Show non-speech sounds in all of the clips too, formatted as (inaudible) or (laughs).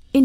verscheen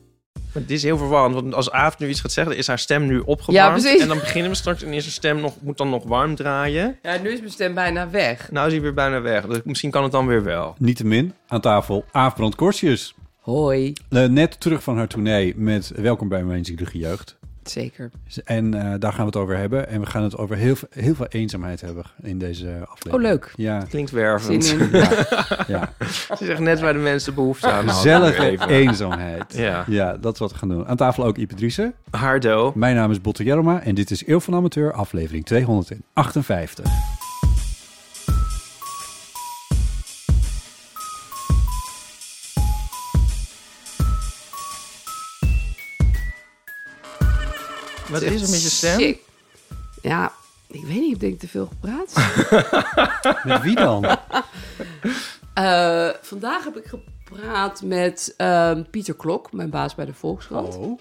Maar dit is heel verwarrend, want als Aaf nu iets gaat zeggen, dan is haar stem nu opgewarmd. Ja, precies. En dan beginnen we straks en is haar stem nog, moet dan nog warm draaien. Ja, nu is mijn stem bijna weg. Nou is hij weer bijna weg, dus misschien kan het dan weer wel. Niettemin, aan tafel Aaf Brand Korsius. Hoi. Eh, Net terug van haar tournee met Welkom bij Mijn Zielige Jeugd. Zeker. En eh, daar gaan we het over hebben. En we gaan het over heel, veel- heel veel eenzaamheid hebben in deze aflevering. Oh, leuk. (laughs) Ja, Klinkt Zin wervend. in. ja. (laughs) Het is echt net waar de mensen behoefte aan hadden. gezellige eenzaamheid. Ja. ja, dat is wat we gaan doen. Aan tafel ook Ipe Driessen. Hardo. Mijn naam is Botte Jeroma en dit is Eeuw van Amateur, aflevering 258. Wat is er met je stem? Sick. Ja, ik weet niet. Ik denk te veel gepraat. (laughs) Met wie dan? Eh, vandaag heb ik gepraat met ehm, Pieter Klok, mijn baas bij de Volkskrant. Oh.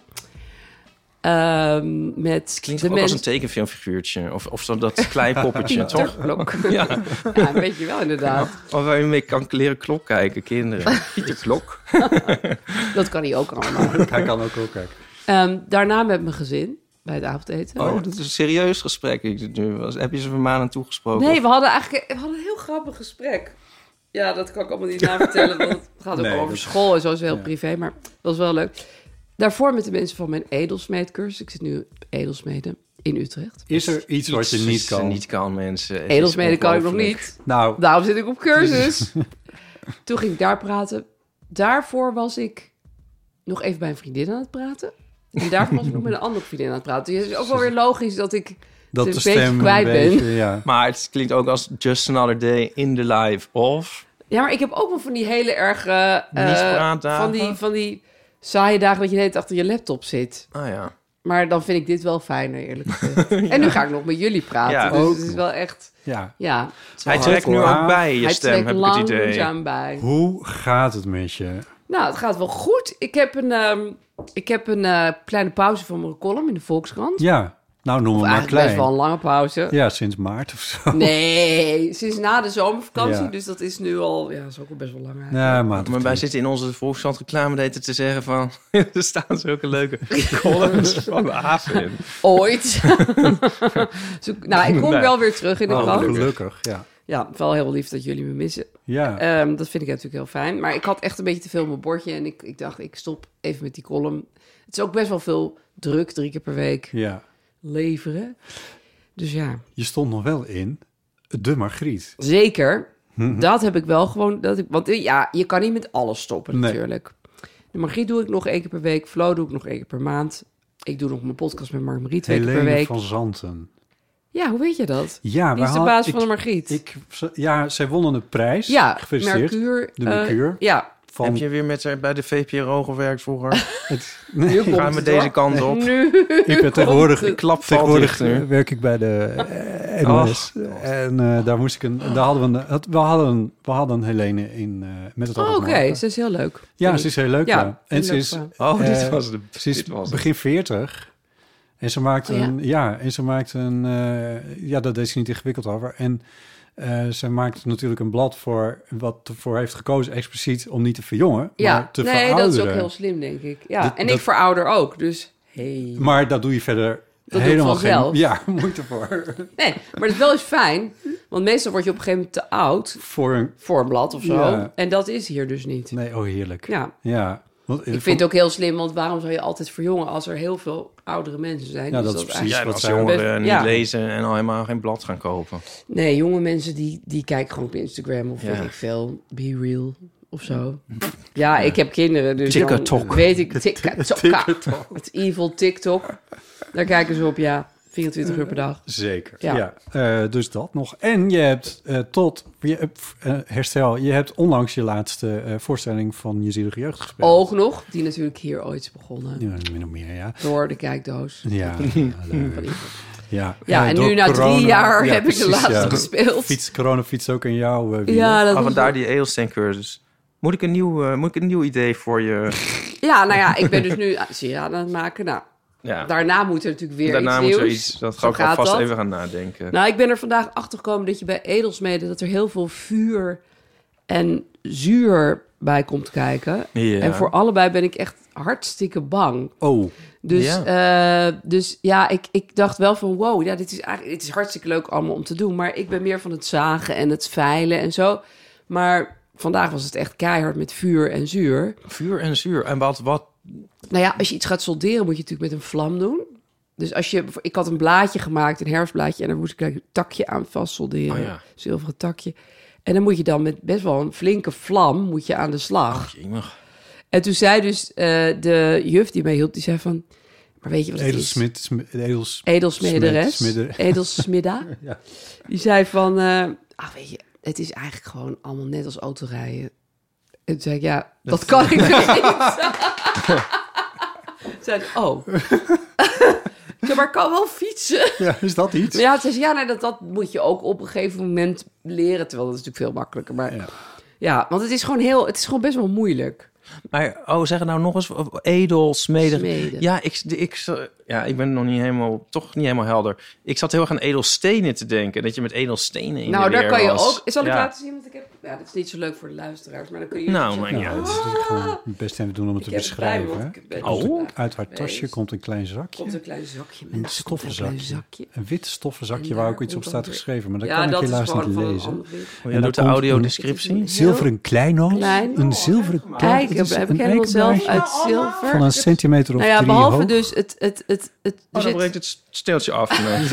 Ehm, met Klinkt de ook als mens- een tekenfilmfiguurtje. Of, of zo dat kleipoppetje, Pieter toch? Klok. Ja. (laughs) Ja, weet je wel inderdaad. (laughs) Of waar je mee kan leren klok kijken, kinderen. (laughs) Pieter Klok. Dat kan hij ook allemaal. (laughs) Hij kan ook ook kijken. Ehm, daarna met mijn gezin bij het avondeten. Oh, dat is een serieus gesprek. Ik dit nu was. Heb je ze van maan aan toegesproken? Nee, we hadden eigenlijk we hadden een heel grappig gesprek. Ja, dat kan ik allemaal niet vertellen, want het gaat ook Nee, over dat- school en zo, is heel privé, maar dat was wel leuk. Daarvoor met de mensen van mijn edelsmeedcursus. Ik zit nu op edelsmeden in Utrecht. Is er iets, wat je niet kan? Niet kan, mensen. Het is Edelsmeden kan ik nog ongelooflijk. niet, Nou, daarom zit ik op (laughs) cursus. Toen ging ik daar praten. Daarvoor was ik nog even bij een vriendin aan het praten. En daarvoor was ik nog met een andere vriendin aan het praten. Dus het is ook wel weer logisch dat ik dat het de een beetje stem kwijt een beetje, ben. ja. Maar het klinkt ook als Just Another Day in the Life of... Ja, maar ik heb ook wel van die hele erg... eh, eh, Niespraatdagen? van, die, van die saaie dagen dat je de hele tijd achter je laptop zit. Ah ja. Maar dan vind ik dit wel fijner, eerlijk (laughs) gezegd. En nu ga ik nog met jullie praten. Ja. dus Ook het is nog. wel echt... ja. Ja, het is wel Hij hard. trekt nu hoor. ook bij je Hij stem, heb trekt ik het idee. langzaam bij. Hoe gaat het met je? Nou, het gaat wel goed. Ik heb een, ehm, ik heb een eh, kleine pauze van mijn column in de Volkskrant. Ja, nou noem Of het maar eigenlijk best klein. wel een lange pauze. Ja, sinds maart of (laughs) zo. Nee, sinds na de zomervakantie. Ja. Dus dat is nu al... Ja, dat is ook al best wel lang eigenlijk. Ja, maand of Maar wij tien. zitten in onze Volkskrant reclame daten te zeggen van... (laughs) er staan zulke (laughs) leuke columns van de haven in. (laughs) Ooit. (laughs) Zo- nou, ik kom Nee. wel weer terug in de Oh, krant. Gelukkig, ja. Ja, wel heel lief dat jullie me missen. Ja, Ehm, dat vind ik natuurlijk heel fijn. Maar ik had echt een beetje te veel op mijn bordje. En ik, ik dacht, ik stop even met die column. Het is ook best wel veel druk, drie keer per week ja. leveren. Dus ja, Je stond nog wel in De Margriet. zeker. Mhm. Dat heb ik wel gewoon. Dat ik, want eh, ja, je kan niet met alles stoppen Nee. natuurlijk. De magie doe ik nog één keer per week. Flow doe ik nog één keer per maand. Ik doe nog mijn podcast met Mark Marie twee keer per Helene week. van Zanten. Ja, hoe weet je dat? Ja, Die we is de haal- baas ik- van de Margriet. Ik, ja, zij wonnen een prijs. Ja, Gefeliciteerd. Mercure. De eh, Mercure. ja, Van Heb je weer met haar bij de VPRO gewerkt (laughs) vroeger? het, nee, nu komt Gaan we het, deze hoor. kant op? Nu. ik ben tegenwoordig, het. Klap valt tegenwoordig dichter. werk ik bij de eh, NOS. en eh, daar moest ik een, daar hadden we, een, had- we hadden, een- we hadden een Helene in eh, met het Oh, oog Oké, op okay. morgen. ze is heel leuk. Ja, Vind ze ik. is heel leuk. Ja, Ja, heel En ze leuk is, vrouw. Oh, dit eh, was de... ze is dit was het. begin 40. En ze maakt Oh, ja. een, ja. en ze maakt een, eh, ja, dat deed ze niet ingewikkeld over. En eh, ze maakt natuurlijk een blad voor wat ervoor heeft gekozen, expliciet om niet te verjongen, Ja, maar te nee, verouderen. dat is ook heel slim, denk ik. Ja, Dat- en ik dat- verouder ook, dus hey. Maar dat doe je verder doet helemaal vanzelf. geen ja, (laughs) moeite voor. Nee, maar het is wel eens fijn. Want meestal word je op een gegeven moment te oud voor een... voor een blad of zo. Ja. En dat is hier dus niet. Nee, oh heerlijk. Ja. ja. Want, Ik vind het ook heel slim, want waarom zou je altijd verjongen als er heel veel oudere mensen zijn? Ja, Dus dat is precies. eigenlijk- wat als zij- jongeren eh, niet Ja. lezen en al helemaal geen blad gaan kopen. Nee, jonge mensen die, die kijken gewoon op Instagram of Ja. weet ik veel, Be Real of (laughs) zo. Ja, ik heb kinderen, dus dan TikTok. weet ik TikTok. Het evil TikTok. Daar kijken ze op, ja, 24 uur per dag. Zeker. Ja. Ja. Eh, dus dat nog. En je hebt eh, tot je, hebt, eh, herstel. Je hebt onlangs je laatste eh, voorstelling van je zielige jeugd gespeeld. Oog nog, die natuurlijk hier ooit is begonnen. Ja, min of meer, ja. Door de kijkdoos. (laughs) Ja, Van leuk. die- ja. Ja, Eh, en door nu na drie corona- jaar Ja, heb ik de precies, laatste ja. gespeeld. Fiets, corona fiets ook in jou. eh, wielen. Ja, dat Ah, was- vandaar die edelsteencursus. Moet ik, een nieuw, eh, moet ik een nieuw idee voor je? ja, nou ja, ik ben dus nu sieraden aan het maken. Nou, Ja. daarna moet er natuurlijk weer Daarna iets moeten we nieuws. iets... Dat Zo ga ik gaat alvast dat. even gaan nadenken. Nou, ik ben er vandaag achter gekomen dat je bij edelsmeden dat er heel veel vuur en zuur bij komt kijken. Ja. En voor allebei ben ik echt hartstikke bang. Oh, Dus ja, dus, ja ik, ik dacht wel van wow, ja, dit, is eigenlijk, dit is hartstikke leuk allemaal om te doen. Maar ik ben meer van het zagen en het veilen en zo. Maar vandaag was het echt keihard met vuur en zuur. Nou, Vuur en zuur. En wat, wat Nou ja, als je iets gaat solderen, moet je het natuurlijk met een vlam doen. Dus als je, ik had een blaadje gemaakt, een herfstblaadje, en daar moest ik een takje aan vast solderen. Oh ja. Zilveren takje. En dan moet je dan met best wel een flinke vlam moet je aan de slag. En toen zei dus eh, de juf die mij hielp, die zei van... Maar weet je wat het is? edelsmid. smi- edels, Eh. edelsmederes, Smid- smidder. (laughs) edelsmidda. Ja. Die zei van, eh, ah, weet je, het is eigenlijk gewoon allemaal net als autorijden. En toen zei ik, ja, dat, kan ik dus (laughs) niet. Toen zei ik, oh. Ik zei, maar ik kan wel fietsen. ja, is dat iets? Ja, toen zei ze, ja, nee, dat, dat moet je ook op een gegeven moment leren. Terwijl dat is natuurlijk veel makkelijker. Maar ja, Ja. want het is gewoon heel, het is gewoon best wel moeilijk. Maar, oh, zeg het nou nog eens. Edel, smeden. Smeden. Ja, ik, ik, eh, ja, ik ben nog niet helemaal, toch niet helemaal helder. Ik zat heel erg aan edelstenen te denken. Dat je met edelstenen in nou, de daar weer kan je was. ook... Zal ik Ja. laten zien? Want ik heb... Ja, dat is niet zo leuk voor de luisteraars, maar dan kun je... Nou, maar Ja, ja. het is gewoon het beste even doen om het te Ik heb het bij me, beschrijven. want ik ben- hè. Komt een- Oh. Uit haar tasje Wees. komt een klein zakje. Komt een klein zakje, Een mensen. Komt een klein stoffenzakje. zakje. Een wit stoffen zakje En waar daar ook iets op komt staat dan weer- geschreven. Maar dat ja, kan ik dat is helaas gewoon niet van een lezen. ander ding. Oh, En ja, dan doet de komt audiodescriptie. een- Zilveren kleinoot. Klein. Oh, Een zilveren kleinoot. Kijk, Het heb, is heb een ik helemaal zelf eikenbaasje uit zilver. Van een centimeter of nou ja, drie behalve hoog. dus het, het, het, het, Oh, dus dan het, breekt het steeltje (laughs) af. Nee.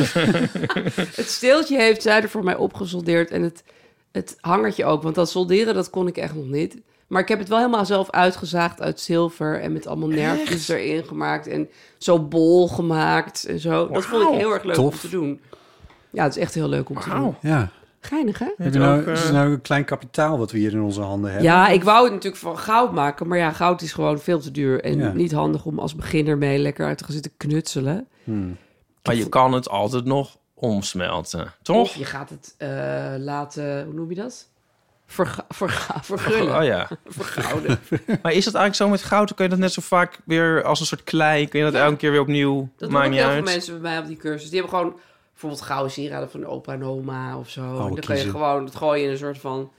het steeltje heeft zij er voor mij opgesoldeerd. En het, het hangertje ook. Want dat solderen, dat kon ik echt nog niet. Maar ik heb het wel helemaal zelf uitgezaagd uit zilver. En met allemaal nerfjes erin gemaakt. En zo bol gemaakt en zo. Dat vond ik heel erg leuk om Tof. te doen. Ja, het is echt heel leuk om te doen. Wauw. Ja. Geinig, hè? Heb je nou, ook, het is eh, nou een klein kapitaal wat we hier in onze handen hebben. Ja, ik wou het natuurlijk van goud maken, maar ja, goud is gewoon veel te duur en Ja. niet handig om als beginner mee lekker uit te gaan zitten knutselen. Maar je kan het altijd nog omsmelten, toch? Of je gaat het eh, laten, hoe noem je dat? Verga, verga, vergullen, Oh ja. (laughs) vergouden. Maar is dat eigenlijk zo met goud? Dan kun je dat net zo vaak weer als een soort klei... kun je dat elke keer weer opnieuw... Dat doen maakt ook niet heel veel uit. mensen bij mij op die cursus. Die hebben gewoon bijvoorbeeld gouden sieraden van opa en oma of zo. en dan kan je kiezen. gewoon het gooien in een soort van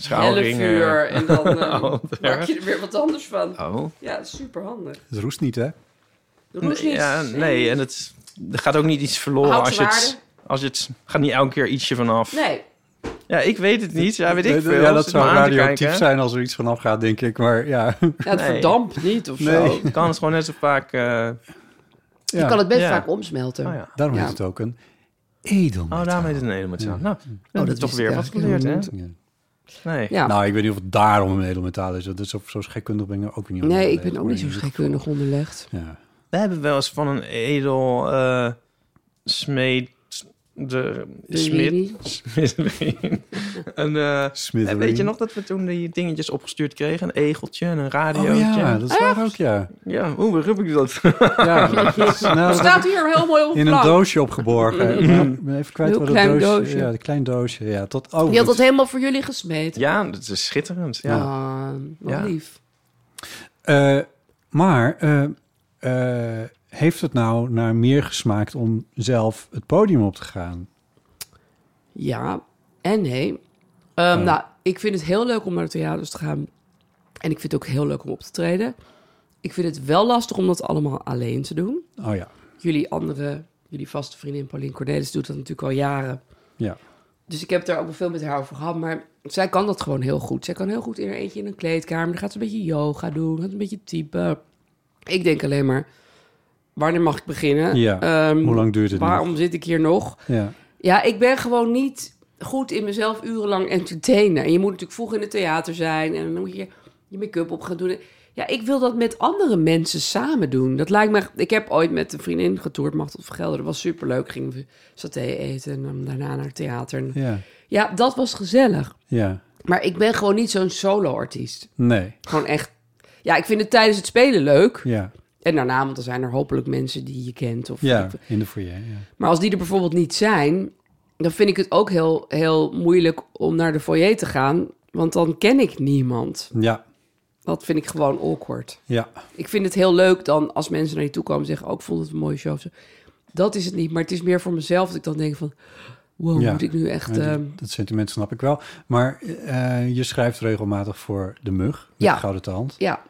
Trouwringen. hellevuur (laughs) en dan eh, Oh, maak je er weer wat anders van. Oh. Ja, super handig. Het roest niet, hè? Roest Nee, niets. Ja, nee, en het er gaat ook niet iets verloren Houdt als je, het, als je het... gaat niet elke keer ietsje vanaf. Nee, Ja, ik weet het niet. Ja, weet ik veel. Eh, Ja, Zit dat me zou aan te radioactief kijken. zijn als er iets van afgaat, denk ik. Maar ja, ja, het Nee. verdampt niet of zo. Nee. Je (laughs) kan het gewoon net zo vaak... eh, Je Ja. kan het best Ja. vaak omsmelten. oh ja. daarom Ja. is het ook een edel. Oh, daarmee is het een edelmetaal. Oh, Nou, dat is dat toch wist ik weer wat eigenlijk geleerd, hè? Ja. Nee. Ja. Nou, ik weet niet of het daarom een edelmetaal is. Dat is of zo scheikundig ben ik er ook niet. nee, ik onderlegd, ben ook maar niet zo in ieder scheikundig onderlegd. geval- Ja. We hebben wel eens van een edel eh smeed... De smid... Rini. (laughs) smid een, eh, Smithery. weet je nog dat we toen die dingetjes opgestuurd kregen? Een egeltje en een radiootje. Oh ja, dat is waar ook, ja. Ja, hoe begrijp ik dat? (laughs) ja. Nou, Er dat heb staat hier heel mooi op ik in een doosje opgeborgen. (laughs) Ik ben even kwijt Heel wat het klein doosje... doosje. Ja, een klein doosje. Ja, tot oh, Je had dat het- helemaal voor jullie gesmeed. ja, dat is schitterend. Ja. Ah, wat Ja. lief. Eh, maar eh, eh, heeft het nou naar meer gesmaakt om zelf het podium op te gaan? Ja, en nee. Ehm, Nou, ik vind het heel leuk om naar de theaters te gaan. En ik vind het ook heel leuk om op te treden. Ik vind het wel lastig om dat allemaal alleen te doen. Oh ja. Jullie andere jullie vaste vriendin Pauline Cornelis doet dat natuurlijk al jaren. Ja. Dus ik heb het daar ook wel veel met haar over gehad. Maar zij kan dat gewoon heel goed. Zij kan heel goed in haar eentje in een kleedkamer. Dan gaat ze een beetje yoga doen. Gaat een beetje typen. Ik denk alleen maar, wanneer mag ik beginnen? Ja, Ehm, Hoe lang duurt het nog? Waarom zit ik hier nog? Ja. Ja, ik ben gewoon niet goed in mezelf urenlang entertainen. En je moet natuurlijk vroeg in het theater zijn. En dan moet je je make-up op gaan doen. Ja, ik wil dat met andere mensen samen doen. Dat lijkt me... Ik heb ooit met een vriendin getoerd, Machtel van Gelder. Dat was superleuk. Gingen we saté eten en dan daarna naar het theater. En- ja, Ja, dat was gezellig. ja. Maar ik ben gewoon niet zo'n solo-artiest. Nee, Gewoon echt... Ja, ik vind het tijdens het spelen leuk. ja. En daarna, want dan zijn er hopelijk mensen die je kent. Of Ja, in de foyer. Ja. maar als die er bijvoorbeeld niet zijn, dan vind ik het ook heel, heel moeilijk om naar de foyer te gaan. Want dan ken ik niemand. ja, Dat vind ik gewoon awkward. ja, Ik vind het heel leuk dan als mensen naar je toe komen en zeggen... ook ik vond het een mooie show. of zo. Dat is het niet, maar het is meer voor mezelf dat ik dan denk van... wow, Ja. moet ik nu echt... Ja, die- ehm, dat sentiment snap ik wel. Maar eh, je schrijft regelmatig voor de mug, met Ja. de gouden tand. ja.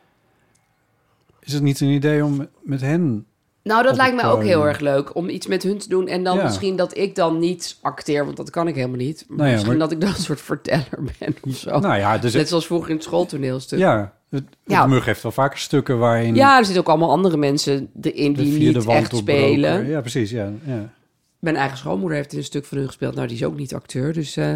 Is het niet een idee om met hen... Nou, dat Op lijkt het mij ook heel podium. erg leuk om iets met hun te doen. En dan Ja. misschien dat ik dan niet acteer, want dat kan ik helemaal niet. Maar Nou ja, misschien maar- dat ik dan een soort verteller (laughs) ben of zo. Nou ja, dus Net het, zoals vroeger in het schooltoneelstuk. ja, het- Ja. de mug heeft wel vaker stukken waarin... Ja, er zitten ook allemaal andere mensen erin de die vierde niet wand echt doorbroken. spelen. Ja, precies. Ja, ja. Mijn eigen schoonmoeder heeft in een stuk van hun gespeeld. Nou, die is ook niet acteur, dus eh,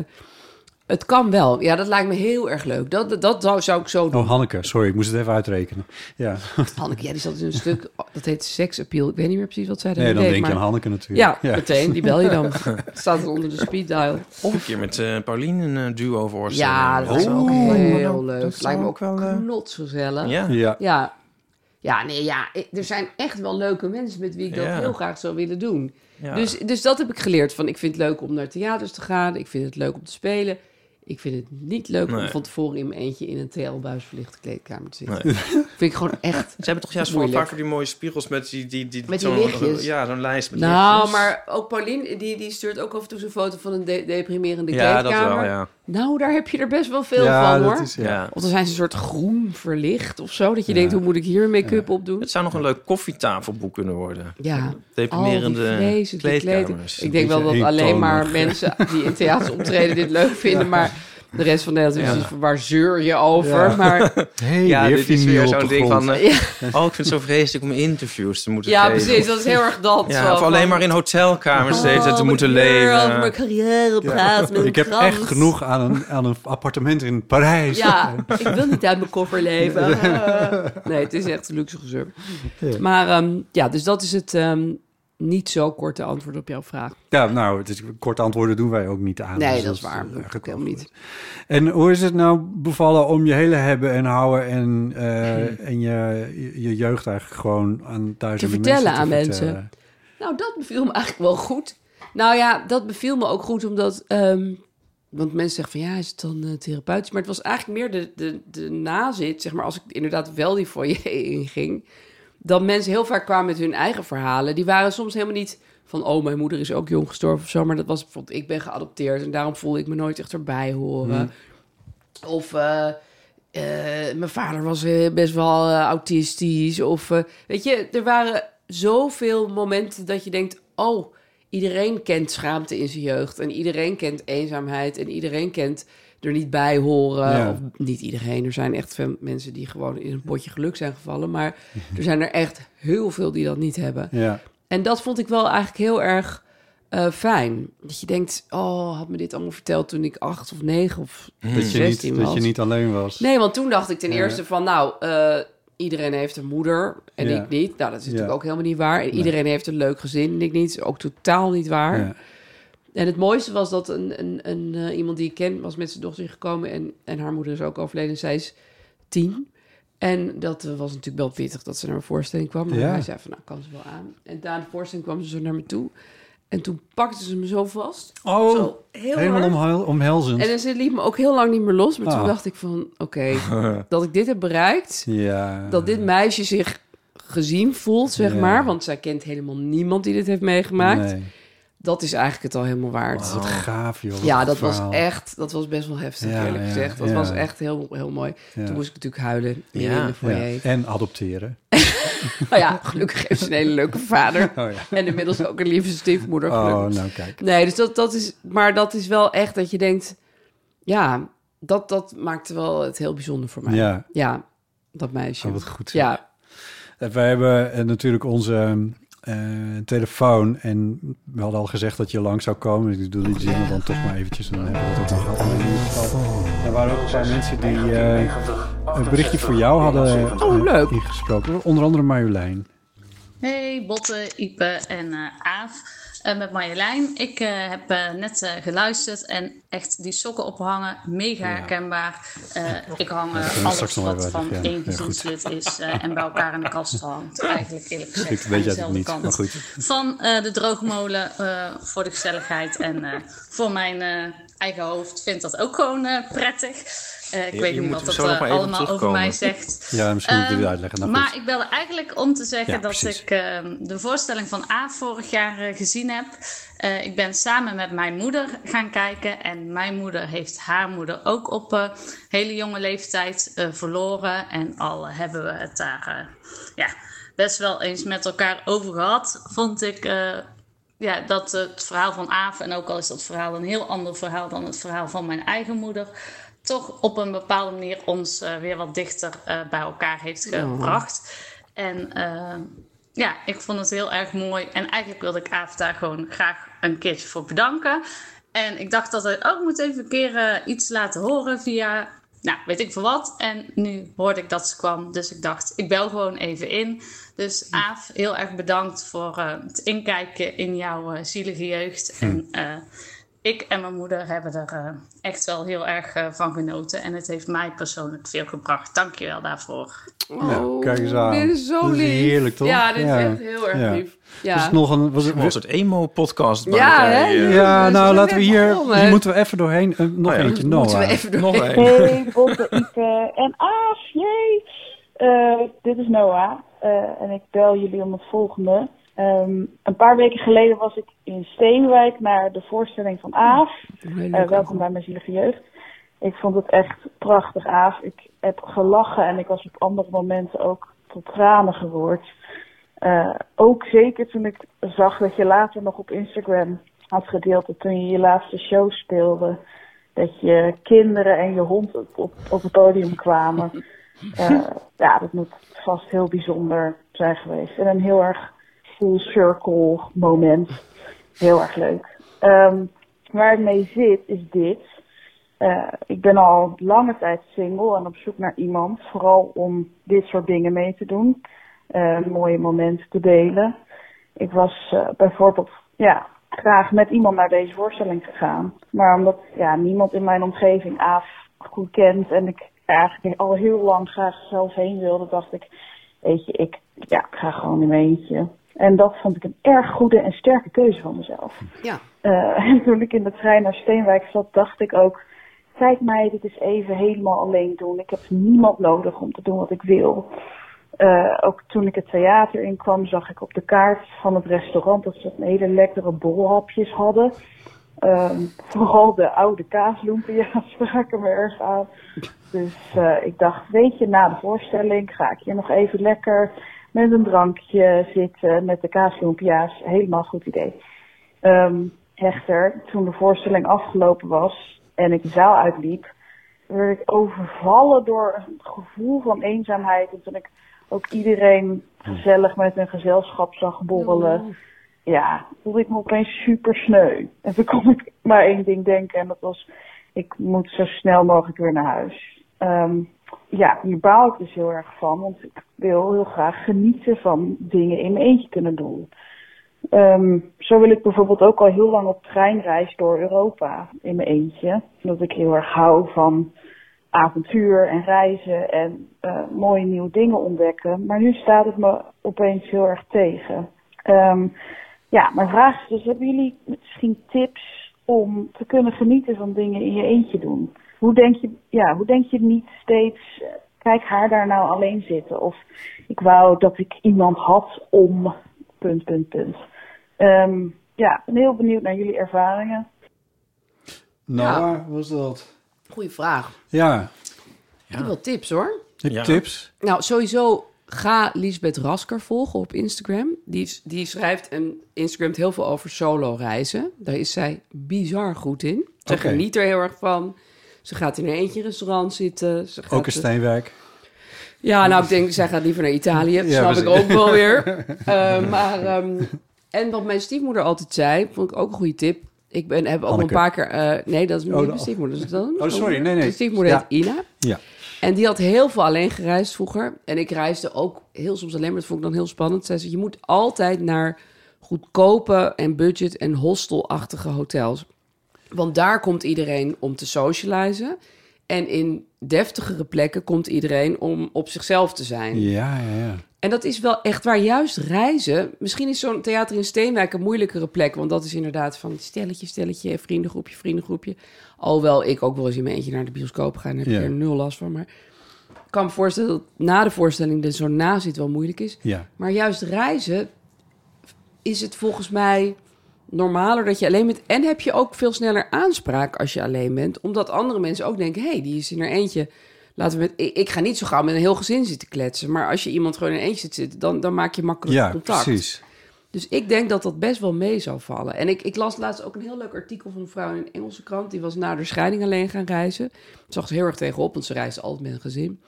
het kan wel. Ja, dat lijkt me heel erg leuk. Dat, dat zou, zou ik zo doen. Oh, Hanneke, sorry, ik moest het even uitrekenen. Ja, (laughs) Hanneke, ja, die zat in een stuk, (laughs) dat heet Sex Appeal. Ik weet niet meer precies wat zij nee, daarin dan deed, denk je maar- aan Hanneke natuurlijk. Ja, meteen, die bel je (laughs) dan. Staat er onder de speed dial. Of een keer met eh Pauline een eh, duo voorstellen. Ja, dat is Oh. ook heel leuk. dat zou lijkt me ook ook wel, eh, knotsgezellig. Ja. Ja, Ja. Ja, nee, ja. ik- Er zijn echt wel leuke mensen met wie ik dat Ja. heel graag zou willen doen. Ja. Dus, dus dat heb ik geleerd. Van, ik vind het leuk om naar theaters te gaan. Ik vind het leuk om te spelen. Ik vind het niet leuk om Nee. van tevoren in mijn eentje in een TL-buis verlichte kleedkamer te zitten. (laughs) Nee. Vind ik gewoon (laughs) echt... Ze hebben toch juist voor een paar Moeilijk. van die mooie spiegels met die... die, die Met die zo'n- lichtjes. Ja, zo'n lijst met Nou, lichtjes. maar ook Pauline, die, die stuurt ook af en toe zo'n foto van een de- deprimerende Ja, dat kleedkamer. wel, ja. Nou, daar heb je er best wel veel van, hoor. dat is... Ja. ja. Of dan zijn ze een soort groen verlicht of zo. Dat je denkt, hoe moet ik hier make-up op doen? Het zou nog een leuk koffietafelboek kunnen worden. Ja, Deprimerende al Oh, die vreselijke kleedkamers. kleden. Ik denk wel dat beetje alleen maar eentonig. mensen die in theaters optreden dit leuk vinden, maar de rest van Nederland is Ja. precies van, waar zeur je over? Ja. Maar Hey, ja, die dit heeft die is muur weer op zo'n de ding grond. van... eh, (laughs) Ja. Oh, ik vind het zo vreselijk om interviews te moeten ja, geven. precies, dat is heel erg dat. Ja, zo of van, alleen maar in hotelkamers oh, steeds dat te moet moeten ik weer leven. over mijn carrière praten. met Ik heb een krans. echt genoeg aan een, aan een appartement in Parijs. Ja, (laughs) ik wil niet uit mijn koffer leven. (laughs) Nee, het is echt een luxe gezeur. Maar ehm, ja, dus dat is het ehm, niet zo korte antwoord op jouw vraag. Ja, nou, het is, korte antwoorden doen wij ook niet aan. Nee, Dus dat is waar. eh, Dat helemaal niet. En hoe is het nou bevallen om je hele hebben en houden en, (laughs) eh, en je, je, je jeugd eigenlijk gewoon aan duizenden Te vertellen mensen te aan vertellen? mensen. Nou, dat beviel me eigenlijk wel goed. Nou ja, dat beviel me ook goed omdat... ehm, want mensen zeggen van ja, is het dan eh, therapeutisch? Maar het was eigenlijk meer de, de, de nazit, zeg maar, als ik inderdaad wel die foyer (laughs) inging. Dat mensen heel vaak kwamen met hun eigen verhalen. Die waren soms helemaal niet van, oh, mijn moeder is ook jong gestorven of zo. Maar dat was bijvoorbeeld, ik ben geadopteerd en daarom voelde ik me nooit echt erbij horen. Of eh, eh, mijn vader was eh, best wel eh, autistisch. Of eh, weet je, er waren zoveel momenten dat je denkt: oh, iedereen kent schaamte in zijn jeugd. En iedereen kent eenzaamheid. En iedereen kent er niet bij horen. Ja. Of niet iedereen. Er zijn echt veel mensen die gewoon in een potje geluk zijn gevallen. Maar er zijn er echt heel veel die dat niet hebben. Ja, En dat vond ik wel eigenlijk heel erg eh, fijn. Dat je denkt: oh, had me dit allemaal verteld toen ik acht of negen of dat, je niet, 16 dat was. je niet alleen was. Nee, want toen dacht ik ten Ja. eerste van, nou, eh, iedereen heeft een moeder en Ja. ik niet. Nou, dat is natuurlijk Ja. ook helemaal niet waar. En iedereen heeft een leuk gezin en ik niet. Is ook totaal niet waar. Ja. En het mooiste was dat een, een, een, eh, iemand die ik ken was met zijn dochter gekomen en, en haar moeder is ook overleden. Zij is tien. En dat eh, was natuurlijk wel pittig dat ze naar mijn voorstelling kwam. Maar Ja. hij zei van, nou, kan ze wel aan. En na de voorstelling kwam ze zo naar me toe. En toen pakte ze me zo vast. Oh, Zo, heel helemaal hard. omhuil, omhelzend. En dus het liet me ook heel lang niet meer los. Maar Ah. toen dacht ik van, oké, (laughs) dat ik dit heb bereikt. ja. Dat dit meisje zich gezien voelt, zeg Ja. maar. Want zij kent helemaal niemand die dit heeft meegemaakt. Nee. Dat is eigenlijk het al helemaal waard. Wat gaaf, joh. wat Oh. Ja, een dat verhaal. was echt, dat was best wel heftig, Ja, eerlijk ja, gezegd. Dat ja. was echt heel, heel mooi. Ja. Toen moest ik natuurlijk huilen in Ja, de Ja, foyer. En adopteren. (laughs) Nou ja, gelukkig heeft ze een hele leuke vader. Oh ja. En inmiddels ook een lieve stiefmoeder, gelukkig. Oh, nou kijk. Nee, dus dat, dat is, maar dat is wel echt dat je denkt, ja, dat, dat maakt wel het heel bijzonder voor mij. Ja, Ja, dat meisje. oh, wat goed. zeg. ja, Eh, Wij hebben eh, natuurlijk onze eh, telefoon. En we hadden al gezegd dat je lang zou komen. Dus ik doe die jingle dan toch maar eventjes. En dan hebben we dat ook nog gehad. Maar in ieder geval, Er waren ook een paar mensen die eh, een berichtje voor jou hadden eh, Oh, leuk. ingesproken. Onder andere Marjolein. Hey, Botte, Ipe en eh, Aaf. Eh, met Marjolein. Ik eh, heb eh, net eh, geluisterd en echt die sokken ophangen, mega herkenbaar. Eh, ik hang eh, we straks alles nog wat even van uitleggen, ja. één Ja, goed. gezinslid is eh, en bij elkaar in de kast hangt. Eigenlijk eerlijk gezegd Ik aan weet het dezelfde niet, kant maar goed. van eh, de droogmolen eh, voor de gezelligheid. En eh, voor mijn eh, eigen hoofd vind dat ook gewoon eh, prettig. Eh, ik Je- weet je niet moet wat hem dat zo nog eh, maar even allemaal over terugkomen. mij zegt. Ja, misschien moeten we Ehm, het uitleggen. Nou, maar goed. ik bel eigenlijk om te zeggen Ja, dat precies. ik ehm, de voorstelling van A vorig jaar eh, gezien heb. Eh, ik ben samen met mijn moeder gaan kijken. En mijn moeder heeft haar moeder ook op eh, hele jonge leeftijd eh, verloren. En al hebben we het daar eh, ja, best wel eens met elkaar over gehad, vond ik. eh, ja, dat het verhaal van Aaf, en ook al is dat verhaal een heel ander verhaal dan het verhaal van mijn eigen moeder, toch op een bepaalde manier ons eh, weer wat dichter eh, bij elkaar heeft gebracht. En eh, ja, ik vond het heel erg mooi. En eigenlijk wilde ik Aaf daar gewoon graag een keertje voor bedanken. En ik dacht dat hij ook moet even een keer eh, iets laten horen via, nou weet ik veel wat. En nu hoorde ik dat ze kwam, dus ik dacht ik bel gewoon even in. Dus Aaf, heel erg bedankt voor eh, het inkijken in jouw eh, zielige jeugd. En eh, ik en mijn moeder hebben er eh, echt wel heel erg eh, van genoten. En het heeft mij persoonlijk veel gebracht. Dank je wel daarvoor. Nou, Oh, kijk eens aan. Dit is zo Dit is lief. heerlijk, toch? Ja, dit Ja. is echt heel erg Ja. lief. Het Ja. is nog een, was het, Gewoon een soort emo-podcast. bij Ja, elkaar, hè? eh. Ja. ja, we nou zijn laten we net hier... begonnen. Hier moeten we even doorheen. Eh, nog Oh ja. eentje, Moeten we Noah. even door. (laughs) Nog een. Hey, Botte, Ipe en Aaf, jee! Eh, dit is Noah eh, en ik bel jullie om het volgende. Ehm, een paar weken geleden was ik in Steenwijk naar de voorstelling van Aaf. Eh, welkom bij mijn zielige jeugd. Ik vond het echt prachtig, Aaf. Ik heb gelachen en ik was op andere momenten ook tot tranen geroerd. Eh, ook zeker toen ik zag dat je later nog op Instagram had gedeeld dat toen je je laatste show speelde, dat je kinderen en je hond op, op, op het podium kwamen. Eh, ja, dat moet vast heel bijzonder zijn geweest. En een heel erg full circle moment. Heel erg leuk. Ehm, waar ik mee zit is dit. Eh, ik ben al lange tijd single en op zoek naar iemand. Vooral om dit soort dingen mee te doen. Eh, mooie momenten te delen. Ik was eh, bijvoorbeeld ja, graag met iemand naar deze voorstelling gegaan. Maar omdat ja, niemand in mijn omgeving Aaf goed kent en ik eigenlijk al heel lang graag zelf heen wilde, dacht ik, weet je, ik, ja, ik ga gewoon in mijn eentje. En dat vond ik een erg goede en sterke keuze van mezelf. Ja. Eh, (laughs) en toen ik in de trein naar Steenwijk zat, dacht ik ook: kijk mij, dit is even helemaal alleen doen. Ik heb niemand nodig om te doen wat ik wil. Eh, ook toen ik het theater inkwam, zag ik op de kaart van het restaurant dat ze een hele lekkere bolhapjes hadden. Ehm, (laughs) vooral de oude (laughs) kaasloempia spraken me erg aan. Dus eh, ik dacht, weet je, na de voorstelling ga ik hier nog even lekker met een drankje zitten, met de kaasloempia's. Helemaal goed idee. Ehm, echter, toen de voorstelling afgelopen was en ik de zaal uitliep, werd ik overvallen door een gevoel van eenzaamheid. En toen ik ook iedereen gezellig met een gezelschap zag borrelen, ja, voelde ik me opeens super sneu. En toen kon ik maar één ding denken en dat was, ik moet zo snel mogelijk weer naar huis. Ehm, ja, hier baal ik dus heel erg van, want ik wil heel graag genieten van dingen in mijn eentje kunnen doen. Ehm, zo wil ik bijvoorbeeld ook al heel lang op treinreis door Europa in mijn eentje. Omdat ik heel erg hou van avontuur en reizen en eh, mooie nieuwe dingen ontdekken. Maar nu staat het me opeens heel erg tegen. Ehm, ja, mijn vraag is dus, hebben jullie misschien tips om te kunnen genieten van dingen in je eentje doen? Hoe denk je, ja, hoe denk je niet steeds, eh, kijk haar daar nou alleen zitten? Of ik wou dat ik iemand had om, punt, punt, punt. Ehm, ja, ik ben heel benieuwd naar jullie ervaringen. Noah, was dat? Goeie vraag. Ja, Ik heb wel tips hoor. heb je Ja. tips? Nou, sowieso ga Lisbeth Rasker volgen op Instagram. Die, die schrijft en Instagramt heel veel over solo reizen. Daar is zij bizar goed in. Ze Oké. geniet er heel erg van. Ze gaat in een eentje restaurant zitten. Ze gaat eh, Ook een Steenwijk. ja, nou, ik denk, zij gaat liever naar Italië. Dat Ja, snap ik precies. ook wel (laughs) weer. Eh, maar, ehm, en wat mijn stiefmoeder altijd zei, vond ik ook een goede tip. Ik ben, heb ook Hanneke. een paar keer... eh, nee, dat is niet Oh, mijn de- stiefmoeder. Dus dat, Oh, sorry, nee, nee. Mijn stiefmoeder Ja. heet Ina. Ja. En die had heel veel alleen gereisd vroeger. En ik reisde ook heel soms alleen, maar dat vond ik dan heel spannend. Zij zei, je moet altijd naar goedkope en budget- en hostelachtige hotels. Want daar komt iedereen om te socializen. En in deftigere plekken komt iedereen om op zichzelf te zijn. Ja, ja, ja. En dat is wel echt waar juist reizen... Misschien is zo'n theater in Steenwijk een moeilijkere plek. Want dat is inderdaad van stelletje, stelletje, vriendengroepje, vriendengroepje. Alhoewel ik ook wel eens in mijn eentje naar de bioscoop ga. En daar heb Ja. ik er nul last van. Maar ik kan me voorstellen dat na de voorstelling er zo na zit wel moeilijk is. ja. Maar juist reizen is het volgens mij normaler dat je alleen bent. En heb je ook veel sneller aanspraak als je alleen bent. Omdat andere mensen ook denken, hé, hey, die is in haar eentje. Laten we met, ik, ik ga niet zo gauw met een heel gezin zitten kletsen. Maar als je iemand gewoon in een eentje zit zitten, dan, dan maak je makkelijk Ja, contact. precies. Dus ik denk dat dat best wel mee zou vallen. En ik, ik las laatst ook een heel leuk artikel van een vrouw in een Engelse krant. Die was na haar scheiding alleen gaan reizen. Zag ze heel erg tegenop, want ze reisde altijd met een gezin.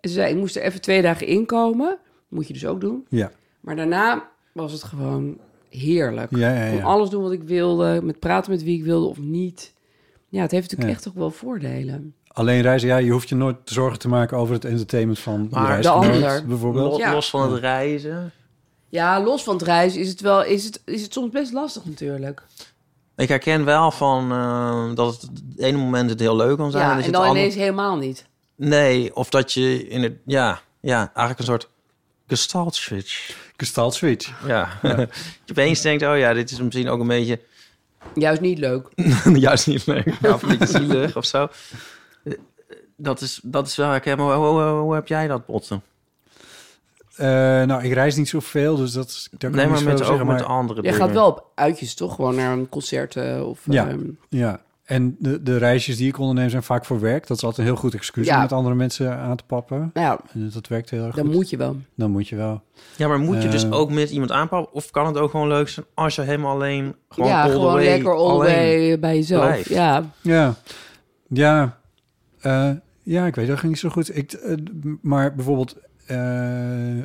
En ze zei, ik moest er even twee dagen inkomen. Moet je dus ook doen. Ja. Maar daarna was het gewoon heerlijk. Ja, ja, Ik ja. kon alles doen wat ik wilde, met praten met wie ik wilde of niet. Ja, het heeft natuurlijk Ja. echt toch wel voordelen. Alleen reizen, ja, je hoeft je nooit zorgen te maken over het entertainment van Maar de de reisgenoot, ander. bijvoorbeeld. Los, Ja. los van het reizen. Ja, los van het reizen is het, wel, is het, is het soms best lastig natuurlijk. Ik herken wel van eh, dat het het ene moment het heel leuk kan zijn. ja, dat je en dan het andere- ineens helemaal niet. Nee, of dat je in het... Ja, ja eigenlijk een soort gestalt switch. Gestalt switch. Ja. (laughs) dat je opeens denkt, oh ja, dit is misschien ook een beetje... (laughs) Juist niet leuk. juist niet leuk. Ja, of een beetje zielig of zo. Eh, Dat is, dat is wel herkenbaar. Hoe, hoe, hoe, hoe heb jij dat, Botten? Eh, nou, ik reis niet zoveel, dus dat is... daar kan ik Nee, niet maar zoveel met, zeggen, ook maar- met andere Jij dingen. gaat wel op uitjes toch? Gewoon naar een concert eh, of... Ja. ehm, Ja, en de, de reisjes die ik onderneem zijn vaak voor werk. Dat is altijd een heel goed excuus Ja. om met andere mensen aan te pappen. nou ja, En Dat werkt heel erg dan goed. moet je wel. Dan moet je wel. Ja, maar moet je dus Eh. ook met iemand aanpakken? Of kan het ook gewoon leuk zijn als je helemaal alleen... Gewoon ja, all the gewoon way lekker all the alleen. way bij jezelf. blijft. Ja. Ja, ja, Eh, ja ik weet dat ging niet zo goed. Ik, eh, m- maar bijvoorbeeld eh,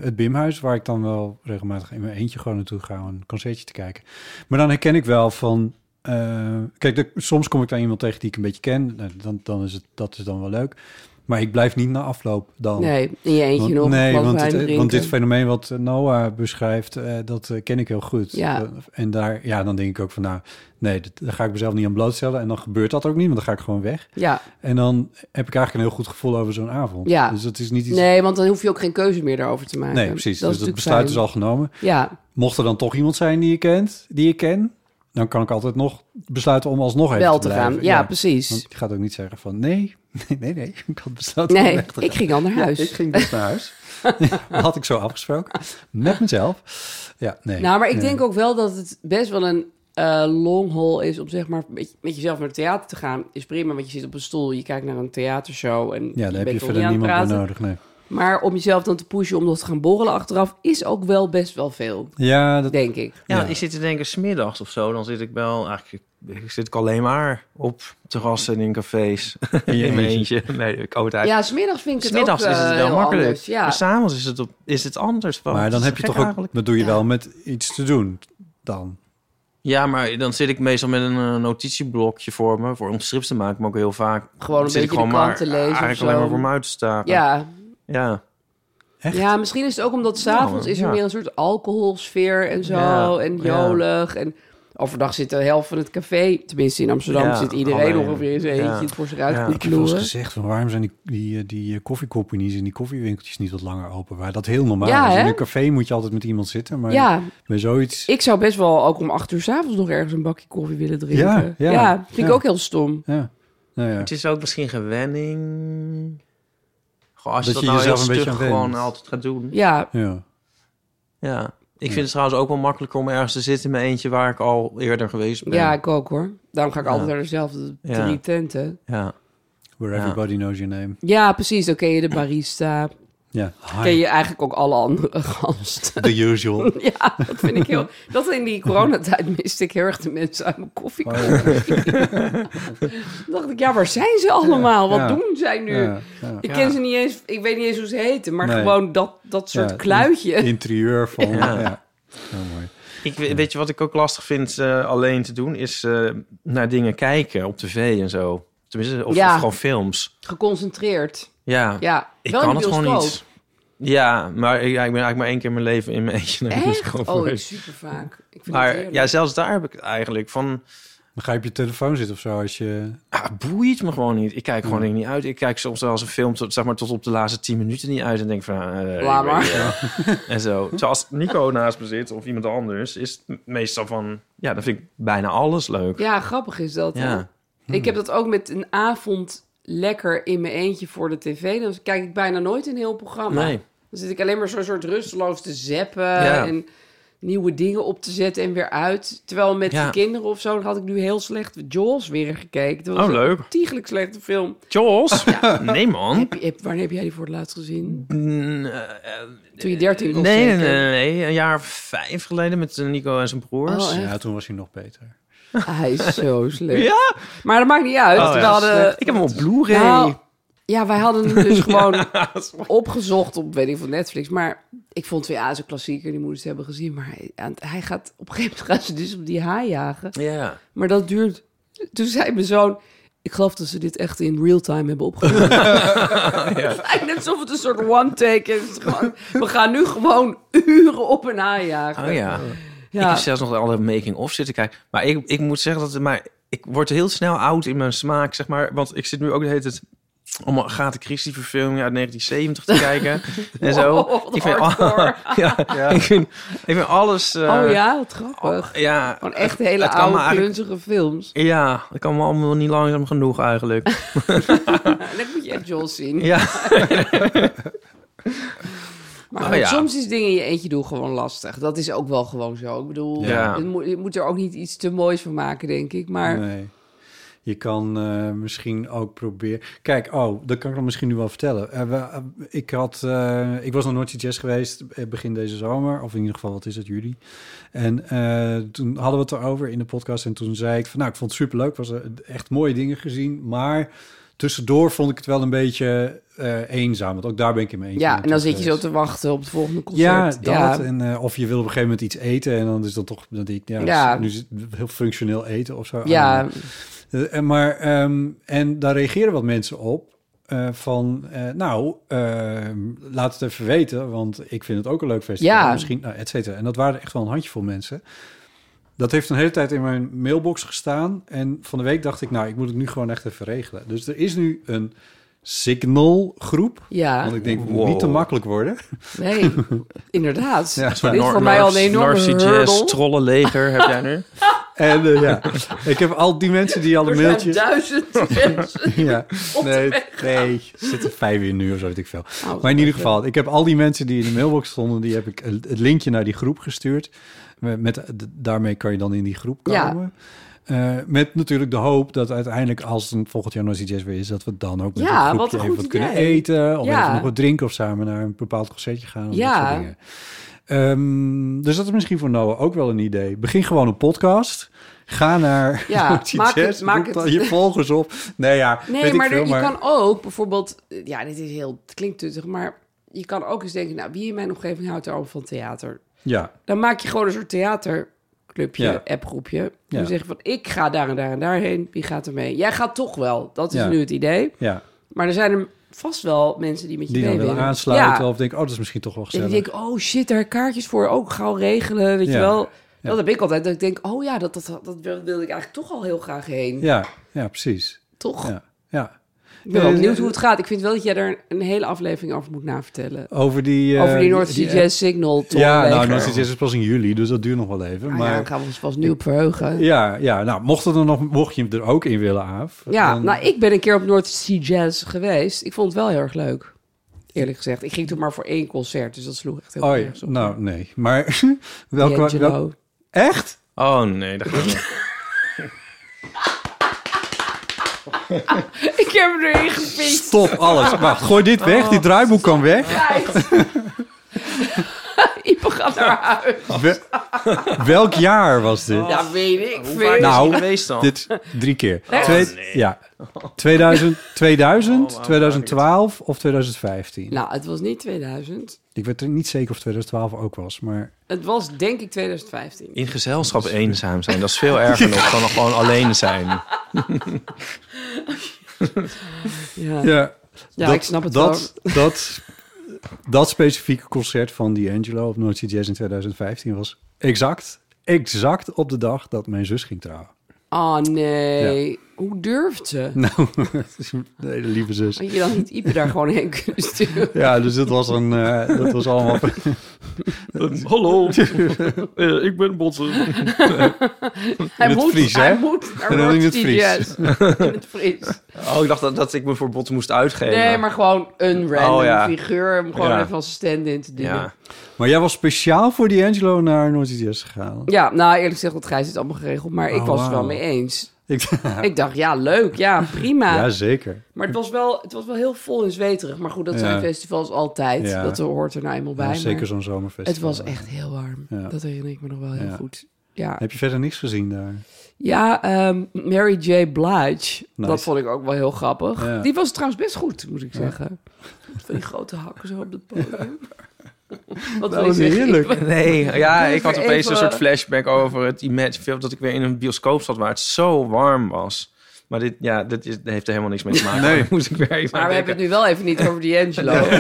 het Bimhuis, waar ik dan wel regelmatig in mijn eentje gewoon naartoe ga om een concertje te kijken. Maar dan herken ik wel van... eh, kijk, de- soms kom ik daar iemand tegen die ik een beetje ken. Nou, Dan, dan is het, dat is dan wel leuk. Maar ik blijf niet na afloop dan. Nee, in je eentje Want- nog. Nee, een glas want, wijn het- eh, drinken. want dit fenomeen wat eh, Noah beschrijft, eh, dat eh, ken ik heel goed. Ja. Eh, En daar, ja, dan denk ik ook van, nou, nee, dat- daar ga ik mezelf niet aan blootstellen. En dan gebeurt dat ook niet, want dan ga ik gewoon weg. Ja. En dan heb ik eigenlijk een heel goed gevoel over zo'n avond. Ja. Dus dat is niet iets... Nee, want dan hoef je ook geen keuze meer daarover te maken. Nee, precies. dus dat natuurlijk besluit is fijn. al genomen. Ja, Mocht er dan toch iemand zijn die je kent, die ik ken, dan kan ik altijd nog besluiten om alsnog even wel te te blijven. gaan. Ja, precies. Want je gaat ook niet zeggen van, nee, (laughs) nee, nee, nee. ik had besloten om (laughs) nee, weg te ik gaan. ging al naar huis. Ja, ik ging dus naar huis. (laughs) Dat had ik zo afgesproken. Met mezelf. Ja, nee. Nou, maar ik Nee. denk ook wel dat het best wel een eh, long haul is om zeg maar met, met jezelf naar het theater te gaan. Is prima, want je zit op een stoel, je kijkt naar een theatershow en Ja, daar heb je bent verder al niet aan het niemand meer praten. nodig. Nee. Maar om jezelf dan te pushen om nog te gaan borrelen achteraf is ook wel best wel veel, Ja, dat, denk ik. Ja, Ja. want ik zit te denken, smiddags of zo, dan zit ik wel... Eigenlijk zit ik alleen maar op terrassen en in (laughs) cafés. je in mijn eentje. eentje. Nee, ik houd uit. Ja, smiddags vind ik het Smiddags ook is het eh, wel heel makkelijk. anders, Ja. Maar s'avonds is het, op, is het anders. want maar het dan is heb je gek toch ook... eigenlijk. Dat doe je Ja. wel met iets te doen dan. Ja, maar dan zit ik meestal met een eh, notitieblokje voor me. Voor om strips te maken, maar ook heel vaak... Gewoon een zit ik beetje de gewoon krant te lezen of Eigenlijk zo. alleen maar voor me uit te staren. ja, Ja. Echt? Ja, misschien is het ook omdat s'avonds Ja, is er ja. meer een soort alcoholsfeer en zo. Ja, en ja. jolig. En overdag zit de helft van het café. Tenminste, in Amsterdam Ja, zit iedereen alleen. ongeveer in zijn Ja. eentje voor zich uit Ja. te Ik heb wel eens knoeren. gezegd van waarom zijn die, die, eh, die eh, koffiecompanys en die koffiewinkeltjes niet wat langer open? Waar dat heel normaal Ja, is. In hè? een café moet je altijd met iemand zitten. Maar Ja, bij zoiets... ik zou best wel ook om acht uur s'avonds nog ergens een bakje koffie willen drinken. Ja, ja, vind ik ja. ook heel stom. Ja. Nou ja. Het is ook misschien gewenning. Goh, als je Dat dat, nou je jezelf heel een beetje stug aan went. gewoon altijd gaat doen. Ja, ja. Ja. Ik vind het trouwens ook wel makkelijker om ergens te zitten in mijn eentje waar ik al eerder geweest ben. ja, ik ook hoor. Daarom ga ik Ja. altijd naar dezelfde Ja. drie tenten. ja. Where Ja. everybody knows your name. Ja, precies. Dan ken je de barista. Ja. Ken je eigenlijk ook alle andere (laughs) gasten. The usual. (laughs) Ja, dat vind ik heel... Dat in die coronatijd miste ik heel erg de mensen uit mijn koffie. Oh. (laughs) dacht ik, ja, waar zijn ze allemaal? Wat Ja. doen zij nu? Ja, (laughs) ja. Ik ken ze niet eens, ik weet niet eens hoe ze heten, maar Nee. gewoon dat, dat soort Ja, kluitje. in- Interieur van. Ja. Ja. Heel mooi. Ik, we- weet je wat ik ook lastig vind eh, alleen te doen? Is eh, naar dingen kijken op tv en zo. Tenminste, of, Ja. of gewoon films. Geconcentreerd. Ja, Ja, ik wel in kan de het gewoon bioscoop. niet. Ja, maar ik, ja, ik ben eigenlijk maar één keer in mijn leven in mijn eentje naar de bioscoop Echt? Oh, geweest. super vaak. Ik vind het Maar heerlijk. ja, zelfs daar heb ik het eigenlijk van... Dan ga je op je telefoon zitten of zo als je... Ah, het boeit me gewoon niet. Ik kijk gewoon dingen niet uit. Ik kijk soms wel eens een film tot, zeg maar, tot op de laatste tien minuten niet uit. En denk van... eh, Laat maar. (laughs) En zo. Terwijl als Nico naast me zit of iemand anders... is het meestal van... Ja, dan vind ik bijna alles leuk. Ja, grappig is dat. hè? Ja. Ik Hmm. heb dat ook met een avond lekker in mijn eentje voor de tv. Dan kijk ik bijna nooit een heel programma. Nee. Dan zit ik alleen maar zo'n soort rusteloos te zeppen Ja. en nieuwe dingen op te zetten en weer uit. Terwijl met Ja. de kinderen of zo, dan had ik nu heel slecht Jaws weer gekeken. Dat was Oh, een leuk. Tiegelijk slechte film. Jos? (laughs) Nee, man. Heb, heb- wanneer heb jij die voor het laatst gezien? Mm, eh, eh, Toen je 13 was. nee, nee, zeker? nee, nee. Een jaar of vijf geleden met eh, Nico en zijn broers. Oh, echt? Ja, toen was hij nog beter. Hij is (laughs) zo slecht. ja? Maar dat maakt niet uit. Oh, we ja. hadden, Ik heb hem op Blu-ray. Nou, ja, wij hadden hem (laughs) dus gewoon opgezocht op, weet ik van Netflix. Maar ik vond ja, zo'n klassieker, die moeders hebben gezien. Maar hij, aan het- hij gaat op een gegeven moment gaan ze dus op die haai jagen. Ja. Maar dat duurt. Toen zei mijn zoon. Ik geloof dat ze dit echt in real time hebben (laughs) opgenomen. Oh, Het lijkt net alsof het een soort one take is. Het is gewoon- we gaan nu gewoon uren op een haai jagen. Oh ja. Ik Ja. heb zelfs nog alle making-of zitten kijken. Maar ik, ik moet zeggen dat... Maar ik word heel snel oud in mijn smaak, zeg maar. Want ik zit nu ook de hele tijd... Om een Agatha Christie verfilming uit (laughs) 1970 te kijken. en zo. Wow, Oh, wat ik, vind, hardcore. (laughs) ja, Ik, vind, ik vind alles... eh, Oh ja, wat grappig. ja, Gewoon echt het- hele het kan me oude, eigenlijk- klunzige films. Ja, dat kan me allemaal niet langzaam genoeg eigenlijk. (laughs) En Nou, dat moet je echt Joel zien. Ja, Maar Oh ja. soms is dingen in je eentje doen gewoon lastig. Dat is ook wel gewoon zo. Ik bedoel, Ja. het moet- je moet er ook niet iets te moois van maken, denk ik. (laughs) Maar Nee. Je kan eh, misschien ook proberen... Kijk, oh, dat kan ik dan misschien nu wel vertellen. Eh, we, eh, ik, had, eh, ik was naar Noordse Jazz geweest eh, begin deze zomer. Of in ieder geval, wat is het, juli. En eh, toen hadden we het erover in de podcast. En toen zei ik van, nou, ik vond het superleuk. Was er echt mooie dingen gezien. Maar tussendoor vond ik het wel een beetje eh, eenzaam. Want ook daar ben ik in mijn eentje ja, en naartoe dan zit je geweest. zo te wachten op het volgende Ja, concert. dat. En, eh, of je wil op een gegeven moment iets eten. En dan is dat toch dat ik, ja, Ja. nu zit heel functioneel eten of zo. Ah, ja, Eh, en maar, ehm, en daar reageren wat mensen op. eh, van, eh, nou, ehm, laat het even weten, want ik vind het ook een leuk festival. Ja. Misschien, nou, et cetera. En dat waren echt wel een handjevol mensen. Dat heeft een hele tijd in mijn mailbox gestaan. En van de week dacht ik, nou, ik moet het nu gewoon echt even regelen. Dus er is nu een signal groep. ja. Want ik denk, het moet niet te Wow. makkelijk worden. Nee, (laughs) inderdaad. Ja. Dit is voor mij al een enorme hurdel. trollenleger heb jij (laughs) nu. En eh, ja, ik heb al die mensen die al een Er zijn mailtje... (laughs) duizend mensen. Ja, op de nee, weg nee, er zitten vijf in nu of zo, weet ik veel. Oh, Maar in ieder geval, ik heb al die mensen die in de mailbox stonden, die heb ik een- het linkje naar die groep gestuurd. Met, met- daarmee kan je dan in die groep Ja. komen. Eh, met natuurlijk de hoop dat uiteindelijk, als het volgend jaar Noisy Jazz weer is, dat we dan ook met Ja, een groepje wat een even goed wat kunnen idee. eten. Of Ja. even nog wat drinken of samen naar een bepaald concertje gaan. Of Ja. dat soort dingen. Ehm, dus dat is misschien voor Noah ook wel een idee. Begin gewoon een podcast. Ga naar (laughs) Ja, Noisy maak het- Jazz, maak roep dan het. je (laughs) volgers op. Nee, ja, weet Nee, ik maar, veel, er- je kan ook bijvoorbeeld... Ja, dit is heel, het klinkt tuttig, maar je kan ook eens denken... Nou, wie in mijn omgeving houdt er allemaal van theater? Ja, Dan maak je gewoon een soort theaterclubje, Ja. appgroepje. Ja. Dan zeg je van, ik ga daar en daar en daarheen. Wie gaat er mee? Jij gaat toch wel. Dat is Ja. nu het idee. ja. Maar er zijn er vast wel mensen die met je die mee dan willen willen. aansluiten Ja. of denken, oh, dat is misschien toch wel En gezellig. die denken, oh shit, daar kaartjes voor. Ook gauw regelen, weet Ja. je wel. Ja. Dat heb ik altijd. Dat ik denk, oh ja, dat, dat, dat, wil- wilde ik eigenlijk toch al heel graag heen. Ja, ja, precies. Toch? Ja, ja. Ik ben wel Ja, benieuwd ja. hoe het gaat. Ik vind wel dat jij daar een hele aflevering over moet navertellen. Over die... eh, Over die North Sea eh, Jazz Signal. Ja, nou, Tolleger. North Sea Jazz is pas in juli, dus dat duurt nog wel even. Ah, ja, maar daar gaan we ons vast nu op verheugen. ja, ja, nou, mocht, het er nog, mocht je er ook in willen, Aaf. Ja, dan- nou, ik ben een keer op North Sea Jazz geweest. Ik vond het wel heel erg leuk. Eerlijk gezegd. Ik ging toen maar voor één concert, dus dat sloeg echt heel Oh, ja, nergens op. nou, nee. Maar (laughs) welke... D'Angelo. wel- echt? Oh nee, daar gaan we. (laughs) Ik heb hem erin gepikt. Stop alles. Wacht, gooi dit weg. Dit draaiboek kan weg. (laughs) Kijk. Ipe gaat naar huis. We- (laughs) welk jaar was dit? Ja, weet ik vaak veel. is Nou, hij geweest dan? Dit drie keer. Echt? Twee- Ja. 2000, 2000 2012 of 2015. Nou, het was niet 2000. Ik weet er niet zeker of 2012 ook was, maar Het was denk ik 2015. In gezelschap eenzaam zijn, dat is veel erger nog dan gewoon alleen zijn. Ja, ja, ja, ik snap het dat, (laughs) Dat, dat specifieke concert van D'Angelo op Noordse Jazz in 2015 was exact, exact op de dag dat mijn zus ging trouwen. (laughs) wel. Oh nee, hoe durft ze? Nou, het is een hele lieve zus. Had je dan niet Ipe daar gewoon heen kunnen sturen? Ja, dus dat was, een, eh, dat was (laughs) allemaal... Ehm, Hallo, Eh, ik ben Botsen. Hij het moet, Fries, hij hè? moet naar En dan in het Rotterdam, Fries. yes. In het Fries. Oh, ik dacht dat, dat ik me voor Botsen moest uitgeven. Nee, maar gewoon een random nou. Oh, ja. figuur. Om gewoon Ja. even als stand-in te dienen. (laughs) Ja. Ja. Maar jij was speciaal voor D'Angelo naar Noordse Jazz gegaan. nou eerlijk gezegd had Gijs het allemaal geregeld. Maar ik Oh, was het wel wauw. mee eens. Ik, (laughs) Ik dacht, ja, leuk. Ja, prima. ja, zeker. Maar het was, wel, het was wel heel vol en zweterig. Maar goed, dat Ja. zijn festivals altijd. Ja. Dat hoort er nou eenmaal bij. Ja, maar zeker zo'n zomerfestival. het was echt heel warm. Ja. Dat herinner ik me nog wel heel Ja. goed. Ja, Heb je verder niks gezien daar? ja ehm, Mary J. Blige. Dat vond ik ook wel heel grappig. Ja. Die was trouwens best goed, moet ik zeggen. Van die grote hakken zo op het podium. (laughs) Wat wil Nou, je zeggen? heerlijk. Ik- Nee, ja, ik had Even- opeens een soort flashback over het Imagine film dat ik weer in een bioscoop zat waar het zo warm was. Maar dit, ja, dit is, dit heeft er helemaal niks mee te maken. Nee. Daar (laughs) moest ik weer even Maar aan we hebben denken. het nu wel even niet over D'Angelo.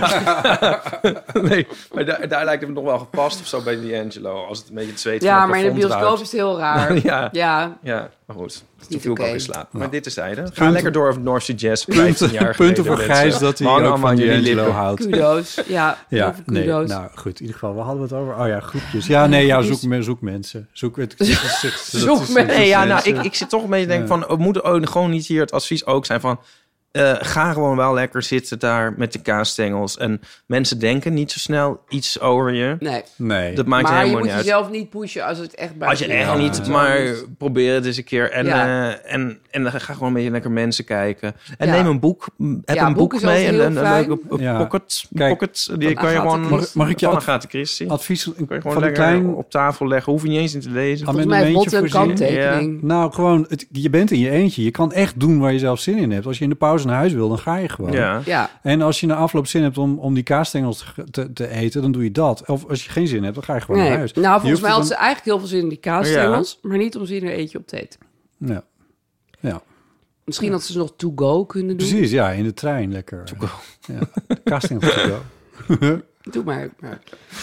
Nee, maar daar, daar lijkt het me nog wel gepast of zo bij D'Angelo. Als het een beetje het zweet van Ja, het maar in de plafond bioscoop is druipt. het heel (laughs) raar. (laughs) Ja. Ja, Ja, maar goed. Toen niet viel ik oké. ook in slaap. Maar Nou. dit is zijde. Ga Punten- lekker door over North Sea Jazz. 15 jaar punten geleden, voor mensen. Gijs dat hij Hang ook allemaal van aan jullie D'Angelo lippen. houdt. kudo's. Ja, Ja, over nee, kudo's. nou goed, in ieder geval, we hadden het over, oh ja, groepjes. Ja, nee, ja, groepjes. zoek, me- zoek mensen. Zoek, (laughs) het, het is- het is- Zoek het is- mensen. het Nee, is ja, nou, Dus mensen. eh, ik, ik zit toch een beetje te denken van... het moet ook gewoon niet hier het advies ook zijn van... eh, ga gewoon wel lekker zitten daar met de kaasstengels. En mensen denken niet zo snel iets over je. Nee. Nee, Dat maakt maar je helemaal moet niet uit. jezelf niet pushen als het echt bij Als je je echt ligt. niet, Zo maar niet. probeer het eens een keer. En, Ja. eh, en, en dan ga gewoon een beetje lekker mensen kijken. En Ja. neem een boek. M, Heb Ja, een boek boek, is mee. altijd En, heel en een fijn. leuke p- Ja. pocket, Kijk, pocket. Die van kan je Agatha gewoon... Christie. Mag ik je van adv- Agatha Christie. Kun advies een- je gewoon van een lekker klein op tafel leggen. Hoef je niet eens in te lezen. Volgens mij heeft Bot amendementje een voorzien. kanttekening. Nou, gewoon, het, je bent in je eentje. Je kan echt doen waar je zelf zin in hebt. Als je in de pauze naar huis wil, dan ga je gewoon. Ja. Nou, Ja. En als je na afloop zin hebt om, om die kaasstengels te- te, te eten, dan doe je dat. Of als je geen zin hebt, dan ga je gewoon Nee. naar huis. Nou, Je volgens hoeft mij het had ze eigenlijk heel veel zin in die kaasstengels, maar niet om zin er eentje op te eten. dan- Ja. ja, Misschien had ze ze nog to-go kunnen doen. precies. Ja, in de trein lekker. Ja, de kaasstengels to go. Doe maar. maar.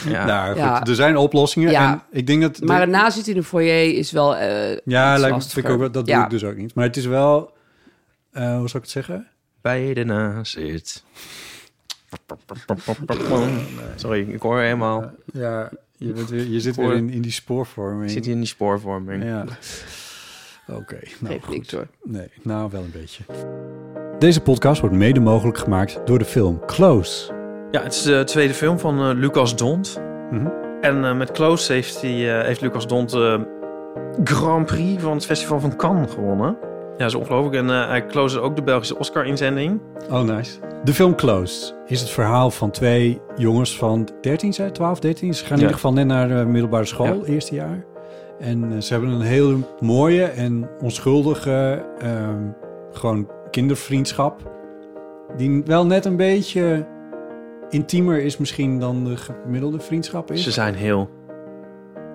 Ja. Nou, goed, Ja. er zijn oplossingen. Ja. En ik denk dat... Maar een nazit in een foyer is wel eh ja, lijkt me, iets vind lastiger. ik ook, wel- dat Ja. doe ik dus ook niet. Maar het is wel... eh, hoe zou ik het zeggen? bij de nazit. Sorry, ik hoor helemaal. Ja, je, bent weer, je zit Voor- weer in, in die spoorvorming. Ik zit hier in die spoorvorming. Ja. Oké, nou Geeft niks hoor. Nee, nou wel een beetje. Deze podcast wordt mede mogelijk gemaakt door de film Close. Ja, het is de tweede film van eh, Lucas Dont. Mhm. En eh, met Close heeft, hij, eh, heeft Lucas Dont de Grand Prix van het Festival van Cannes gewonnen. Ja, dat is ongelooflijk. En eh, hij close ook de Belgische Oscar-inzending. Oh, nice. De film Close is het verhaal van twee jongens van 13, zei 12, 13. Ze gaan in Ja. ieder geval net naar de middelbare school, eerste jaar. En eh, ze hebben een heel mooie en onschuldige, ehm, gewoon kindervriendschap. Die wel net een beetje intiemer is misschien dan de gemiddelde vriendschap is. Ze zijn heel...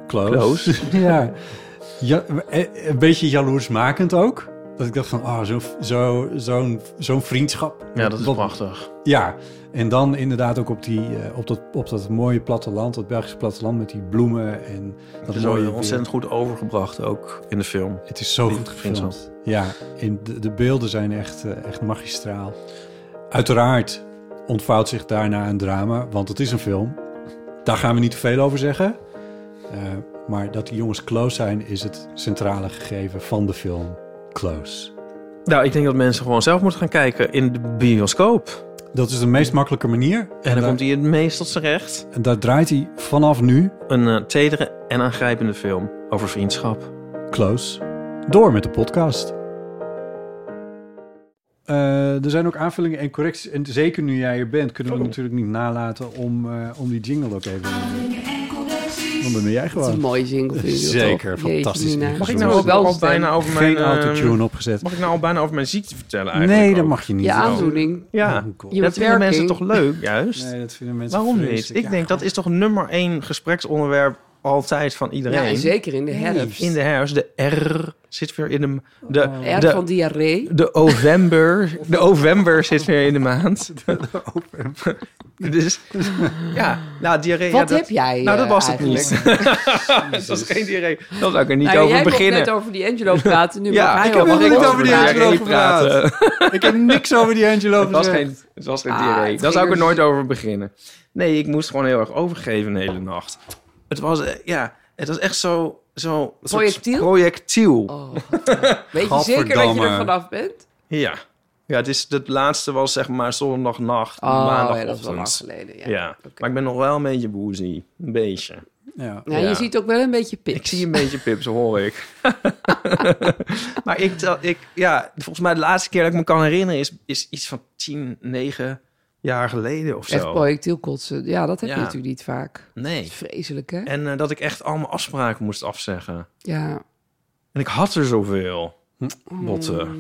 Close. Close. (laughs) ja. ja. eh, Een beetje jaloersmakend ook. Dat ik dacht van, ah, zo, zo, zo'n, zo'n vriendschap. Ja, dat is Wat- prachtig. Ja, en dan inderdaad ook op, die, eh, op, dat, op dat mooie platteland, dat Belgische platteland met die bloemen en dat Dat is mooie ook weer. ontzettend goed overgebracht ook in de film. Het is zo Die goed vriendschap. gefilmd. Ja, en de, de beelden zijn echt, eh, echt magistraal. Uiteraard ontvouwt zich daarna een drama, want het is een film. Daar gaan we niet te veel over zeggen. Eh, maar dat die jongens close zijn, is het centrale gegeven van de film Close. Nou, ik denk dat mensen gewoon zelf moeten gaan kijken in de bioscoop. Dat is de meest makkelijke manier. En dan daar, komt hij het meest tot zijn recht. en daar draait hij vanaf nu Een eh, tedere en aangrijpende film over vriendschap. Close door met de podcast. eh, er zijn ook aanvullingen en correcties. En zeker nu jij er bent, Oh. kunnen we natuurlijk niet nalaten om, eh, om die jingle ook even... Want dan ben jij Dat is een gewoon. mooie jingle, vind je dat Zeker, toch? Jeetje, fantastisch. Mina. Mag ik Zo nou ook wel al stem. bijna over mijn... eh, Geen autotune opgezet. Mag ik nou al bijna over mijn ziekte vertellen eigenlijk? Nee, dat ook? mag je niet. Je aan- aandoening. Ja, Oh, cool. Je dat vinden mensen beperking. toch leuk, (laughs) juist? Nee, dat vinden mensen Waarom niet? vreselijk. Ik Ja, denk dat is toch nummer één gespreksonderwerp altijd van Ja, iedereen. en zeker in de herfst. In de herfst, de R zit weer in de... De, R van de, diarree. de november, de november zit weer in de maand. (laughs) dus ja, nou diarree. ja, Wat dat- heb jij Nou, dat eh, was het eigenlijk? niet. dat was (laughs) geen diarree. Daar zou ik er niet Nou, jij over mocht beginnen. net over die (laughs) Angelo praten, nu mag hij heb over mag helemaal niet ik over die diarree Angelo gepraat. praten. Ik heb niks over die (laughs) Angelo Het was gezegd. geen, het was geen Ah, diarree. het Daar zou ik ging er er- nooit over beginnen. Nee, ik moest gewoon heel erg overgeven de hele nacht. Het was, eh, ja, het was echt zo... zo een soort Projectiel? Projectiel, Oh. Weet je zeker dat je Gadverdamme. er vanaf bent? ja. Ja, het, is, het laatste was zeg maar zondagnacht, Oh, ja, dat is wel lang maandagochtend. geleden. Ja. Ja, maar ik ben nog wel een beetje woozy. Een beetje. Ja. Nou, Ja. Je ziet ook wel een beetje Ik pik. zie een beetje pips, hoor ik. (laughs) maar ik, tel- ik, ja, volgens mij de laatste keer dat ik me kan herinneren is, is iets van 10, 9 jaar geleden of zo. Echt projectiel kotsen. Ja, dat heb Ja. je natuurlijk niet vaak. Nee. Vreselijk, hè? En eh, dat ik echt allemaal afspraken moest afzeggen. Ja. En ik had er zoveel. Botten. (laughs)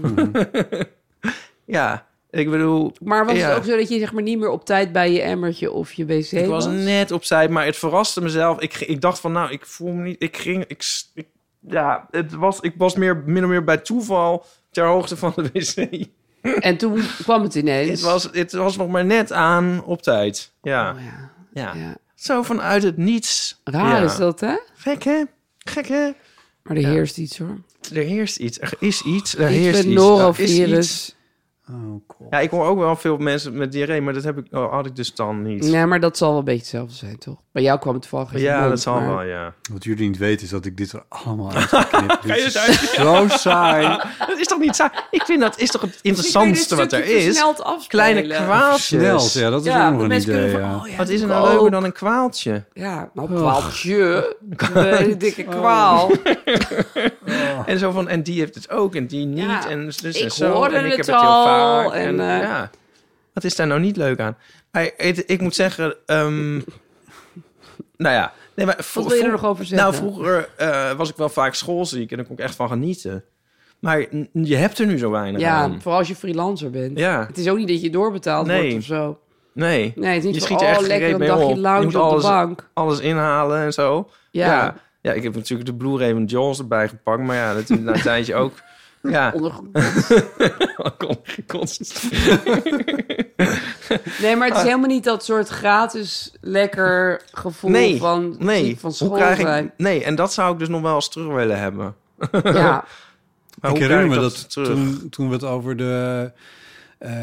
ja, ik bedoel... Maar was ja. het ook zo dat je zeg maar niet meer op tijd bij je emmertje of je wc Ik was was? net opzij, maar het verraste mezelf. Ik, ik dacht van, nou, ik voel me niet... Ik ging... Ik, s- ik- ja, het was, ik was meer, min of meer bij toeval ter hoogte van de wc. En toen kwam het ineens. Het was, het was nog maar net aan op tijd. Ja. Oh, ja. ja. Ja. Zo vanuit het niets. Raar Ja. is dat, hè? Gek, hè? Gek, hè? Maar er heerst iets, hoor. Er heerst iets. Er is iets. Er Iets heerst met iets. Er is iets. norovirus. Oh, cool. Ja, ik hoor ook wel veel mensen met diarree, maar dat heb ik, oh, had ik dus dan niet. Nee, maar dat zal wel een beetje hetzelfde zijn, toch? Bij jou kwam het toevallig uit je ja, mond, dat zal maar- wel, ja. Wat jullie niet weten is dat ik dit er allemaal (laughs) uit heb geknipt. Dit je is het uit- zo saai. (laughs) Dat is toch niet saai? Ik vind dat is toch het Misschien kun je dit interessantste wat er stukje is. versneld afspelen. Kleine kwaaltjes. Snel, ja, dat is Ja, ook nog de een mensen idee. kunnen ja. van, oh ja, Wat is Oh. er ik nou ook. leuker dan een kwaaltje? Ja, nou, (laughs) kwaaltje. Een dikke Oh. kwaal. En zo van, en die heeft het ook en die niet. Ja, en dus, dus ik en zo. hoorde en ik het heb het heel al, vaak. En, en, eh, ja. Wat is daar nou niet leuk aan? Maar het- ik moet zeggen, (laughs) ehm, nou ja. Nee, maar vro- wil je er vro- nog over zeggen? Nou, vroeger eh, was ik wel vaak schoolziek en daar kon ik echt van genieten. Maar n- je hebt er nu zo weinig Ja, aan. vooral als je freelancer bent. Ja. Het is ook niet dat je doorbetaald Nee. wordt of zo. Nee, Nee, het is niet je van, schiet er echt oh, lekker gereed een mee dagje op. Je lounge moet op alles- de bank. alles inhalen en zo. Ja. ja. Ja, ik heb natuurlijk de Blu-ray van Jaws erbij gepakt. Maar ja, dat is (laughs) na een tijdje ook... Ja, Onder... Kon- kon- Nee, maar het is helemaal niet dat soort gratis lekker gevoel van, nee. van Hoe school krijg ik- (laughs) zijn. nee, en dat zou ik dus nog wel eens terug willen hebben. Ja, Maar hoe ik herinner krijg me ik dat, dat dus terug? toen, toen we het over de eh,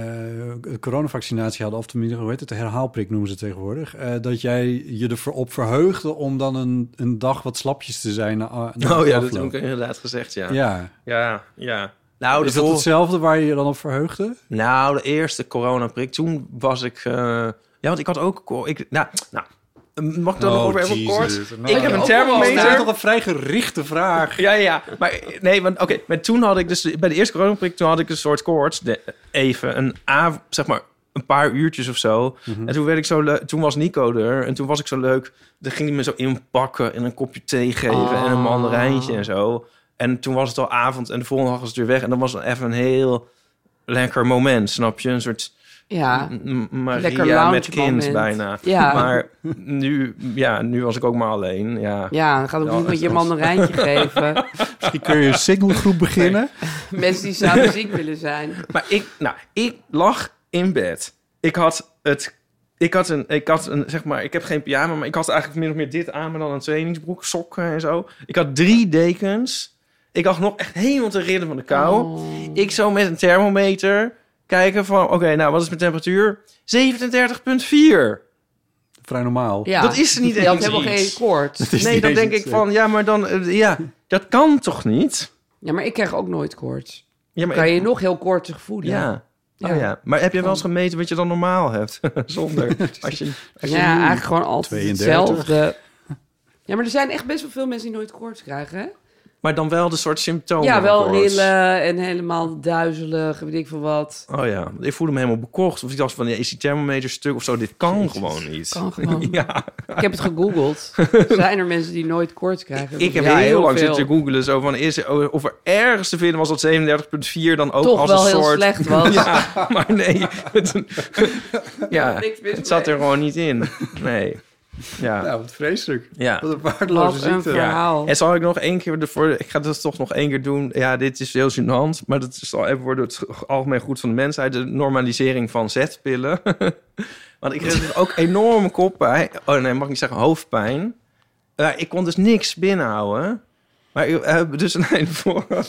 coronavaccinatie hadden, of tenminste, hoe heet het, de herhaalprik noemen ze tegenwoordig, eh, dat jij je ervoor op verheugde om dan een, een dag wat slapjes te zijn. Na, (laughs) na oh ja, dat heb afloop. ik inderdaad gezegd, ja. Ja, Ja. ja. Nou, de Is dat vol- hetzelfde waar je je dan op verheugde? nou, de eerste coronaprik, toen was ik... eh, Ja, want ik had ook... co- Ik, nou, nou, mag ik dat Oh, nog over even kort? ik heb een Dat Nou, is thermometer. toch een vrij gerichte vraag. Ja, ja, maar nee, want oké, maar toen had ik dus bij de eerste coronaprik toen had ik een soort koorts, de, even een av, zeg maar een paar uurtjes of zo. Mhm. En toen werd ik zo leuk, toen was Nico er en toen was ik zo leuk. Dan ging hij me zo inpakken en een kopje thee geven en Ah. een mandarijntje en zo. En toen was het al avond en de volgende dag was het weer weg en dan was het even een heel lekker moment, snap je? Een soort ja. M- Lekker Maria lounge met kind moment. bijna. Ja. (laughs) Maar nu, ja, nu was ik ook maar alleen. Ja. Ja, dan gaat ook Ja, niet met je (laughs) mandarijntje geven. Misschien kun je een signalgroep beginnen. Mensen die zouden ziek willen zijn. Maar ik, nou, ik lag in bed. Ik had het. Ik had een, ik had een, zeg maar, ik heb geen pyjama, maar ik had eigenlijk min of meer dit aan, maar dan een trainingsbroek, sokken en zo. Ik had drie dekens. Ik lag nog echt helemaal te ridden van de kou. Ik zo met een thermometer kijken van, oké, nou, wat is mijn temperatuur? 37,4. Vrij normaal. Ja. Dat is er niet Je had eens helemaal iets. geen koorts. is Nee, niet dan eens denk iets, ik van, ja, maar dan, eh, ja, dat kan toch niet? Ja, maar ik krijg ook nooit koorts. Ja, maar Kan je nog heel koortsig voelen. Ja. Ja. Oh ja. Maar heb je wel eens gemeten wat je dan normaal hebt? (laughs) Zonder. Als je, als je Ja, eigenlijk gewoon altijd 32. hetzelfde. Ja, maar er zijn echt best wel veel mensen die nooit koorts krijgen. Hè? Maar dan wel de soort symptomen. ja, wel Oh, eh, koorts. rillen en helemaal duizelig, weet ik veel wat. Oh ja, ik voelde me helemaal bekocht. Of ik dacht van, ja, is die thermometer stuk of zo? Dit kan gewoon niet. Kan (laughs) gewoon. Ja, Ik heb het gegoogeld. Zijn er mensen die nooit koorts krijgen? ik heb Ja, heel, lang veel. zitten googelen zo van, is, er- of er ergens te vinden was dat 37.4 dan ook Toch als wel een (laughs) heel soort... slecht was. Ja, maar (laughs) nee. Het, ja, Niks mis het zat er mee. gewoon niet in. Nee. Ja. Nou, wat vreselijk. Ja. Wat een Wat waardeloze een ziekte. verhaal. En zal ik nog één keer ervoor... Ik ga dat toch nog één keer doen. Ja, dit is heel gênant. Maar dat is al even voor het algemeen goed van de mensheid. De normalisering van zetpillen. (laughs) Want ik kreeg dus ook enorme koppijn. Oh nee, mag ik niet zeggen hoofdpijn. Ja, ik kon dus niks binnenhouden. Maar ik heb dus een einde voor... (laughs)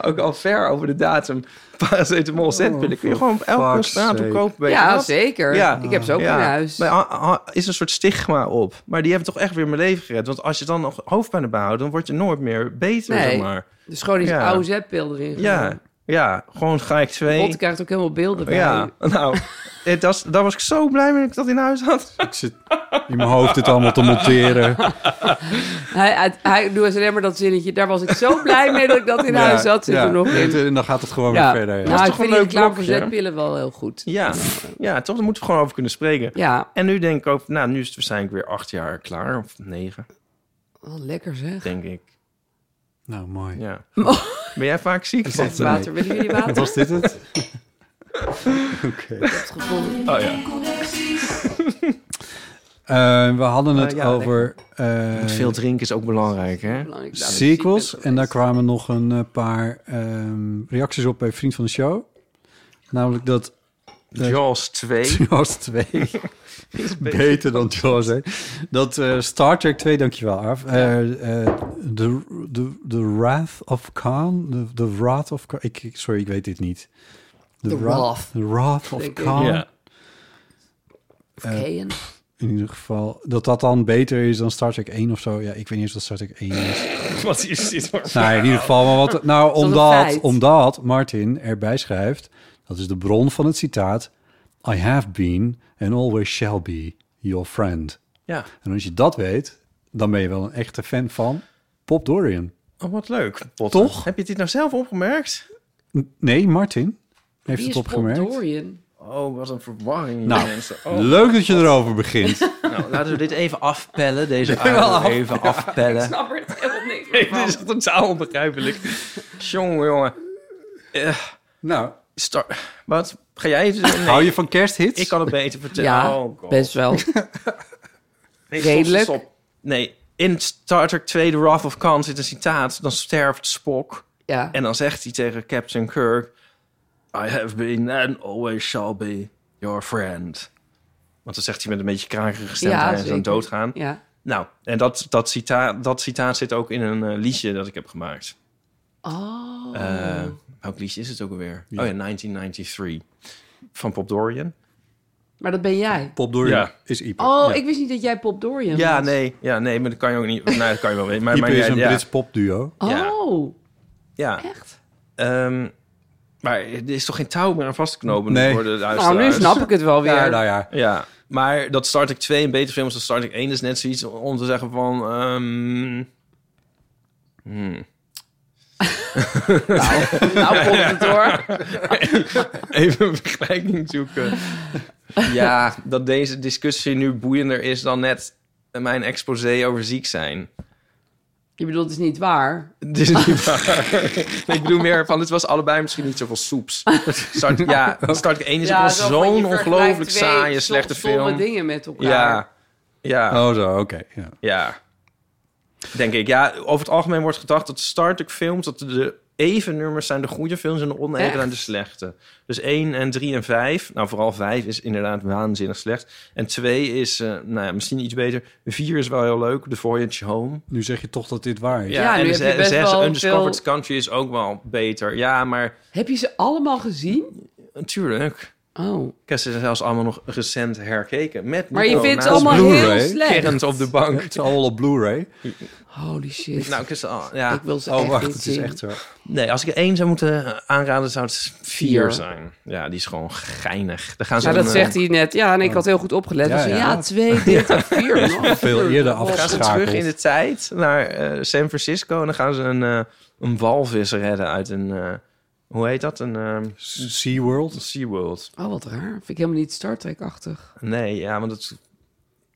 Ook al ver over de datum. (laughs) Paracetamol, zetpillen. Kun je gewoon op elke fuck's straat sake. kopen. weet je Ja, dat? zeker. Ja. Ik heb ze ook Ja. in huis. Maar a- a- is een soort stigma op. Maar die hebben toch echt weer mijn leven gered. Want als je dan nog hoofdpijn hebt behouden, dan word je nooit meer beter, Nee. zeg maar. Dus gewoon die Ja. oude zetpil erin. Ja, ja, gewoon ga ik Bot twee. krijgt ook helemaal beelden bij. Ja, nou, het, dat, daar was ik zo blij mee dat ik dat in huis had. Ik zit in mijn hoofd dit allemaal te monteren. Hij, hij, hij doet alleen maar dat zinnetje. Daar was ik zo blij mee dat ik Nou, dat in huis had. Zit Ja, er nog in. En dan gaat het gewoon Ja. weer verder. ja. Nou, ik toch een vind die leuk reclame voor blokje, hè? zetpillen wel heel goed. Ja, ja, toch, daar moeten we gewoon over kunnen spreken. Ja, En nu denk ik ook, nou, nu is het waarschijnlijk weer acht jaar klaar. Of negen, oh, lekker zeg. denk ik. Nou, mooi. (laughs) Ja. Ben jij vaak ziek? Wat, eh, Water, willen jullie water? Was dit (laughs) het? Oké. Gevonden. Oh ja. (laughs) Eh, we hadden het Eh, ja, over eh, Veel drinken is ook belangrijk, hè? Belangrijk dat ik ziek sequels. ben En daar geweest. kwamen nog een eh, paar ehm, reacties op bij Vriend van de Show. Namelijk dat Jaws 2. Jaws 2 (laughs) beter dan Jaws 1. Dat eh, Star Trek 2, dankjewel Arf. Eh, eh, the, the, the Wrath of Khan. The, the Wrath of Khan. Ik, ik- sorry, ik weet dit niet. The Wrath. The Wrath of Denk ik. Khan. Ja. Keien. In ieder geval. Dat dat dan beter is dan Star Trek 1 of zo. Ja, ik weet niet eens wat Star Trek 1 (laughs) is. Wat is dit voor Nou, in ieder geval, maar wat, nou, een omdat, feit. omdat Martin erbij schrijft, dat is de bron van het citaat, I have been and always shall be your friend. Ja. En als je dat weet, dan ben je wel een echte fan van Pop Dorian. Oh, wat leuk. Potter. Toch? Heb je dit nou zelf opgemerkt? N- Nee, Martin heeft Wie het is opgemerkt. Bob (laughs) Dorian? Oh. Oh, wat een verwarring. Nou, mensen. Leuk dat je erover begint. nou, laten we dit even (laughs) afpellen. Deze avond (laughs) even afpellen. snap er helemaal niks Nee, dit is totaal onbegrijpelijk. Jongen, jongen. Eh, (laughs) nou, star... Wat? Ga jij even... Nee, hou je van kersthits? ik kan het beter vertellen. Ja, Oh, God. best wel. Nee, redelijk. Nee, in Star Trek 2, The Wrath of Khan, zit een citaat. Dan sterft Spock. Ja. En dan zegt hij tegen Captain Kirk... I have been and always shall be your friend. Want dan zegt hij met een beetje krakige stem... Ja, en hij zeker. dan doodgaan. ja. Nou, en dat, dat, citaat, dat citaat zit ook in een eh, liedje dat ik heb gemaakt. Oh. Eh, welk liedje is het ook alweer? Oh ja, 1993. Van Pop Dorian. maar dat ben jij. Pop Dorian Ja. is Ieper. Oh, Ja. ik wist niet dat jij Bob Dorian Ja, was. nee. Ja, nee, maar dat kan je ook (laughs) niet... Nou, dat kan je wel weten. Maar, Ieper maar is een ja, Brits popduo. Ja. Oh, Ja. echt? Ehm, maar er is toch geen touw meer aan vast te knopen Nee. voor de luisteraars? Nou, nu snap ik het wel weer. Ja, nou ja. Ja, maar dat Star Trek 2 een beter film is dan Star Trek 1 is Dus net zoiets om te zeggen van... ehm, (laughs) hmm. Nou komt het (laughs) hoor. Even een vergelijking (laughs) zoeken. ja, dat deze discussie nu boeiender is dan net mijn exposé over ziek zijn. (laughs) Je bedoelt, het is niet waar. Het is niet waar. ik bedoel meer van, het was allebei misschien niet zoveel soeps. Star, (laughs) ja, Star Trek 1 is ook zo wel van, je dus zo'n vergelijkt ongelooflijk twee saaie, som- slechte stomme film. dingen met elkaar. Ja, ja. Oh zo, oké. ja. Ja, denk ik. Ja, over het algemeen wordt gedacht dat Star Trek films... dat de even nummers zijn de goede films en de oneven Echt? zijn de slechte. Dus 1 en 3 en 5. Nou, vooral 5 is inderdaad waanzinnig slecht. En 2 is, eh, nou ja, misschien iets beter. 4 is wel heel leuk, The Voyage Home. Nu zeg je toch dat dit waar is. Ja, nu heb je best wel Undiscovered veel- Country is ook wel beter. Ja, maar Heb je ze allemaal gezien? natuurlijk... Oh. Ik heb ze zelfs allemaal nog recent herkeken. Met Maar je Nico vindt ze naast (laughs) allemaal me, Blu-ray. heel slecht. kerrend op de bank. Het is allemaal op Blu-ray. Holy shit. Nou, ik heb ze al- ja. ik wil ze Oh, echt wacht, niet het is zien. echt eh, zo. Nee, als ik er één zou moeten aanraden, zou het vier Vier. zijn. Ja, die is gewoon geinig. Daar gaan ze Ja, dat een, eh, zegt hij net. Ja, en ik had heel goed opgelet. Ja, Dus ja, ja. (laughs) twee, dit en vier. man. Veel eerder eh, gaan ze terug in afgeschakeld. de tijd naar eh, San Francisco en dan gaan ze een, eh, een walvis redden uit een, eh, hoe heet dat? Een ehm, SeaWorld. SeaWorld. Oh, wat raar. Vind ik helemaal niet Star Trek-achtig. Nee, ja, want het,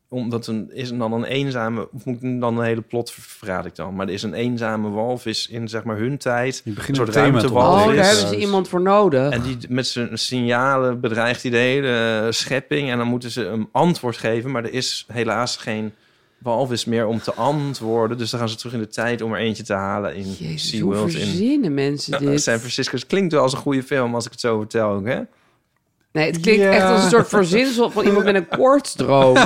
omdat een, is er dan een eenzame, of moet ik dan een hele plot ver- verraad ik dan, maar er is een eenzame walvis in zeg maar hun tijd. Je begint Een soort met thema te ruimtewalvis. Oh, is daar hebben ze juist. iemand voor nodig. En die met zijn signalen bedreigt die de hele eh, schepping. En dan moeten ze een antwoord geven. Maar er is helaas geen walvis meer om te antwoorden. Dus dan gaan ze terug in de tijd om er eentje te halen in Jezus, hoe SeaWorld. In verzinnen mensen eh, dit? San Francisco. Het klinkt wel als een goede film als ik het zo vertel. ook, Hè? Nee, het klinkt Ja. echt als een soort verzinsel van iemand met (laughs) een koortsdroom.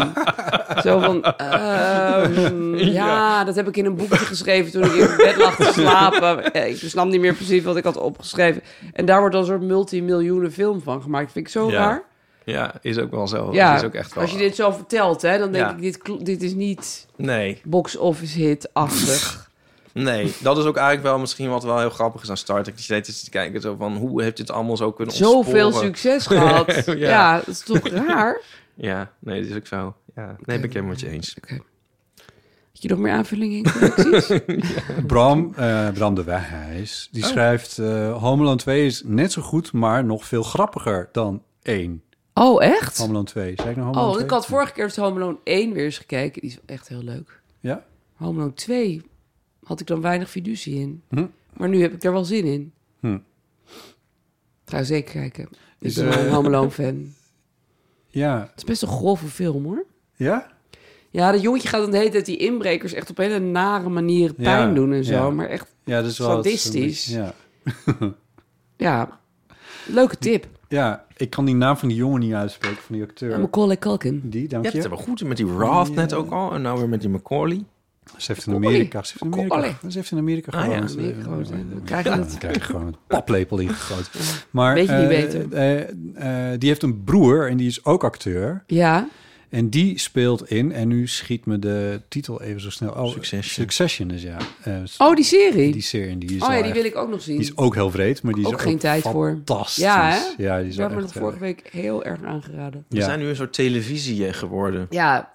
Zo van, ehm, ja. dat heb ik in een boekje geschreven toen ik in bed lag te slapen. Eh, Ik snap niet meer precies wat ik had opgeschreven. En daar wordt dan een soort multimiljoenen film van gemaakt. Vind ik zo Ja. raar. Ja, is ook wel zo. Ja, is ook echt wel... als je dit zo vertelt, hè, dan denk Ja. ik, dit, kl- dit is niet Nee, box-office hit-achtig. nee. Dat is ook eigenlijk wel misschien wat wel heel grappig is aan Star Trek. Dat je steeds zit te kijken zo van hoe heeft dit allemaal zo kunnen (laughs) Zoveel ontsporen? (laughs) succes gehad. Ja. ja. dat is toch (laughs) raar? Ja, nee, dat is ook zo. Ja, nee, ben ik helemaal met je eens. Had je nog meer aanvullingen in collecties? Bram, eh, Bram de Wijs, Oh. die schrijft... eh, Homeland 2 is net zo goed, maar nog veel grappiger dan 1. Oh, echt? Homeland 2. Zei ik nou Homeland Oh, 2? ik had vorige keer het Home Alone 1 weer eens gekeken. Die is echt heel leuk. Ja? Home Alone 2 had ik dan weinig fiducie in. Hm. Maar nu heb ik er wel zin in. Hm. Ga je zeker kijken. Is, Ik ben wel een eh, Home Alone fan. Ja. Het is best een grove film, hoor. Ja? Ja, dat jongetje gaat dan de hele tijd die inbrekers echt op hele nare manieren Ja, pijn doen en zo. ja. Maar echt, Ja, dat is wel... het is een Sadistisch. beetje- Ja. ja, leuke tip. ja, ik kan die naam van die jongen niet uitspreken, van die acteur. Macaulay Culkin. Die, dank Je hebt je. het er wel goed in met die Roth net ook al. En nou weer met die Macaulay. Ze heeft in Amerika, ze heeft in Macaulay. Amerika, ze heeft in Amerika Ah, gewoon... ja, ze- Amerika gewoon, hè. We Ja, krijgen het. dan krijg je gewoon een paplepel ingegoten. Maar, Weet je niet eh, beter. eh, eh, die heeft een broer en die is ook acteur. Ja, En die speelt in, en nu schiet me de titel even zo snel. Oh, Succession. Succession is ja. Eh, oh, die serie. Die serie, die is, oh wel ja, die echt- wil ik ook nog zien. die is ook heel vreed, maar die is Ook geen tijd voor. fantastisch. Ja, hè? Ja, die is Daar wel hebben we echt... eh, vorige week heel erg aangeraden. We ja. zijn nu een soort televisie eh, geworden. Ja,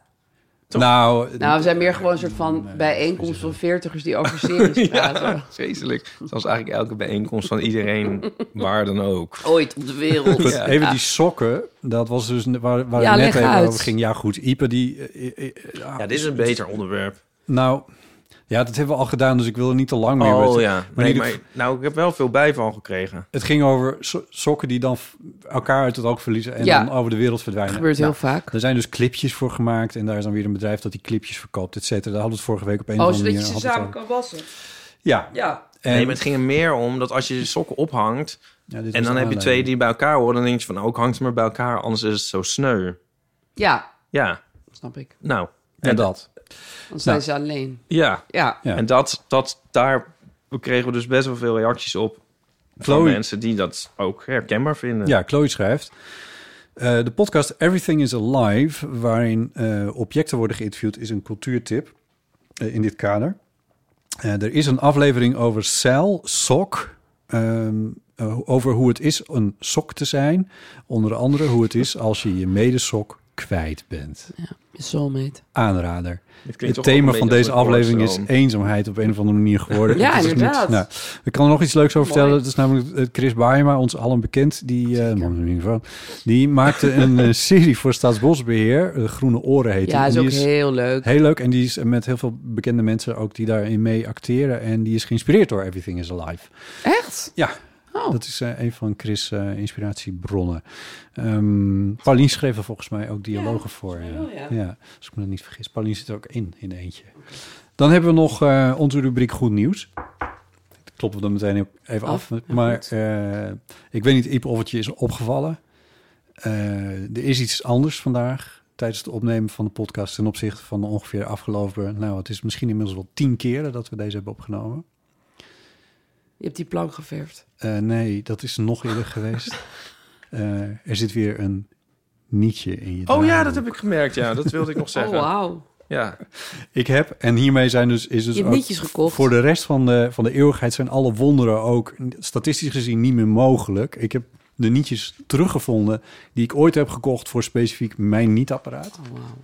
toch? Nou, nou, we zijn meer gewoon een soort van bijeenkomst van veertigers die (laughs) over series praten. Vreselijk. Zoals eigenlijk elke bijeenkomst van (laughs) iedereen, waar dan ook. Ooit op de wereld. Goed, Ja. Even die sokken, dat was dus waar, waar Ja, het net leg even uit. over ging. Ja, goed, Ipe die... eh, eh, eh, Ja, dit is een beter onderwerp. Nou, ja, dat hebben we al gedaan, dus ik wil er niet te lang mee. oh met- ja. Maar Nee, in maar, nou, ik heb wel veel bijval gekregen. Het ging over so- sokken die dan f- elkaar uit het oog verliezen en Ja. dan over de wereld verdwijnen. Dat gebeurt heel Nou, vaak. Er zijn dus clipjes voor gemaakt en daar is dan weer een bedrijf dat die clipjes verkoopt, et cetera. Daar hadden we het vorige week op een Oh, of andere zodat je manier. ze hadden we samen het kan wassen. al- Ja. Ja. En, Nee, maar het ging er meer om dat als je je sokken ophangt... ja, dit en was dan de heb je twee aanleiding. die bij elkaar horen... dan denk je van, ook hangt ze maar bij elkaar, anders is het zo sneu. Ja, Ja, snap ik. nou. En dat. Nou. Dan zijn ze alleen. Ja. Ja. Ja. En dat, dat, daar kregen we dus best wel veel reacties op... van Chloe. mensen die dat ook herkenbaar vinden. Ja, Chloe schrijft. eh, de podcast Everything is Alive, waarin eh, objecten worden geïnterviewd, is een cultuurtip eh, in dit kader. Eh, er is een aflevering over cel, sok, ehm, eh, over hoe het is een sok te zijn. Onder andere hoe het is als je je medesok kwijt bent. Je soulmate. Aanrader. Het klinkt Het toch thema ook een van beetje deze als een aflevering is kortstroom. eenzaamheid op een of andere manier (laughs) geworden. um, Ja, Het is inderdaad. nou, ik kan er nog iets leuks over Mooi. vertellen. Dat is namelijk eh, Chris Baima, ons allen bekend. Die, eh, man in ieder geval, die maakte een (laughs) eh, serie voor Staatsbosbeheer. De Groene Oren heet die. Ja, is En ook die heel leuk. heel leuk. En die is met heel veel bekende mensen ook die daarin mee acteren. En die is geïnspireerd door Everything is Alive. Echt? Ja, Oh. dat is eh, een van Chris' eh, inspiratiebronnen. Ehm Paulien schreef er volgens mij ook dialogen voor. Ja. wel, ja. als ik me dat niet vergis. Paulien zit er ook in, in eentje. Dan hebben we nog eh, onze rubriek Goed Nieuws. Dat kloppen we dan meteen ook even af. Af, ja, maar goed. eh, ik weet niet, Iep, of het je is opgevallen. Eh, er is iets anders vandaag tijdens het opnemen van de podcast... ten opzichte van de ongeveer afgelopen... nou, het is misschien inmiddels wel tien keren dat we deze hebben opgenomen. Je hebt die plank geverfd. (laughs) Eh, nee, dat is nog eerder geweest. eh, er zit weer een nietje in je Oh ja, draaiboek. dat heb ik gemerkt. Ja, dat wilde ik (laughs) nog Oh, zeggen. wauw. Ja, Ik heb, en hiermee zijn dus, is dus Je hebt ook nietjes gekocht. voor de rest van de, van de eeuwigheid zijn alle wonderen ook statistisch gezien niet meer mogelijk. Ik heb de nietjes teruggevonden die ik ooit heb gekocht voor specifiek mijn nietapparaat. Oh, wauw.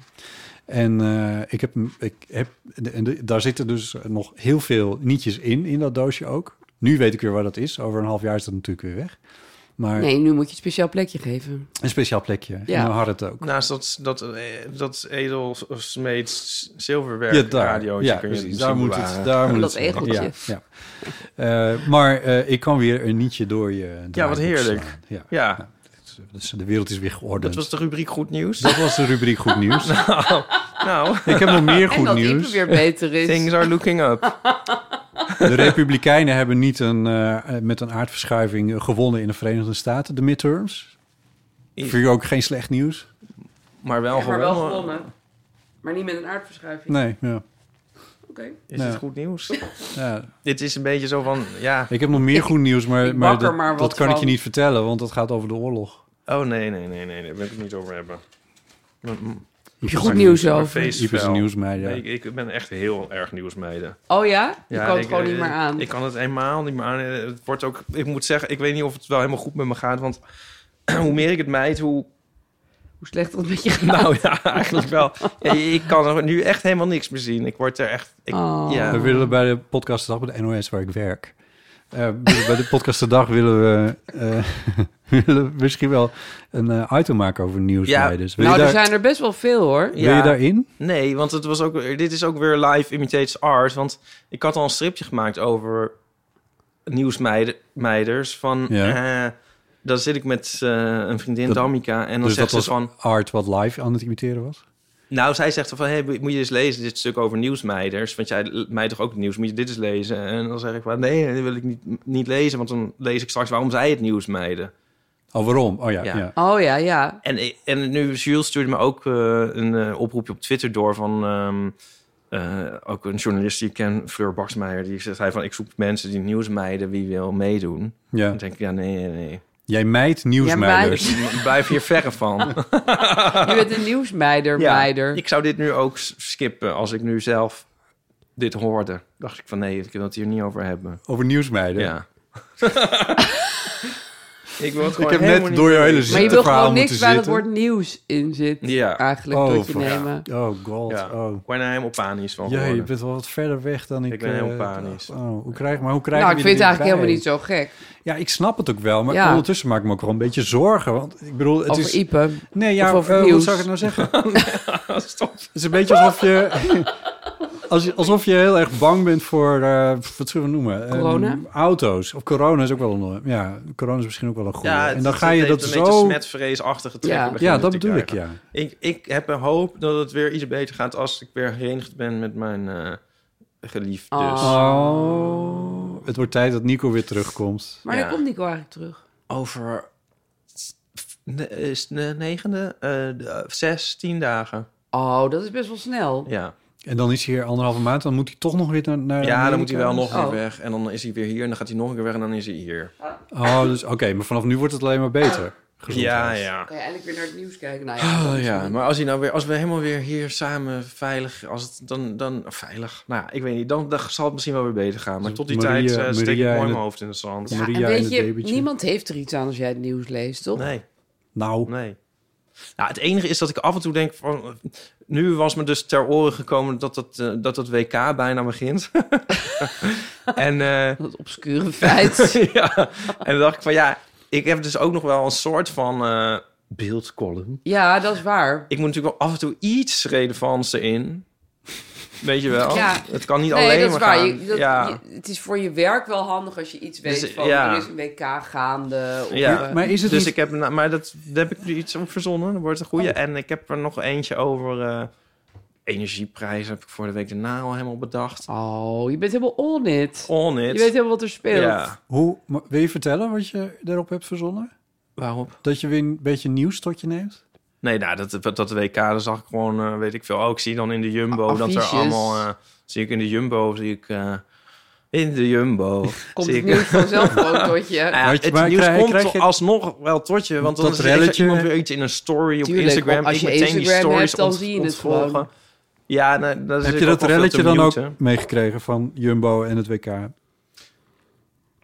En eh, ik heb, ik heb de- en de- daar zitten dus nog heel veel nietjes in, in dat doosje ook. Nu weet ik weer waar dat is. Over een half jaar is dat natuurlijk weer weg. Maar Nee, nu moet je een speciaal plekje geven. een speciaal plekje. Ja. En we hadden het ook. naast dat, dat, eh, dat edelsmeed zilverwerk Ja, daar. radiootje Ja, kun je het precies. misschien Daar moet bewaren. het, daar moet Dat het zijn. egeltje. Ja, ja. Eh, maar eh, ik kan weer een nietje door je draaiboek wat heerlijk. slaan. Ja. Ja, Dus de wereld is weer dat geordend. was de rubriek Goed Nieuws. Dat was de rubriek goed nieuws. (laughs) Nou, ik heb nog meer en goed dat Ipe nieuws. weer beter is. things are looking (laughs) up. De Republikeinen hebben niet een, eh, met een aardverschuiving eh, gewonnen in de Verenigde Staten, de midterms. Ja. Vind je ook geen slecht nieuws? Maar wel Ja, maar wel gewonnen. gewonnen. Maar niet met een aardverschuiving. Nee, ja. Oké. Is Ja. het goed nieuws? ja. Dit is een beetje zo van, ja... Ik heb nog meer goed nieuws, maar, ik maar, bak er dat, maar wat dat kan ik je van. niet vertellen, want dat gaat over de oorlog. Oh, nee, nee, nee, nee, daar wil ik het niet over hebben. Mm, mm. Heb je goed nieuws Mijn over? face Iep is een fell. nieuwsmeid, ja. Nee, ik, ik ben echt heel erg nieuwsmeiden. Oh ja? Je kan het ik- gewoon eh, niet meer aan. Ik kan het eenmaal niet meer aan. Eh, Het wordt ook, ik moet zeggen, ik weet niet of het wel helemaal goed met me gaat. Want (clears throat) hoe meer ik het mijd, hoe. (laughs) Hoe slecht dat met je gaat. Nou ja, eigenlijk wel. Ja, ik kan er nu echt helemaal niks meer zien. Ik word er echt. Ik, Oh. ja. We willen bij de podcast de dag, bij de NOS waar ik werk. eh, willen- bij de podcast de dag willen we, eh, (laughs) willen we misschien wel een eh item maken over nieuwsmeiders. wil, Nou, je er daar, zijn er best wel veel hoor. wil je Ja. daarin? Nee, want het was ook, dit is ook weer live imitates art. Want ik had al een stripje gemaakt over nieuwsmeiders. Van, Ja. eh, dan zit ik met eh, een vriendin, Dat- Damika. En dan Dus zegt dat ze was van... art wat live aan het imiteren was? Nou, zij zegt dan van, hey, moet je eens lezen dit stuk over nieuwsmeiders? Want jij mij toch ook nieuws, moet je dit eens lezen? En dan zeg ik van, nee, dat wil ik niet, niet lezen, want dan lees ik straks waarom zij het nieuws meiden. Oh, waarom? Oh ja, ja. Ja. Oh ja, ja. En, ik- en nu, Jules stuurde me ook eh, een eh, oproepje op Twitter door van... ehm, eh, ook een journalist die ik ken, Fleur Baksmeijer, die zei van... ik zoek mensen die nieuws meiden, wie wil meedoen? Ja. Dan denk ik, ja, nee, nee, nee. (laughs) Jij meidt nieuwsmeiders. Blijf hier verre van. Je bent een nieuwsmeider, meider. Ik zou dit nu ook s- skippen als ik nu zelf dit hoorde. Dacht ik van nee, ik wil het hier niet over hebben. Over nieuwsmeiden? Ja. (laughs) ik wil het Ik gewoon heb helemaal net niet door je hele weten. Maar je ziekteverhaal moeten wil gewoon niks waar het zitten. woord nieuws in zit. Ja. Eigenlijk, Oh, tot je fuck. nemen. Oh god, Ja. oh. Ik ben er helemaal panisch van Ja, je geworden. bent wel wat verder weg dan ik... Ik ben heel eh, panisch. Oh, hoe krijg, maar hoe krijg Nou, je ik vind er het eigenlijk weer helemaal bij? niet zo gek. Ja, ik snap het ook wel, maar Ja. ondertussen maak ik me ook wel een beetje zorgen. Want ik bedoel, het Over is... Ipe. Nee, ja, Of over eh, hoe nieuws. zou ik het nou zeggen? (laughs) Stop. Het is een beetje alsof je, (laughs) als, je- alsof je heel erg bang bent voor, eh, wat zullen we noemen? Eh, Corona? auto's. Of corona is ook wel een, ja, corona is misschien ook wel een goede. Ja, en dan ga je dat een beetje zo... smetvreesachtige trekken. Ja. beginnen Ja, dat te bedoel ik, krijgen. ja. Ik, ik heb een hoop dat het weer iets beter gaat als ik weer herenigd ben met mijn eh geliefde. Oh. Dus. Oh, het wordt tijd dat Nico weer terugkomt. Maar Ja. dan komt Nico eigenlijk terug. Over ne- is de negende, eh, de- eh, zes, tien dagen. Oh, dat is best wel snel. Ja, En dan is hij hier anderhalve maand, dan moet hij toch nog weer naar... naar ja Amerika? dan moet hij wel nog weer Oh. weg. En dan is hij weer hier en dan gaat hij nog een keer weg en dan is hij hier. Oh, dus oké, maar vanaf nu wordt het alleen maar beter. Ja, Gezondheid. ja. Kan je eindelijk weer naar het nieuws kijken? Nou ja, dat Oh, is ja, niet. maar als, hij nou weer, als we helemaal weer hier samen veilig, als het dan, dan veilig, nou ja, ik weet niet, dan, dan zal het misschien wel weer beter gaan. Maar Dus tot die Maria- tijd eh, steek ik Maria mooi en mijn het- hoofd in het zand. Ja, Maria en en weet het je, babytje. niemand heeft er iets aan als jij het nieuws leest, toch? Nee, Nou, nee. Nou, het enige is dat ik af en toe denk van, nu was me dus ter oren gekomen dat dat, eh, dat, dat WK bijna begint. (laughs) en eh, Dat obscure (laughs) feit. ja, en dan dacht ik van ja, ik heb dus ook nog wel een soort van eh, beeldcolumn. ja, dat is waar. Ik moet natuurlijk wel af en toe iets relevants erin. Weet je wel? (laughs) Ja. Het kan niet nee, alleen dat is maar waar. gaan. Je- dat- ja. je- het is voor je werk wel handig als je iets weet Dus, van ja. er is een WK gaande. Of, Ja. eh, maar is het dus niet- ik heb, nou, maar dat, daar heb ik nu iets op verzonnen. Dat wordt een Oh. goede. En ik heb er nog eentje over eh, energieprijzen. Heb ik voor de week daarna al helemaal bedacht. Oh, je bent helemaal on it. On Je it. weet helemaal wat er speelt. ja. Hoe, maar wil je vertellen wat je erop hebt verzonnen? Waarop? Dat je weer een beetje nieuws tot je neemt? Nee, nou, dat, dat WK, daar zag ik gewoon, eh, weet ik veel. Oh, ik zie dan in de Jumbo A- dat er affiches. allemaal... eh, zie ik in de Jumbo, zie ik... eh, in de Jumbo. (laughs) Komt Zie het ik- nieuws vanzelf gewoon (laughs) tot Nou je. ja, Weet je, het maar nieuws krijg- komt krijg je- alsnog wel tot je. Want dan Dat is er- is er relletje. iemand weer iets in een story op Tuurlijk, Instagram. want als Ik je meteen die Instagram stories hebt, dan ont- zie je het ontvolgen. gewoon. Ja, nou, dat is Heb je ook dat wel veel relletje te dan ook muten. meegekregen van Jumbo en het WK?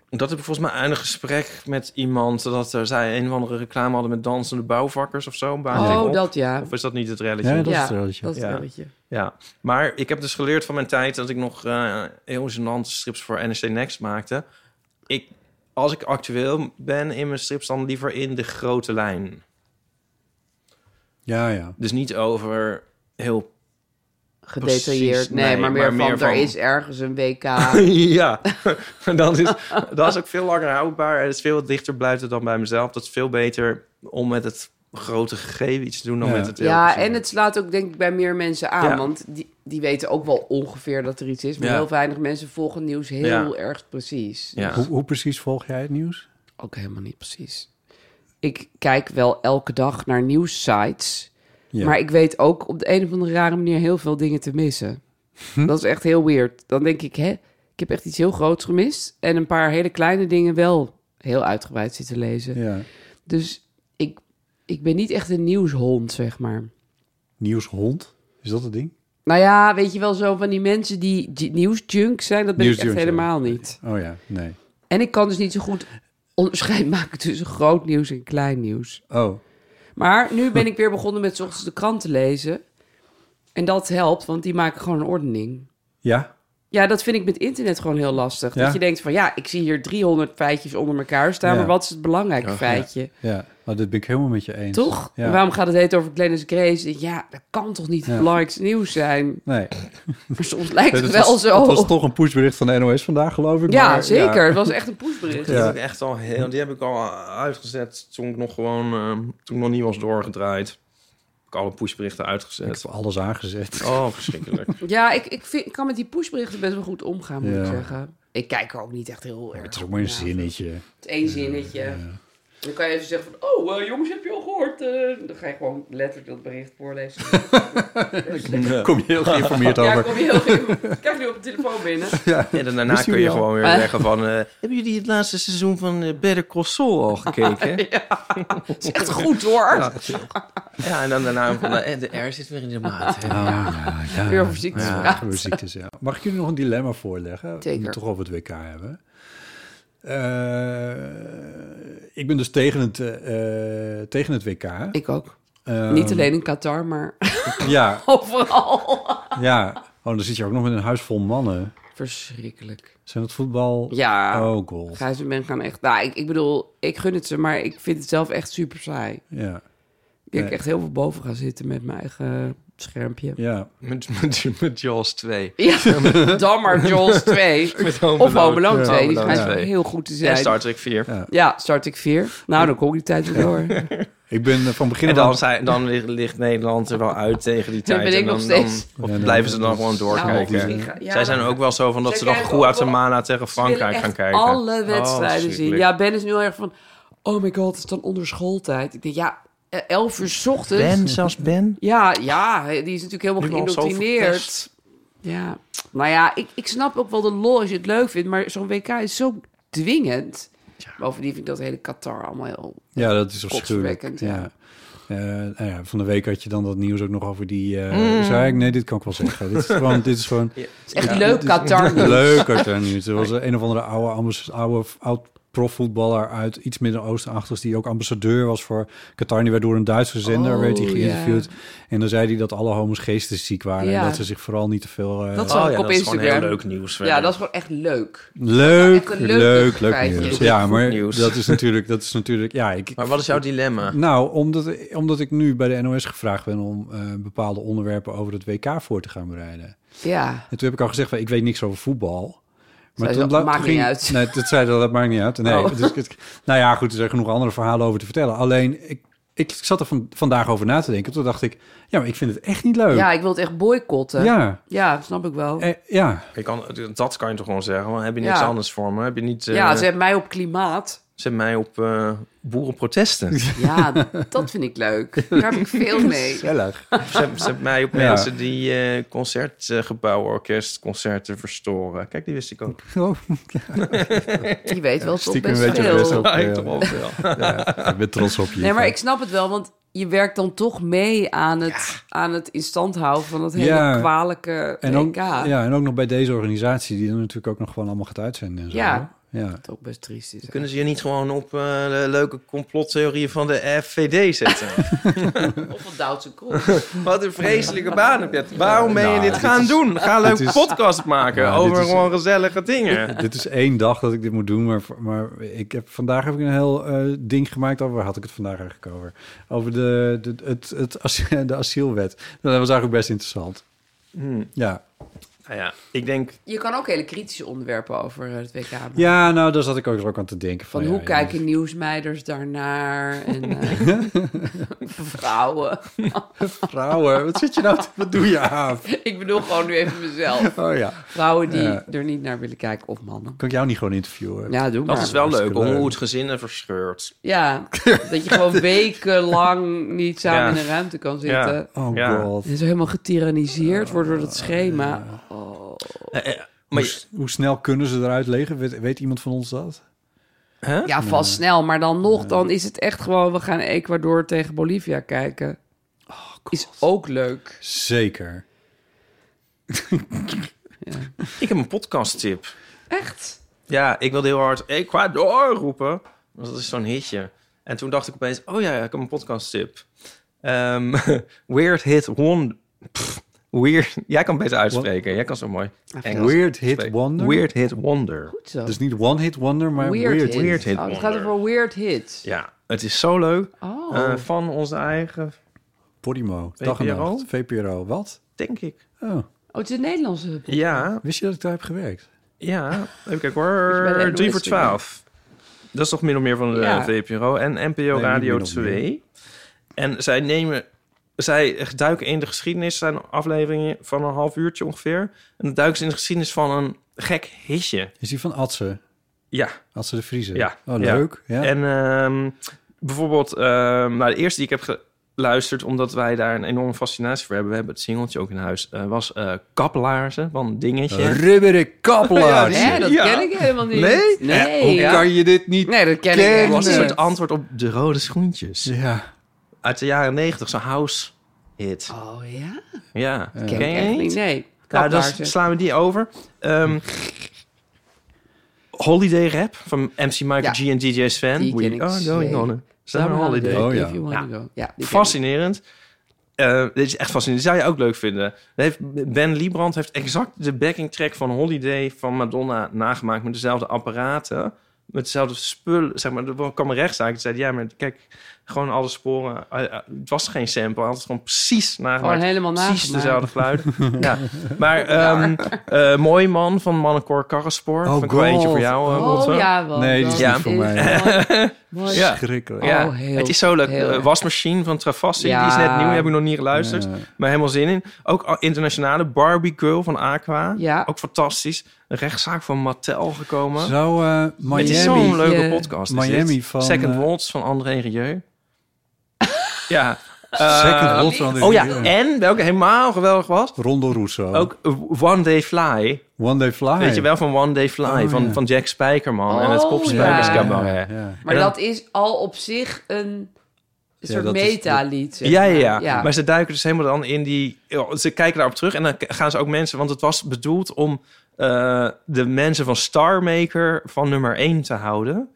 Dat heb ik volgens mij aan een gesprek met iemand... dat er, zij een of andere reclame hadden met dansende bouwvakkers of zo. Baan ik Oh, op. dat ja. Of is dat niet het relletje? Ja, dat is Ja, het relletje. Dat is Ja. het relletje. Ja, maar ik heb dus geleerd van mijn tijd dat ik nog eh heel gênante strips voor NSC Next maakte. Ik, als ik actueel ben in mijn strips, dan liever in de grote lijn. Ja, ja. Dus niet over (laughs) heel... Gedetailleerd. Precies, nee, nee, maar meer maar van, meer er van- is ergens een (laughs) WK. ja, dat is, dat is ook veel langer houdbaar. En het is veel dichter blijven dan bij mezelf. Dat is veel beter om met het grote gegeven iets te doen dan Ja. met het... heel ja, kleine. en het slaat ook denk ik bij meer mensen aan. Ja. Want die, die weten ook wel ongeveer dat er iets is. Maar Ja. heel weinig mensen volgen nieuws heel erg precies. Ja. Hoe, hoe precies volg jij het nieuws? Ook helemaal niet precies. Ik kijk wel elke dag naar nieuwssites. Ja. Maar ik weet ook op de een of andere rare manier heel veel dingen te missen. Hm? Dat is echt heel weird. Dan denk ik, hè, ik heb echt iets heel groots gemist. En een paar hele kleine dingen wel heel uitgebreid zitten lezen. Ja. Dus ik, ik ben niet echt een nieuwshond, zeg maar. Nieuwshond? Is dat het ding? Nou ja, weet je wel zo van die mensen die j- nieuwsjunk zijn, dat ben ik Nieuwsjunk, echt ja. helemaal niet. Oh ja, nee. En ik kan dus niet zo goed onderscheid maken tussen groot nieuws en klein nieuws. Oh, Maar nu ben ik weer begonnen met 's ochtends de krant te lezen. En dat helpt, want die maken gewoon een ordening. ja? Ja, dat vind ik met internet gewoon heel lastig. Ja. Dat je denkt van ja, ik zie hier 300 feitjes onder elkaar staan, Ja. maar wat is het belangrijke feitje? Ja, maar dit ben ik helemaal met je eens. Toch? Ja. En Waarom gaat het heet over Glennis Grace? Ja, dat kan toch niet het Ja. belangrijkste nieuws zijn? (laughs) Nee. Maar soms lijkt het Het wel was, zo. Het was toch een pushbericht van de NOS vandaag, geloof ik. Ja, maar- zeker. Het was echt een pushbericht. Die, Ja. heb ik echt al heel, die heb ik al uitgezet toen ik nog gewoon... ehm, toen ik nog niet was doorgedraaid. Heb ik alle pushberichten Ik uitgezet. heb alles aangezet. Oh, (laughs) verschrikkelijk. Ja, ik, ik, vind, ik kan met die pushberichten best wel goed omgaan, moet Ja. ik zeggen. Ik kijk er ook niet echt heel erg. Het is ook maar een Ja, zinnetje. Het is één zinnetje. Dan kan je even zeggen van, oh eh, jongens, heb je al gehoord? eh?" dan ga je gewoon letterlijk dat bericht voorlezen. (laughs) (laughs) Kom je heel geïnformeerd ja, over. kom je heel even. Ik krijg nu op de telefoon binnen. En dan daarna Wist kun jullie je al? (laughs) gewoon weer Ah. zeggen van... eh, hebben jullie het laatste seizoen van eh, Better Call Saul al gekeken? (laughs) ja. (laughs) Het is echt goed hoor. en dan daarna van... eh, de R zit weer in de maat. hè. Ah, ja, Weer over ziektes ja, praten. over ziektes, ja. Mag ik jullie nog een dilemma voorleggen? We Zeker. moeten toch over het WK hebben. Eh, ik ben dus tegen het, eh, eh, tegen het WK. Ik ook. Ehm, Niet alleen in Qatar, maar (laughs) Ja, overal. ja. Oh, dan zit je ook nog met een huis vol mannen. Verschrikkelijk. Zijn dat voetbal? Ja. Oh, god. Gijs en Ben gaan echt... Nou, ik, ik bedoel, ik gun het ze, maar ik vind het zelf echt super saai. Ja. Ik denk Nee. echt heel veel boven gaan zitten met mijn eigen schermpje. Ja. Met, (laughs) met, met Jaws 2. Ja, dan maar (laughs) Jaws 2. Met Home Of Home Alone Ja, 2, die Home Alone schijnt 2. heel goed te En zijn. Star Trek 4. Ja, start ik 4. Nou, dan kom ik die tijd weer door. Ik ben eh, van begin En af dan, aan... zijn, dan ligt, ligt Nederland er wel uit tegen (laughs) die Dan tijd. ben ik en dan, nog steeds. dan- dus- of Ja, dan- blijven ze dan dat- gewoon Nou, doorkijken. misschien ga- ja, Zij zijn ook wel zo van dat Zij ze dan kijken Guatemala ook wel- tegen Ze willen Frankrijk echt gaan kijken. alle Oh, wedstrijden zien. verschrikkelijk. Ja, Ben is nu heel erg van... Oh my god, het is dan onder schooltijd. Ik denk, ja, eh, 11 uur 's ochtends. Ben, zelfs Ben. Ja, ja, die is natuurlijk helemaal Nu al zo geïndoctrineerd. verpest. Ja, nou ja, ik, ik snap ook wel de lol als je het leuk vindt, maar zo'n WK is zo dwingend. Bovendien vind ik dat hele Qatar allemaal heel... Ja, dat is afschuwelijk. Kotsverwekkend, ja. Ja. Eh, nou ja, van de week had je dan dat nieuws ook nog over die... Mm. eh zei ik, nee, dit kan ik wel zeggen. dit is gewoon... Dit is gewoon Het is echt Ja, leuk, dit is- (laughs) Qatar. Leuk Qatar nieuws. Er was een of andere oude, ambas- oude oud profvoetballer uit iets Midden-Oosten-achtigs... die ook ambassadeur was voor Qatar. Die werd door een Duitse zender Oh, werd hij ja. geïnterviewd. En dan zei hij dat alle homo's geestesziek waren... en Ja. dat ze zich vooral niet te veel... eh, Dat Oh zag ja, ik op dat is gewoon Instagram. heel leuk nieuws. Ja, dat is gewoon echt leuk. Leuk, Echt een leuk leuk, leuk feitje. nieuws. Goed Ja, maar nieuws. dat is natuurlijk... Dat is natuurlijk ja, ik, Maar wat is jouw dilemma? Nou, omdat, omdat ik nu bij de NOS gevraagd ben om eh, bepaalde onderwerpen over het WK voor te gaan bereiden. Ja, En toen heb ik al gezegd, van, ik weet niks over voetbal. Zei ze, toen dat bla- maakt toen niet uit. Nee, dat zei dat, dat maakt niet uit. Nee, Oh. dus, ik- nou ja, goed, er zijn genoeg andere verhalen over te vertellen. Alleen, ik, ik zat er van, vandaag over na te denken. Toen dacht ik, ja, maar ik vind het echt niet leuk. ja ik wil het echt boycotten. Ja, ja. snap ik wel. Eh, ja. Je kan, dat kan je toch gewoon zeggen? want heb je niks Ja. anders voor me? Heb je niet... eh, ja, ze hebben mij op klimaat. Zet mij op eh, (laughs) boerenprotesten. Ja, dat vind ik leuk. Daar heb ik (laughs) veel mee. Gezellig. zet, zet mij op (laughs) Ja. mensen die eh, concertgebouwen, orkestconcerten verstoren. Kijk, die wist ik ook. Oh, Die weet wel toch Stiekem best weet je veel. best wel. Ja, eh, ja. ik toch wel veel. ja, ik ben trots op je. Nee, maar ik snap het wel, want je werkt dan toch mee aan het, aan het in stand houden van dat hele Ja. kwalijke en, ook, EK. ja, en ook nog bij deze organisatie, die er natuurlijk ook nog gewoon allemaal gaat uitzenden. En zo, Ja. hè? ja. Wat ook best triest is. Kunnen ze je niet gewoon op eh, de leuke complottheorieën van de FVD zetten? (laughs) Of een Duitse kroeg. Wat een vreselijke baan heb je. Waarom ben je Nou, dit dit gaan is- doen? Ga een dit leuke is- podcast maken Ja, dit over is- gewoon gezellige dingen. Dit is één dag dat ik dit moet doen, maar, maar ik heb, vandaag heb ik een heel eh, ding gemaakt. Over, waar had ik het vandaag eigenlijk over? Over de, de, het, het, as- (laughs) de asielwet. Nou, dat was eigenlijk best interessant. Ja. Nou ja, ik denk... (laughs) Je kan ook hele kritische onderwerpen over eh, het WK maken. ja, nou, daar zat ik ook, ook aan te denken. Van, Van hoe ja, kijken nieuwsmeiders daarnaar? En (laughs) eh, (laughs) vrouwen. ja, (laughs) Vrouwen, wat zit je nou? te- Wat doe je aan? Ik bedoel gewoon nu even mezelf. Oh ja. Vrouwen die Ja. er niet naar willen kijken of mannen. Kan ik jou niet gewoon interviewen? Ja, doe maar. Dat is wel leuk, hartstikke leuk. hoe het gezinnen verscheurt. Ja, dat je gewoon wekenlang niet samen Ja. in een ruimte Ja. kan zitten. Oh Ja. god. En zo helemaal getyraniseerd wordt door dat schema. Oh. Eh, eh, maar Hoe, je- s- hoe snel kunnen ze eruit legen? Weet, weet iemand van ons dat? hè? Ja, vast snel. Maar dan nog, dan is het echt gewoon... we gaan Ecuador tegen Bolivia kijken. is ook leuk. Zeker. Ik heb een podcasttip. Echt? Ja, ik wilde heel hard Ecuador roepen. Want dat is zo'n hitje. En toen dacht ik opeens, oh ja, ik heb een podcasttip. Ehm, (laughs) Weird Hit One... Pff, weird... Jij kan beter uitspreken. Jij kan zo mooi Engels Weird Hit spreken. Wonder? Weird Hit Wonder. Goed zo. Dus niet One Hit Wonder, maar weird, Weird, hits. Hit. Weird hit Oh, het gaat wonder. over weird hits. Ja, het is zo leuk. Oh. Eh, van onze eigen, Podimo. Dag en VPRO? nacht. VPRO. Wat? denk ik. Oh, Oh, het is een Nederlandse... Ja, wist je dat ik daar heb gewerkt? ja. Even kijken bij de hoor. NOS 3 voor doen. 12. Dat is toch min of meer van de Ja. eh, VPRO. En NPO niet Radio min of meer. 2. En zij nemen... Zij duiken in de geschiedenis. zijn afleveringen van een half uurtje ongeveer. En dan duiken ze in de geschiedenis van een gek hitje. Is die van Atse? Ja, Atse de Vriezer? Ja. Oh, leuk. Ja. En ehm, bijvoorbeeld, ehm, nou, de eerste die ik heb geluisterd, omdat wij daar een enorme fascinatie voor hebben, we hebben het singeltje ook in huis, eh, was eh kaplaarzen van Dingetje. Rubberen kaplaars. Nee, dat Ja. ken ik helemaal niet. Nee? Nee. Hoe ja. kan je dit niet? Nee, dat ken Ken- ik dat was een helemaal soort niet. antwoord op de rode schoentjes. Ja. Uit de jaren negentig, zo'n house hit. Oh ja? Ja, Ken ik je echt niet? niet. Nee. Nou, dan Kaplaarzen. slaan we die over. Ehm, holiday Rap van MC Michael Ja. G en DJ Sven. Die We ken ik are going zeker. on a Summer summer holiday. Oh, ja. if you wanna go. ja die ken ik. Fascinerend. Eh, dit is echt fascinerend. Die zou je ook leuk vinden. Dan Heeft, ben Liebrand heeft exact de backing track van Holiday van Madonna nagemaakt. Met dezelfde apparaten. Met dezelfde spullen. Zeg maar, er kwam een rechtszaak. Die zei, ja, maar kijk, gewoon alle sporen. eh, eh, het was geen sample. Hij had het gewoon precies nagemaakt. Gewoon helemaal Precies nagemaakt. dezelfde geluid. (laughs) ja. Maar ehm eh, Mooi Man van Mannenkoor Karrenspoor. Oh, Van ik wel eentje voor God. jou. eh, Oh Rotte. ja, wel. Nee, die is Ja. niet voor mij. (laughs) Mooi. Ja. Schrikkelijk. Ja, Oh, heel- het is zo leuk. heel Eh, erg. Wasmachine van Travassi, Ja. die is net nieuw, die heb ik nog niet geluisterd. Ja. Maar helemaal zin in. Ook al- internationale Barbie Girl van Aqua. Ja. Ook fantastisch. Een rechtszaak van Mattel gekomen. Zo, eh, Het is Miami. zo'n leuke Ja. podcast. is Miami dit. van, Second eh, Waltz van André Rieu. (laughs) ja. Second Eh, Waltz van André Oh ja, Rieu. Oh. en welke helemaal geweldig was. Rondo Russo. Ook eh, One Day Fly. One Day Fly. Weet je wel, van One Day Fly. Oh, van, ja. van Jack Spijkerman en het Oh, Kopspijkers ja. Cabaret. Ja. Maar En dan- dat is al op zich een soort dat is- meta-lied. zeg Ja, maar. ja, ja, Maar ze duiken dus helemaal dan in die... Ze kijken daarop terug en dan gaan ze ook mensen... Want het was bedoeld om eh, de mensen van Star Maker van nummer 1 te houden.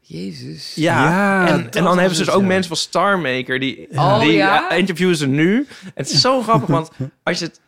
Jezus. Ja. Ja, en, dat en was dan hebben ze het, dus ook ja. mensen van Star Maker die, Oh, die ja? eh, interviewen ze nu. Het is (laughs) zo grappig, want als je het,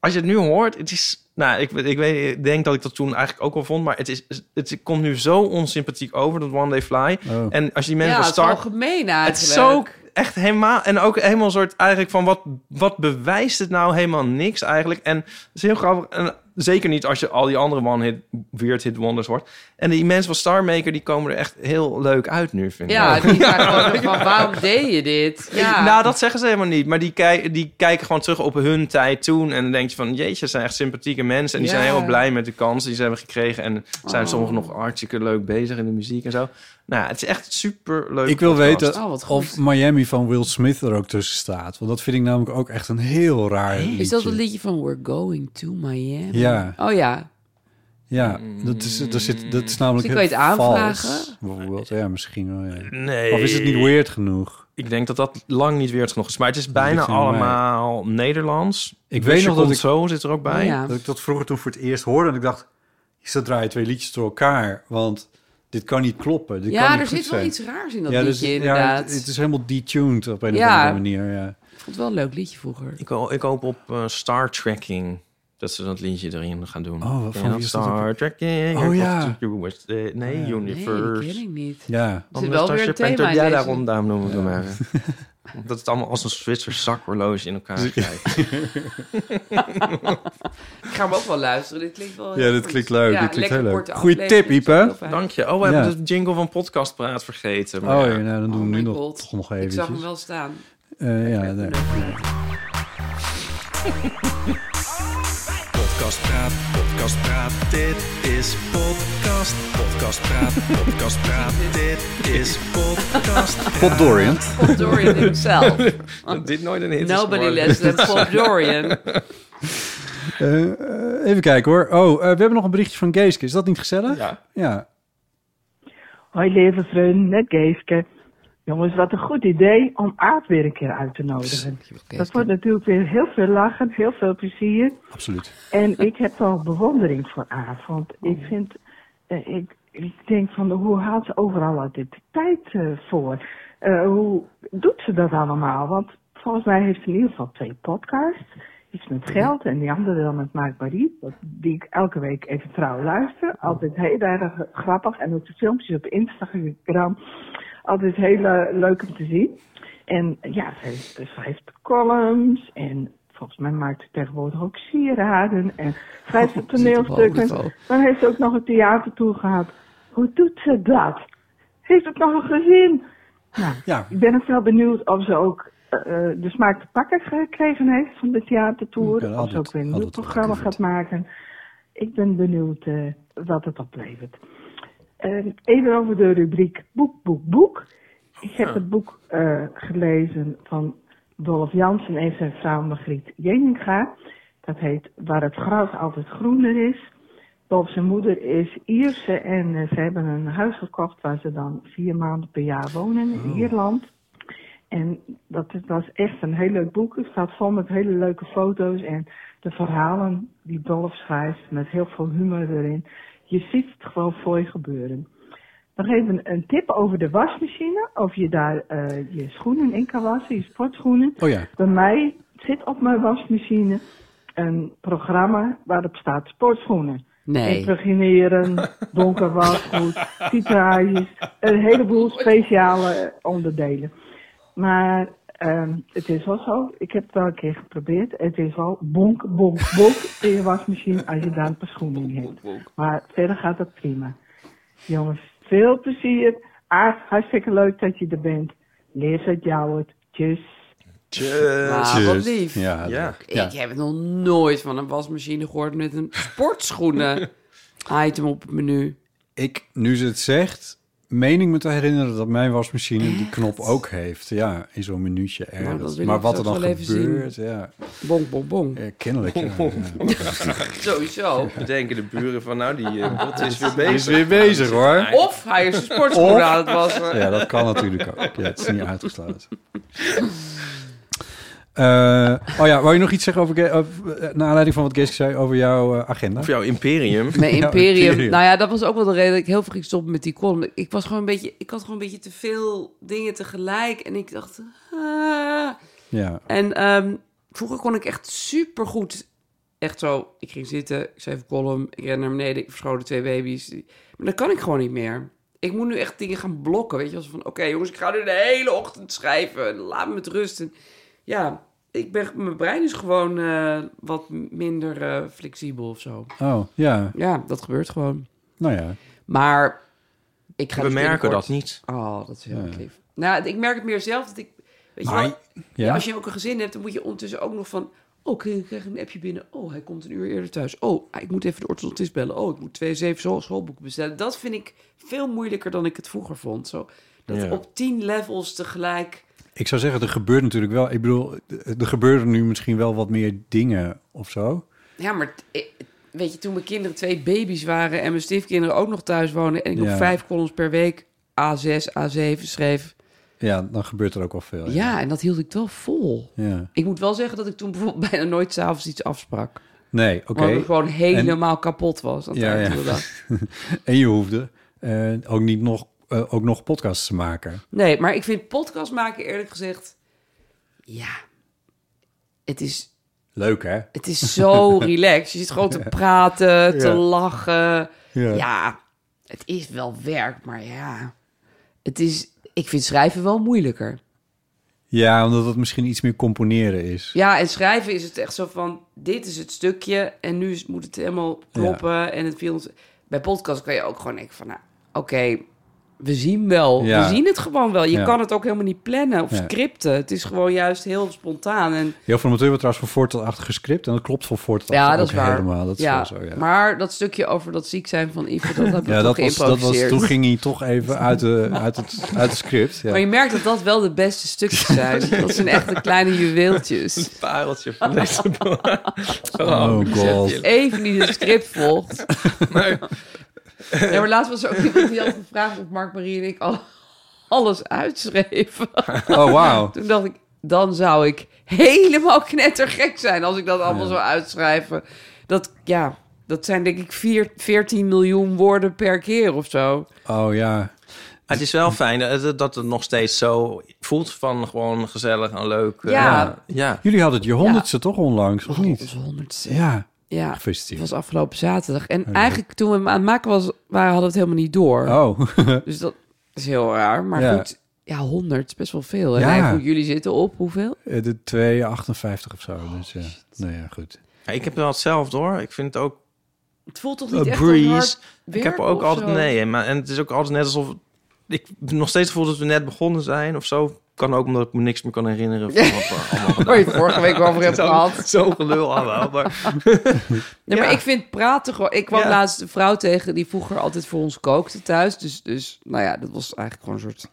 als je het nu hoort, het is... Nou, ik, ik, weet, ik denk dat ik dat toen eigenlijk ook al vond, maar het, is, het komt nu zo onsympathiek over, dat One Day Fly. Oh. En als je die mensen Ja, van het is wel Star gemeen het is eigenlijk. zo echt helemaal... En ook helemaal een soort eigenlijk van... Wat, wat bewijst het nou helemaal niks eigenlijk? En het is heel grappig. En Zeker niet als je al die andere one-hit, weird hit wonders hoort. En die mensen van Star Maker, die komen er echt heel leuk uit nu, vind ik. (laughs) Ja, die (laughs) zijn gewoon van, waarom deed je dit? Ja. Nou, dat zeggen ze helemaal niet. Maar die, kijk- die kijken gewoon terug op hun tijd toen. En dan denk je van, jeetje, ze zijn echt sympathieke mensen. En die Ja. Oh. zijn helemaal blij met de kansen die ze hebben gekregen. En zijn sommigen nog hartstikke leuk bezig in de muziek en zo. Nou, ja, het is echt super leuk. Ik wil weten Oh, wat goed. of Miami van Will Smith er ook tussen staat. Want dat vind ik namelijk ook echt een heel raar liedje. Is dat het liedje van We're Going to Miami? Ja. Oh ja. Ja, dat is, dat zit, dat is namelijk Dus ik heel weet aanvragen? vals. Bijvoorbeeld, ja, misschien wel, ja. Oh. Nee. Of is het niet weird genoeg? Ik denk dat dat lang niet weer genoeg is. Maar het is ligt bijna aan mij. allemaal Nederlands. Ik weet nog dat ik, Zo zit er ook bij. ja. dat ik dat vroeger toen voor het eerst hoorde. En ik dacht, ze draaien twee liedjes door elkaar. Want dit kan niet kloppen. Dit kan Ja, niet er goed zit wel zijn. iets raars in dat ja, dus- liedje, ja, inderdaad. het, het is helemaal detuned op een Ja. of andere manier. Ja. Ik vond het wel een leuk liedje vroeger. Ik, ho- ik hoop op eh, Star Trekking. Dat ze dat liedje erin gaan doen. Oh, wat- Ken van je wie is dat Star Trekking. Oh, ja. Oh, Of the Universe- eh, nee, Nee, Universe. dat ken ik niet. ja. Er zit wel weer een thema in Ja, deze. daarom, daarom noemen we hem even. Dat het allemaal als een Zwitser zakhorloge in (laughs) elkaar grijpt. Ik ga hem ook wel luisteren. Dit klinkt wel Ja, heel dit goed. klinkt leuk, Ja, dit klinkt lekker heel leuk. korte Goeie aflevering, tip, Iep, dat is hè? wel fijn. Dank je. Oh, we hebben Ja. de jingle van Podcastpraat vergeten. Oh maar ja, ja. nou, dan doen Oh we nu my nog, God. toch nog Ik eventjes. zag hem wel staan. Eh, ja, nee. Podcast praat, podcast praat, dit is podcast. Podcast praat, podcast praat, dit is podcast. Pop Dorian. Bob (laughs) Dorian himself. Dat dit nooit een hit is Nobody geworden. less than Bob Dorian. Eh, eh, even kijken hoor. Oh, eh, we hebben nog een berichtje van Geeske. Is dat niet gezellig? Ja. Ja. Hoi levensvreun, net Geeske. Jongens, wat een goed idee om Aad weer een keer uit te nodigen. Dat wordt natuurlijk weer heel veel lachen, heel veel plezier. Absoluut. En ik heb wel bewondering voor Aad, want ik vind, eh, ik, ik denk van hoe haalt ze overal altijd de tijd eh, voor? Eh, hoe doet ze dat allemaal? Want volgens mij heeft ze in ieder geval twee podcasts. Iets met geld en die andere dan met Mark Marie, dat- die ik elke week even trouw luister. Altijd heel erg grappig en ook de filmpjes op Instagram. Altijd heel eh, leuk om te zien. En eh, ja, ze heeft, ze heeft columns en volgens mij maakt ze tegenwoordig ook sieraden en schrijft ze toneelstukken. Dan heeft ze ook nog een theatertour gehad. Hoe doet ze dat? Heeft het nog een gezin? Nou, Ja. ik ben ook wel benieuwd of ze ook eh, eh, de smaak te pakken gekregen heeft van de Ja, theatertour. Of altijd- ze ook weer een nieuw altijd programma gelukkig. gaat maken. Ik ben benieuwd eh, wat het oplevert. Eh, even over de rubriek boek, boek, boek. Ik heb het boek eh, gelezen van Dolph Jansen en zijn vrouw Margriet Jeninga. Dat heet Waar het gras altijd groener is. Dolph zijn moeder is Ierse en eh, ze hebben een huis gekocht waar ze dan vier maanden per jaar wonen in Ierland. En dat is- was echt een heel leuk boek. Het staat vol met hele leuke foto's en de verhalen die Dolph schrijft met heel veel humor erin. Je ziet het gewoon voor je gebeuren. Nog even een tip over de wasmachine. Of je daar eh, je schoenen in kan wassen, je sportschoenen. Oh ja. Bij mij zit op mijn wasmachine een programma waarop staat sportschoenen. Nee. Impregneren, donker wasgoed, titages, een heleboel speciale onderdelen. Maar ehm, het is wel zo, ik heb het wel een keer geprobeerd, het is wel bonk, bonk, bonk in je wasmachine als je daar een paar schoenen in hebt. Maar verder gaat het prima. Jongens, veel plezier. Aard, Ah, hartstikke leuk dat je er bent. Lees het jou het. Tjus. Maar Ah, wat lief. Ja. Ja. Ja. Ik heb het nog nooit van een wasmachine gehoord met een (laughs) sportschoenen item op het menu. Ik, nu ze het zegt, meen ik me te herinneren dat mijn wasmachine die knop ook heeft. Ja, in zo'n minuutje Nou, dat ergens. wil maar ik wat zo er dan wel even gebeurt, ja. Bonk, bonk, bonk. Eh, (laughs) kennelijk. Ja. Ja. Sowieso. Denken de buren van, nou, die eh, bot is weer Die is bezig. weer bezig hoor. Of hij is de sportschoenen aan het wassen. Ja, dat kan natuurlijk ook. Ja, het is niet (laughs) uitgesloten. Eh, oh ja, wou je nog iets zeggen over... Ge- over- eh, naar aanleiding van wat Geeske zei over jouw eh, agenda? Of jouw imperium. (laughs) Mijn Ja, imperium. imperium. Nou ja, dat was ook wel de reden dat ik heel veel ging stoppen met die column. Ik, was gewoon een beetje, ik had gewoon een beetje te veel dingen tegelijk. En ik dacht... ah. Ja. En ehm, vroeger kon ik echt supergoed... Echt zo, ik ging zitten, ik schreef een column, ik ren naar beneden, ik verscholen twee baby's. Maar dat kan ik gewoon niet meer. Ik moet nu echt dingen gaan blokken, weet je. Als van, oké jongens, ik ga nu de hele ochtend schrijven. Laat me met rust. En ja, Ik ben, mijn brein is gewoon eh, wat minder eh, flexibel of zo. Oh, ja. Ja, dat gebeurt gewoon. Nou ja. Maar ik ga We dus merken binnenkort- dat niet. Oh, dat is heel erg lief. Nou, ik merk het meer zelf dat ik... Weet je Maar- wel, ja. ja, als je ook een gezin hebt, dan moet je ondertussen ook nog van... Oh, ik krijg een appje binnen. Oh, hij komt een uur eerder thuis. Oh, ik moet even de orthodontist bellen. Oh, ik moet twee zeven school- schoolboeken bestellen. Dat vind ik veel moeilijker dan ik het vroeger vond. Zo, dat Ja. op tien levels tegelijk... Ik zou zeggen, er gebeurt natuurlijk wel. Ik bedoel, er gebeuren nu misschien wel wat meer dingen of zo. Ja, maar t- eh, weet je, toen mijn kinderen twee baby's waren... en mijn stiefkinderen ook nog thuis wonen... en ik Ja. nog vijf columns per week A6, A7 schreef... Ja, dan gebeurt er ook wel veel. Ja. Ja, en dat hield ik wel vol. Ja. Ik moet wel zeggen dat ik toen bijvoorbeeld (laughs) bijna nooit s'avonds iets afsprak. Nee, oké. Omdat ik gewoon En- helemaal kapot was. aan het Ja, eind ja. van de dag. en je hoefde eh, ook niet nog, eh, ook nog podcasts te maken. Nee, maar ik vind podcast maken eerlijk gezegd... Ja, het is, Leuk, hè? het is zo relaxed. Je zit gewoon te praten, te Ja. lachen. Ja. Ja. het is wel werk, maar ja... Het is, ik vind schrijven wel moeilijker. Ja, omdat het misschien iets meer componeren is. Ja, en schrijven is het echt zo van... dit is het stukje en nu is- moet het helemaal kloppen. En het viel ons... Bij podcast kan je ook gewoon denken van... Nou, oké, we zien wel. Ja. We zien het gewoon wel. Je Ja. kan het ook helemaal niet plannen of Ja. scripten. Het is gewoon juist heel spontaan. En Heel veel amateur wordt trouwens van voor tot achter gescript. En dat klopt van voor tot achter ja, dat is ook waar. helemaal. Dat is ja. wel zo, ja. Maar dat stukje over dat ziek zijn van Ivo, dat heb ik (laughs) ja, toch dat was, dat was, geïmproviseerd. toen ging hij toch even uit, de, uit, het, uit het script. Ja. Maar je merkt dat dat wel de beste stukjes (laughs) zijn. dat zijn echt de kleine juweeltjes. Een pareltje (laughs) van deze Oh, god. Als even niet het script volgt. Ja, maar laatst was er ook iemand die had gevraagd of Mark Marie en ik al, alles uitschreven. Oh, wauw. Toen dacht ik, dan zou ik helemaal knettergek zijn als ik dat allemaal zou uitschrijven. Dat, ja, dat zijn denk ik vier, 14 miljoen woorden per keer of zo. Oh ja. Het is wel fijn dat- dat het nog steeds zo voelt van gewoon gezellig en leuk. eh, Ja. ja. Jullie hadden het je honderdste toch onlangs, of niet? Onze honderdste. Ja. Ja, Gefeliciteerd. Het was afgelopen zaterdag. En eigenlijk toen we hem aan het maken was, waren, hadden we het helemaal niet door. Oh. Dus dat is heel raar. Maar Ja. goed, ja, 100 is best wel veel. En Ja. eigenlijk, jullie zitten op hoeveel? Eh, De 258 of zo. dus ja. Nou ja, goed. Ja, Ik heb wel hetzelfde hoor. Ik vind het ook Het voelt toch een niet echt Eh, breeze. Ik heb er ook altijd nee. Maar, en het is ook altijd net alsof ik nog steeds voel dat we net begonnen zijn of zo. Kan ook omdat ik me niks meer kan herinneren van wat (laughs) we allemaal gedaan Waar je het vorige week over (laughs) hebt Zo- gehad. Zo'n gelul allemaal. Maar Nee, maar ik vind praten gewoon... Ik kwam Ja. laatst een vrouw tegen die vroeger altijd voor ons kookte thuis. Dus, dus nou ja, dat was eigenlijk gewoon een soort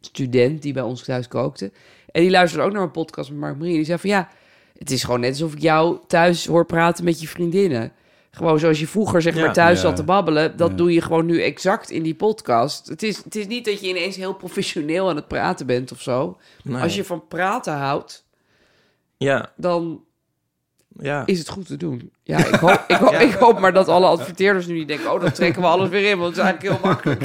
student die bij ons thuis kookte. En die luisterde ook naar mijn podcast met Mark Marie. En die zei van ja, het is gewoon net alsof ik jou thuis hoor praten met je vriendinnen. Gewoon zoals je vroeger zeg Ja. maar thuis Ja. zat te babbelen. Dat Ja. doe je gewoon nu exact in die podcast. Het is, het is niet dat je ineens heel professioneel aan het praten bent of zo. Nee. Als je van praten houdt, ja, dan ja. is het goed te doen. Ja, (laughs) ik hoop, ik hoop, ik hoop maar dat alle adverteerders nu niet denken... oh, dan trekken we alles weer in, want het is eigenlijk heel makkelijk.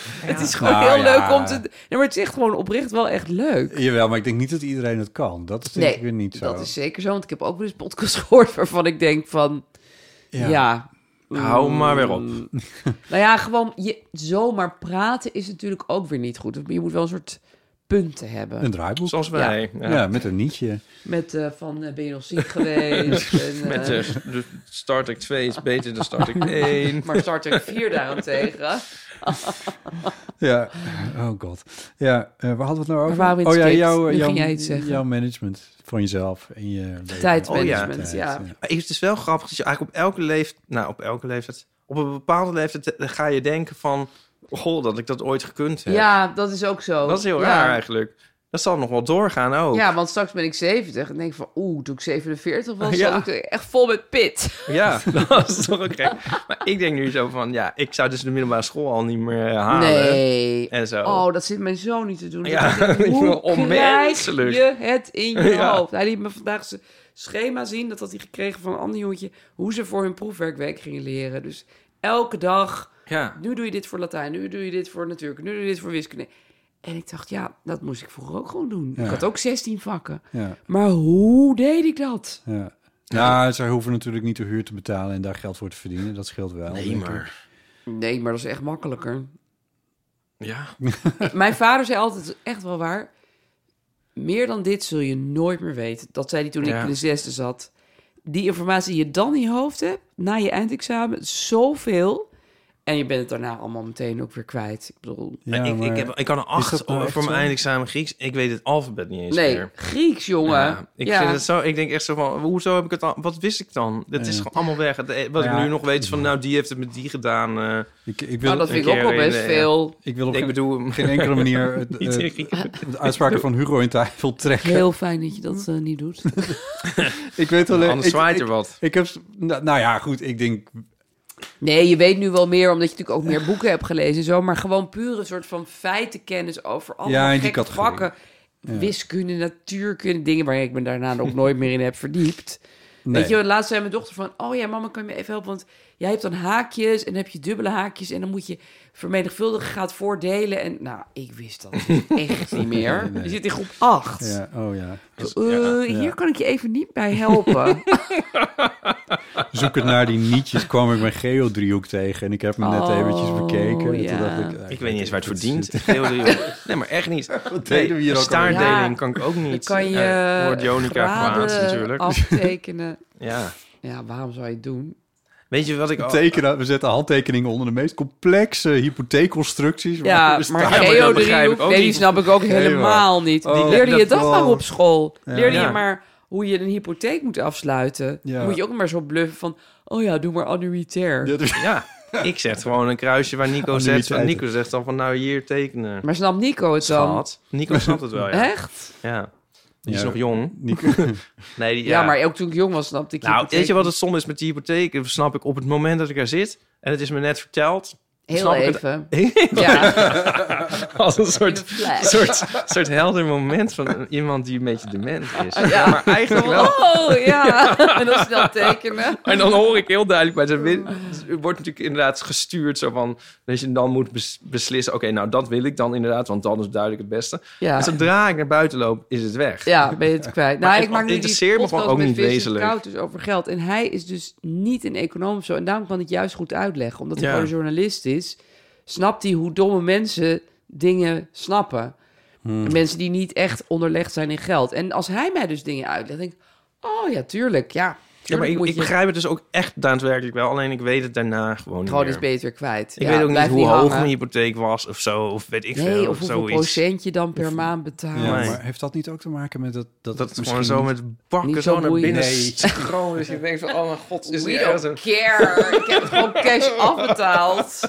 Het is gewoon Nou, heel ja. leuk om te... Nee, maar het is echt gewoon oprecht wel echt leuk. Jawel, maar ik denk niet dat iedereen het kan. Dat is denk ik weer niet zo. dat is zeker zo, want ik heb ook wel eens podcasts (laughs) gehoord... waarvan ik denk van, ja... Hou maar weer op. mm, (laughs) nou ja, gewoon je, zomaar praten is natuurlijk ook weer niet goed. Je moet wel een soort punten hebben. Een draaiboek. Zoals wij. ja. Ja. met een nietje. Met eh, van, eh, ben je nog ziek (laughs) geweest? en, Met eh, de, de Star Trek 2 is beter dan Star Trek 1. (laughs) Maar Star Trek 4 daarentegen... Ja. Oh god. Ja, eh, waar hadden we het nou over? Waar waren we in het oh ja, script? jouw, Nu jouw, ging jij iets zeggen. jouw management van jezelf en je leven. Tijdmanagement, Oh Tijd, ja. Maar Het is wel grappig dat je eigenlijk op elke leeftijd... Nou, op elke leeftijd... Op een bepaalde leeftijd eh, ga je denken van... Goh, dat ik dat ooit gekund heb. Ja, dat is ook zo. dat is heel Ja. raar eigenlijk. Dat zal nog wel doorgaan ook. Ja, want straks ben ik 70 en denk ik van, oeh, toen ik 47 was, (laughs) Ja. zat ik echt vol met pit. Ja, (laughs) dat is toch ook gek. Maar ik denk nu zo van... Ja, ik zou dus de middelbare school al niet meer eh, halen. Nee. En zo. Oh, dat zit mijn zoon niet te doen. Ja, (laughs) Ik denk, Hoe krijg onmenselijk. je het in je (laughs) Ja. hoofd? Hij liet me vandaag zijn schema zien. Dat had hij gekregen van een ander jongetje. Hoe ze voor hun proefwerkweek gingen leren. Dus elke dag. Ja. Nu doe je dit voor Latijn. Nu doe je dit voor natuurkunde. Nu doe je dit voor wiskunde. En ik dacht, ja, dat moest ik vroeger ook gewoon doen. Ja. Ik had ook 16 vakken. Ja, Maar hoe deed ik dat? ja. Nou, zij hoeven natuurlijk niet de huur te betalen en daar geld voor te verdienen. Dat scheelt wel. Nee, denk ik. maar... Nee, maar dat is echt makkelijker. Ja. Mijn vader zei altijd, echt wel waar... meer dan dit zul je nooit meer weten. Dat zei hij toen Ja. ik in de zesde zat. Die informatie die je dan in je hoofd hebt, na je eindexamen, zoveel. En je bent het daarna allemaal meteen ook weer kwijt. Ik bedoel... Ja, ik, ik, heb, ik kan een acht nou echt voor zo? mijn eindexamen Grieks. Ik weet het alfabet niet eens Nee, meer. Grieks, jongen. Ja, ik, Ja. Vind het zo, ik denk echt zo van, hoezo heb ik het al? Wat wist ik dan? Dat is Ja. gewoon allemaal weg. Het- eh, Wat Ja. ik nu nog weet is van, nou, die heeft het met die gedaan. eh, ik wil- Nou, dat een vind ik ook keer wel best in, eh, veel. Ik wil op ik geen- (laughs) bedoel, geen enkele manier het, Niet eh, in (laughs) Grieken. de uitspraken van Hugo in tafel trekken. Heel fijn dat je dat eh, niet doet. Ik weet alleen... Anders ik- zwaait ik- er wat. Ik heb... Nou, nou ja, goed, ik denk... Nee, je weet nu wel meer, omdat je natuurlijk ook meer boeken hebt gelezen en zo. Maar gewoon puur een soort van feitenkennis over allemaal Ja, in die gekke categorie. vakken. Ja. Wiskunde, natuurkunde, dingen waar ik me daarna ook nooit meer in heb verdiept. Nee. Weet je, laatst zei mijn dochter van... Oh ja, mama, kan je me even helpen? Want jij hebt dan haakjes en dan heb je dubbele haakjes... en dan moet je vermenigvuldigen, gaat voordelen. En nou, ik (laughs) wist dat echt niet meer. Nee, nee. Je zit in groep 8. Ja, oh ja. Eh, Hier kan ik je even niet bij (laughs) helpen. Zoek het naar die nietjes, kwam ik mijn geodriehoek tegen. En ik heb hem net Oh, eventjes bekeken. En toen dacht ik, eh, ik weet niet eens waar het verdient. nee, maar echt (laughs) niet. Wat deden we hier ook alweer? Staardeling Ja, kan ik ook niet. Dan kan je Eh, wordt Jonica graden kwaad natuurlijk. aftekenen. Ja. ja, waarom zou je het doen? Weet je wat ik... we tekenen, we zetten handtekeningen onder de meest complexe hypotheekconstructies. Ja, waar- maar dus- geodriehoek, nee, die snap ik ook helemaal niet. Oh. Leerde je dat Oh. maar op school? Ja. Leerde Ja. je maar hoe je een hypotheek moet afsluiten? Ja. Dan Moet je ook maar zo bluffen van, oh ja, doe maar annuitair. dus- Ja, ik zeg gewoon een kruisje waar Nico zegt. Van, Annuïteiten. Nico zegt dan van nou hier tekenen. Maar snapt Nico het dan? Schat. Nico snapt het wel, (laughs) ja. Echt? Ja. Die is Ja, nog jong. (laughs) nee, die, Ja, ja. maar ook toen ik jong was, snapte ik Nou, hypotheek weet je wat niet. het zonde is met die hypotheek? Dat Snap ik op het moment dat ik er zit en het is me net verteld. (laughs) Heel snap (laughs) ik het- even. Heel Ja. Als een soort, In een flash. soort, soort helder moment van iemand die een beetje dement is. Ja. Maar eigenlijk wel. Oh, ja. (laughs) En dan snel tekenen. En dan hoor ik heel duidelijk bij zijn win. Er wordt natuurlijk inderdaad gestuurd zo van. Dat je dan moet bes- beslissen: oké, nou dat wil ik dan inderdaad, want dan is duidelijk het beste. Ja. En zodra ik naar buiten loop, is het weg. Ja, ben je het kwijt. Maar Nou, het ik maak nu interesseert die me gewoon podcast ook niet met Vincent wezenlijk. Koud dus over geld. En hij is dus niet een econoom of zo. En daarom kan ik het juist goed uitleggen. Omdat hij Ja. gewoon een journalist is. Snapt hij hoe domme mensen dingen snappen. Hmm. Mensen die niet echt onderlegd zijn in geld. En als hij mij dus dingen uitlegt, denk ik... Oh ja, tuurlijk, ja. Ja, maar tuurlijk ik, moet ik je- begrijp het dus ook echt daadwerkelijk wel. Alleen ik weet het daarna gewoon niet Gewoon meer. eens beter kwijt. Ik Ja, weet ook niet blijf hoe niet hoog hangen. mijn hypotheek was of zo. Of weet ik Nee, veel. of hoeveel zoiets. procent je dan per maand betaalt. Ja, Nee. maar heeft dat niet ook te maken met dat... Dat, Dat het misschien gewoon zo niet- met bakken zo Niet zo naar boeiend. binnen Nee. (laughs) stromen. Dus je denkt van, oh mijn god, is We dit don't echt een- care. ik heb het gewoon (laughs) cash afbetaald.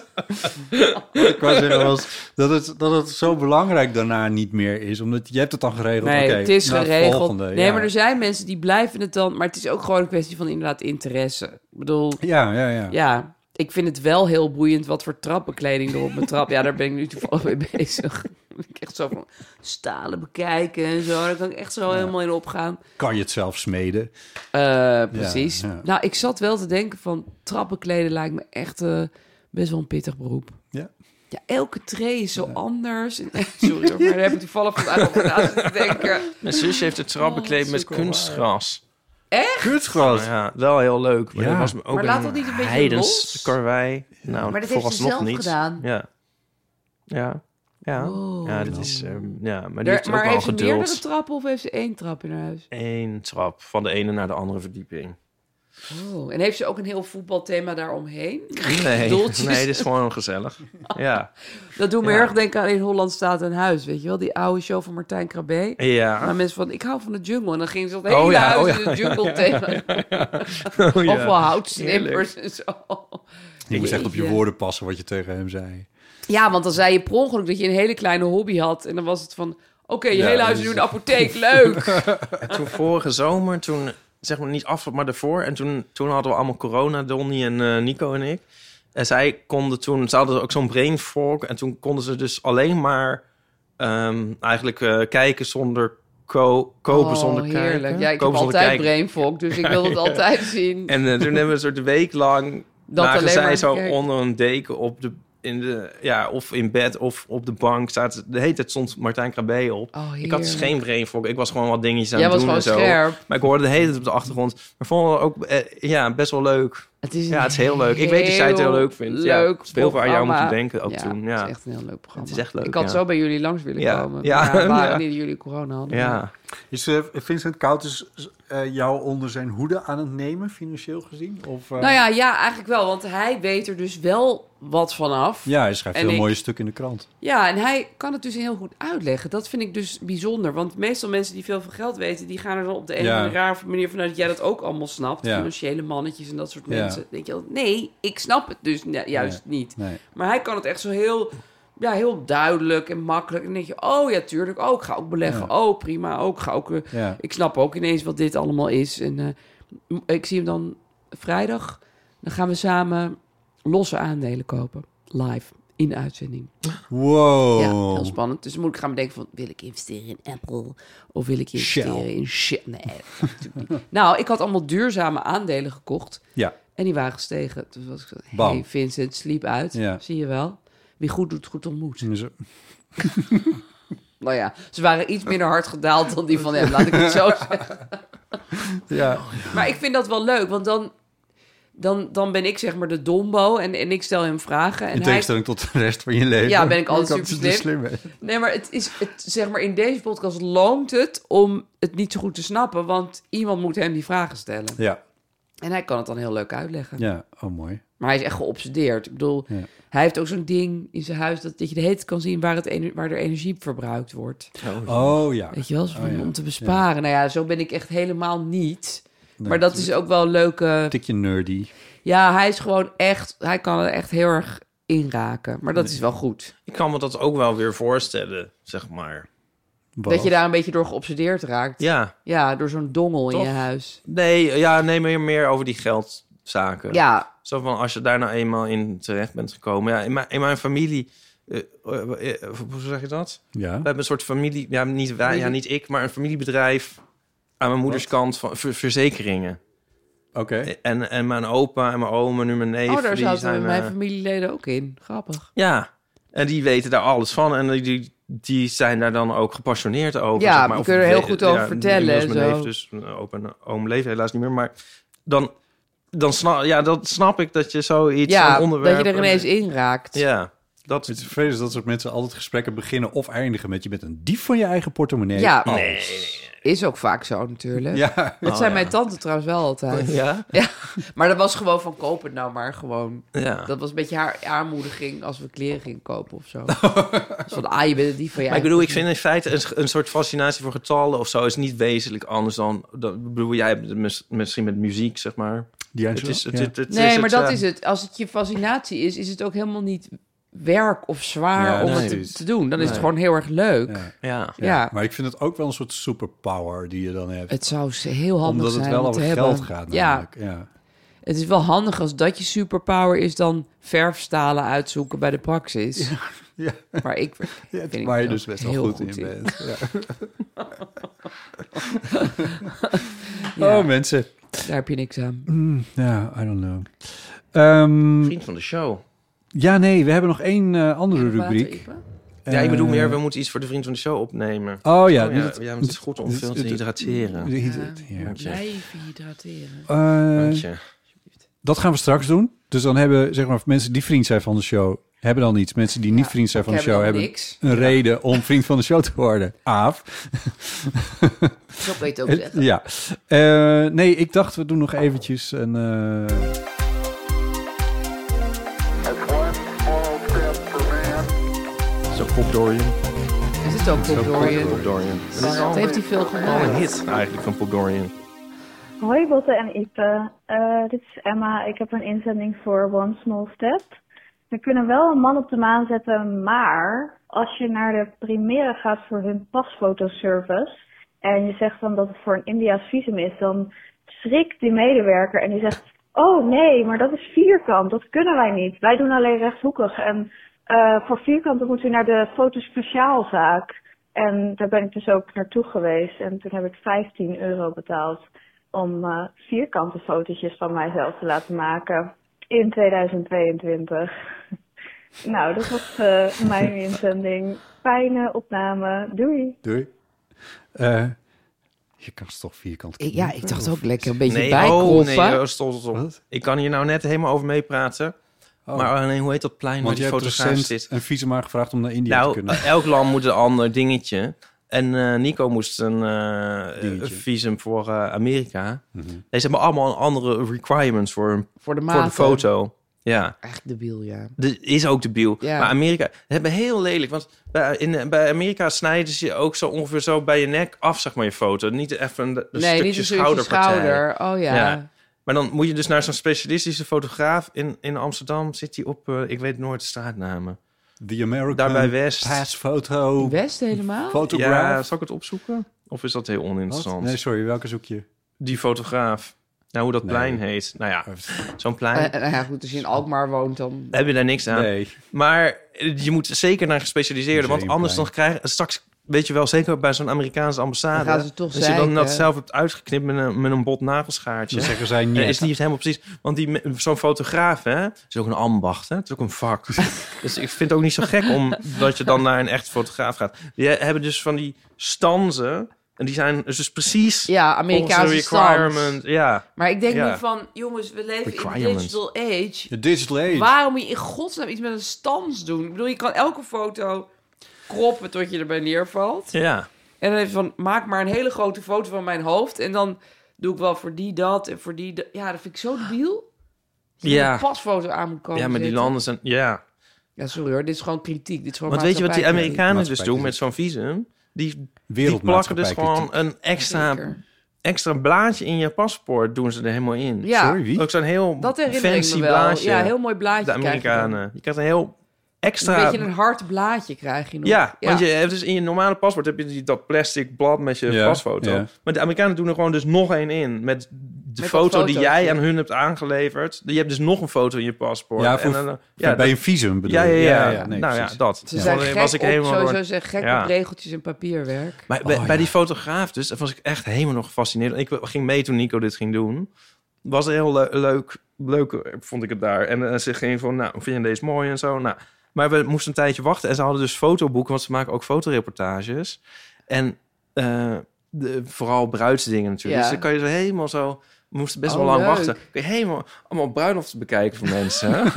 Wat ik wou zeggen was dat het, dat het zo belangrijk daarna niet meer is. Omdat je hebt het dan geregeld. Nee, oké, het is naar geregeld. volgende, nee, ja. maar er zijn mensen die blijven het dan. Maar het is ook gewoon een kwestie van inderdaad interesse. Ik bedoel, Ja, ja, ja. ja, ik vind het wel heel boeiend wat voor trappenkleding er op mijn trap. Ja, daar ben ik nu toevallig mee bezig. (laughs) ik echt zo van stalen bekijken en zo. Daar kan ik echt zo helemaal in opgaan. Kan je het zelf smeden? Eh, Precies. Ja, ja. Nou, ik zat wel te denken van trappenkleden lijkt me echt eh, best wel een pittig beroep. Ja. Ja, elke tree is zo anders. (laughs) En- Sorry hoor, maar daar heb ik toevallig vandaag over na zitten denken. Mijn zus heeft het Oh, trappenkleed met kunstgras. Echt? Kunstgras? Ja, wel heel leuk. Maar Ja. dat was me ook Maar laat dat niet een beetje heidens los? karwei. Nou, Maar dat heeft ze vooralsnog zelf niet. gedaan. Ja. Ja. Ja. Oh. ja, dat is... ehm, ja, maar die Daar- heeft ook wel heeft ze geduld. meerdere trappen of heeft ze één trap in haar huis? Eén trap van de ene naar de andere verdieping. Oh. En heeft ze ook een heel voetbalthema daaromheen? Nee, (laughs) Doeltjes? nee, dit is gewoon gezellig. Ja. Dat doet me Ja. erg denken aan In Holland staat een huis, weet je wel? Die oude show van Martijn Krabbe. Ja. Maar mensen van, ik hou van de jungle. En dan gingen ze het Oh hele ja, huis oh in ja, de jungle ja, ja, thema. ja, ja. (laughs) Oh ja. Of wel houtsnippers en zo. Je moet echt op je Jeetje. woorden passen wat je tegen hem zei. Ja, want dan zei je per ongeluk dat je een hele kleine hobby had. En dan was het van, oké, je Ja, hele huis is dus- nu een apotheek, leuk. En toen vorige zomer, toen zeg maar niet af, maar daarvoor. En toen, toen hadden we allemaal corona, Donnie en eh, Nico en ik. En zij konden toen, ze hadden ook zo'n brain fork. En toen konden ze dus alleen maar ehm, eigenlijk eh, kijken zonder ko- (laughs) kopen Oh, zonder heerlijk. kijken. Ja, ik Kopen heb zonder altijd kijken. brain fog, dus ik wil (laughs) het Ja. altijd zien. En eh, toen hebben we een soort week lang... (laughs) Dat lagen alleen zij maar zo gekeken. onder een deken op de... In de, ja, of in bed of op de bank. Zaten, de hele tijd stond Martijn Krabbe op. ik had dus Oh, heerlijk. geen brain fog. Ik was gewoon wat dingetjes aan Jij het was doen en zo. gewoon scherp. Maar ik hoorde de hele tijd op de achtergrond. Maar vond het ook eh, ja, best wel leuk. Het is, Ja, het is heel leuk. Ik weet dat jij het heel leuk vindt. Ja, Leuk het is veel waar aan jou programma. moeten denken ook toen, ja. Het is echt een heel leuk programma. Het is echt leuk, Ik had ja. zo bij jullie langs willen Ja, (laughs) komen. ja, Ja, maar ja. niet jullie corona hadden. Is eh, Vincent Koud is eh, jou onder zijn hoede aan het nemen, financieel gezien? Of, eh, Nou ja, ja, eigenlijk wel. Want hij weet er dus wel wat vanaf. Ja, hij schrijft En heel ik- mooie stukken in de krant. Ja, en hij kan het dus heel goed uitleggen. Dat vind ik dus bijzonder. Want meestal mensen die veel van geld weten... die gaan er dan op de een Ja. of andere rare manier vanuit... dat jij dat ook allemaal snapt. Ja. Financiële mannetjes en dat soort Ja. mensen. Dan denk je altijd, nee, ik snap het dus ne- juist Nee, niet. nee. Maar hij kan het echt zo heel, ja, heel duidelijk en makkelijk. En dan denk je, oh ja, tuurlijk. Oh, ik ga ook beleggen. Ja. Oh, prima. Ook ga ook, eh, Ja. Ik snap ook ineens wat dit allemaal is. En eh, m- ik zie hem dan vrijdag. Dan gaan we samen losse aandelen kopen. Live. In de uitzending. Wow. Ja, heel spannend. Dus dan moet ik gaan bedenken van... wil ik investeren in Apple? Of wil ik investeren Shell. in shit? Nee, dat kan natuurlijk niet. (laughs) Nou, ik had allemaal duurzame aandelen gekocht. Ja. En die waren gestegen. Toen was ik zo... Bam. Hey Vincent, sliep uit. Ja. Zie je wel. Wie goed doet, goed ontmoet. Dus, eh, Nou ja, ze waren iets minder hard gedaald dan die van hem. Laat ik het (laughs) zo zeggen. Ja. Maar ik vind dat wel leuk, want dan... Dan, dan ben ik zeg maar de dombo en, en ik stel hem vragen. En in hij, tegenstelling tot de rest van je leven. Ja, ben ik altijd Ook super slim. dus de slimme. Nee, maar het is, het, zeg maar, in deze podcast loont het om het niet zo goed te snappen, want iemand moet hem die vragen stellen. Ja, En hij kan het dan heel leuk uitleggen. ja, oh mooi. Maar hij is echt geobsedeerd. Ik bedoel, Ja. hij heeft ook zo'n ding in zijn huis dat, dat je de hele tijd kan zien waar, het ener- waar er energie verbruikt wordt. Oh ja. Weet je wel, zo van, Oh, ja. om te besparen. Nou ja, zo ben ik echt helemaal niet. Nee, maar dat is ook wel een leuke... Tikje nerdy. Ja, hij is gewoon echt... Hij kan er echt heel erg in raken. Maar dat is wel goed. Ik kan me dat ook wel weer voorstellen, zeg maar. Dat je daar een beetje door geobsedeerd raakt. Ja. Ja, door zo'n dongel in Toch? je huis. Nee, ja, nee meer, meer over die geldzaken. Ja. Zo van, als je daar nou eenmaal in terecht bent gekomen. Ja, in, mijn, in mijn familie... eh, eh, eh, hoe zeg je dat? Ja. We hebben een soort familie... Ja, niet, wij, ja, niet ik, maar een familiebedrijf... aan mijn moeders kant van ver- verzekeringen. Oké. En, en mijn opa en mijn oom en nu mijn neef... oh, daar die zaten zijn, mijn eh, familieleden ook in. Grappig. Ja, en die weten daar alles van. En die- die, die zijn daar dan ook gepassioneerd over. Ja, zeg maar. die Of kunnen er heel we- goed over ja, vertellen inmiddels en Mijn zo. neef, dus mijn opa en oom leeft helaas niet meer. Maar dan, dan, snap, ja, dan snap ik dat je zoiets, ja, zo'n onderwerp... dat je er ineens in raakt. Ja, dat... Het is vervelend dat soort mensen altijd gesprekken beginnen of eindigen met... je bent een dief van je eigen portemonnee. Ja, Oh. is ook vaak zo natuurlijk. Ja. Dat Oh, zijn ja. mijn tante trouwens wel (laughs) altijd. Ja? Maar dat was gewoon van koop het nou maar gewoon. Ja. Dat was een beetje haar aanmoediging als we kleren gingen kopen of (laughs) zo. Dus van, ah, je bent het die van je Maar ik eigen bedoel, ik vind in feite een, een soort fascinatie voor getallen of zo is niet wezenlijk anders dan. dan ik bedoel, jij hebt het mis- misschien met muziek, zeg maar. Die het is, het, ja. het- het Nee, is maar dat eh, is het. Als het je fascinatie is, is het ook helemaal niet werk of zwaar Ja, om nee, het te, precies. te doen. Dan is het Nee. gewoon heel erg leuk. Ja. Ja. Ja, Ja. Maar ik vind het ook wel een soort superpower die je dan hebt. Het zou ze- heel handig Omdat het zijn wel om over te geld hebben. gaat Ja. namelijk. Ja. Het is wel handig als dat je superpower is dan verfstalen uitzoeken bij de praxis. ja. Maar ik Ja, vind ik waar je dus mezelf best wel heel goed, in bent. (laughs) Ja. Ja. Oh, mensen. Daar heb je niks aan. Mm, Ja, I don't know. Ehm, vriend van de show. ja, nee, we hebben nog één eh, andere rubriek. Ja, ik bedoel Eh, meer, we moeten iets voor de vriend van de show opnemen. Oh ja, ja, dat- ja, want het is goed om dat- veel te dat- hydrateren. dat- ja. Dank je. Blijf hydrateren. Eh, Dank je. dat gaan we straks doen. Dus dan hebben zeg maar, mensen die vriend zijn van de show, hebben dan iets. Mensen die niet vriend zijn van de hebben show, dan hebben niks. een reden om vriend van de show te (laughs) worden. Aaf. Zo kan je het ook Het- zeggen. ja. Eh, nee, ik dacht, we doen nog eventjes een... eh, Zo, Pop Dorian. Is het ook Bob Pop Dorian? Dorian. Dat is Dat al, heeft hij veel al een gemaakt. hit eigenlijk van Pop Dorian. Hoi Botte en Ipe, Eh, dit is Emma. Ik heb een inzending voor One Small Step. We kunnen wel een man op de maan zetten, maar als je naar de première gaat voor hun pasfotoservice en je zegt dan dat het voor een Indiaas visum is, dan schrikt die medewerker en die zegt, oh nee, maar dat is vierkant, dat kunnen wij niet. Wij doen alleen rechthoekig en eh, voor vierkant dan moet u naar de fotospeciaalzaak. En daar ben ik dus ook naartoe geweest en toen heb ik 15 euro betaald om eh, vierkante fotootjes van mijzelf te laten maken in 2022. (laughs) nou, dat was eh, mijn inzending. Fijne opname. Doei. Doei. Eh, Je kan ze toch vierkant Ik- ja, ik dacht ook lekker een beetje Nee, oh, nee, bijkroppen. oh, stop, stop, stop. Ik kan hier nou net helemaal over meepraten. Maar eh, nee, hoe heet dat plein waar Oh. Want je die hebt fotograaf recent zit? een visum aangevraagd om naar India te Nou, (laughs) kunnen. elk land moet een ander dingetje. En eh, Nico moest een eh, een visum voor eh, Amerika. Mhm. Nee, ze hebben allemaal andere requirements voor, hun- Voor de voor de eh, maten. foto. Ja. Echt debiel, ja. Dit is ook debiel. Ja. Maar Amerika, het hebben heel lelijk. Want bij, in, bij Amerika snijden ze je ook zo ongeveer zo bij je nek af, zeg maar, je foto. Niet even een, een Nee, stukje niet een stukje schouderpartij. schouder. Oh ja. Maar dan moet je dus naar zo'n specialistische fotograaf in, in Amsterdam. Zit die op, eh, ik weet nooit de straatnamen. The American Daarbij West. Pass Photo. West helemaal? Photograph. Ja, zal ik het opzoeken? Of is dat heel oninteressant? Wat? Nee, sorry, welke zoek je? Die fotograaf. Nou, hoe dat Nee. plein heet. Nou ja, zo'n plein. Eh, nou ja, goed, als je in Alkmaar woont, dan... heb je daar niks aan. Nee. Maar eh, je moet zeker naar gespecialiseerde. Want anders dan krijg je straks, weet je wel, zeker bij zo'n Amerikaanse ambassade. Dan gaan ze toch als je dan zeiken. dat zelf hebt uitgeknipt met een, met een bot nagelschaartje. Dan zeggen zij niet. Dat is niet helemaal precies. Want die me- zo'n fotograaf, hè, is ook een ambacht, hè? Het is ook een (laughs) vak. dus ik vind het ook niet zo gek om dat je dan naar een echt fotograaf gaat. Die hebben dus van die stanzen. En die zijn dus precies Ja, Amerikaanse volgens de requirement. stand. Ja. Maar ik denk Ja. nu van, jongens, we leven in de Requirements. digital age. De digital age. Waarom moet je in godsnaam iets met een stans doen? Ik bedoel, je kan elke foto kroppen tot je erbij neervalt. Ja. En dan even van, maak maar een hele grote foto van mijn hoofd. En dan doe ik wel voor die dat en voor die dat. Ja, dat vind ik zo debiel. Dat je Ja. een pasfoto aan moet komen ja, maar die zetten. landen zijn... Ja. Ja, sorry hoor, dit is gewoon kritiek. Dit is gewoon Want weet je wat die maatschappijkritiek. Amerikanen dus doen met zo'n visum? Die, die plakken dus Wereldmaatschappijkritiek. gewoon een extra, extra blaadje in je paspoort. Doen ze er helemaal in. Ja. Sorry, Ook zo'n heel Dat herinner fancy ik me wel. blaadje. Ja, heel mooi blaadje De krijg je Amerikanen. Je krijgt een heel extra... Een beetje een hard blaadje krijg je nog. Ja, want je hebt dus in je normale paspoort heb je die, dat plastic blad met je Ja, pasfoto. ja. Maar de Amerikanen doen er gewoon dus nog één in. Met de dat foto die fotootje. jij aan hun hebt aangeleverd. Je hebt dus nog een foto in je paspoort. Ja, voor- dan- voor- bij een visum bedoel ja, ja, je? ja, Ja, ja. ja, nee, nou ja, precies. dat. Ze zijn Dan gek op, sowieso door- zijn gek Ja. op regeltjes en papierwerk. Maar bij, bij die fotograaf dus, daar was ik echt helemaal nog gefascineerd. Ik ging mee toen Nico dit ging doen. Was heel le- leuk, leuk eh, vond ik het daar. En eh, ze ging van, nou, vind je deze mooi en zo? Nou, maar we moesten een tijdje wachten. En ze hadden dus fotoboeken, want ze maken ook fotoreportages. En eh, de, vooral bruidsdingen natuurlijk. Ja. Dus dan kan je zo helemaal zo... We moesten best Oh, wel lang leuk. wachten. Kun je helemaal allemaal bruiloften bekijken van (laughs) mensen.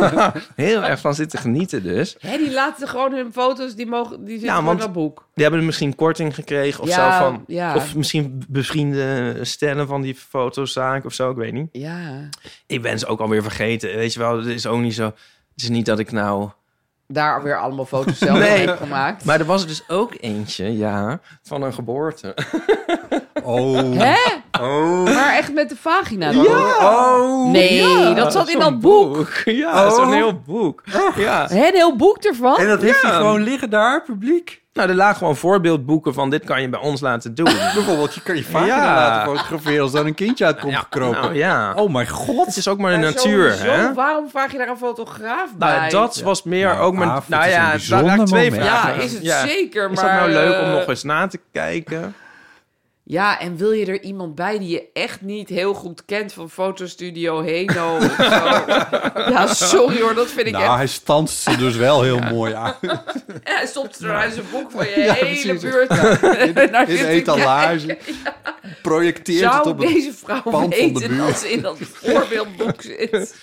heel erg van zitten genieten dus. Hé, die laten gewoon hun foto's, die, mogen, die zitten Ja, gewoon want- in dat boek. Die hebben misschien korting gekregen of Ja, zo. Van, ja. Of misschien bevriende stellen van die fotozaak of zo. Ik weet niet. Ja, Ik ben ze ook alweer vergeten. Weet je wel, het is ook niet zo... Het is niet dat ik nou... daar weer allemaal foto's zelf Nee. heb gemaakt. Maar er was dus ook eentje, ja, van een geboorte. Oh. Hè? Oh. Maar echt met de vagina dan? Oh. Nee, ja, dat zat in zo'n dat boek. Ja, Oh. zo'n heel boek. Ja. Hè, een heel boek ervan? En dat heeft hij Ja. gewoon liggen daar, publiek. Nou, er lagen gewoon voorbeeldboeken van... dit kan je bij ons laten doen. (laughs) Bijvoorbeeld, je kan je vagina Ja. laten fotograferen als daar een kindje uit komt gekropen. Nou, ja. Oh mijn god. Het is ook maar de Maar natuur, sowieso, hè? Waarom vraag je daar een fotograaf bij? Nou, dat was meer Nou, ook mijn... Aaf, het nou is een ja, daar bijzonder raak ik twee moment. Ja, vragen. is het Ja. zeker, Is maar... dat nou leuk om eh, nog eens na te kijken? Ja, en wil je er iemand bij die je echt niet heel goed kent van fotostudio Heno of zo? Ja, sorry hoor, dat vind ik Nou, echt... hij stanst ze dus wel heel mooi aan. Ja, hij stopt er uit zijn boek van je Ja, hele precies. buurt. In de etalage. Projecteert het Zou op een... deze vrouw pand van de weten buurt. dat ze in dat voorbeeldboek zit?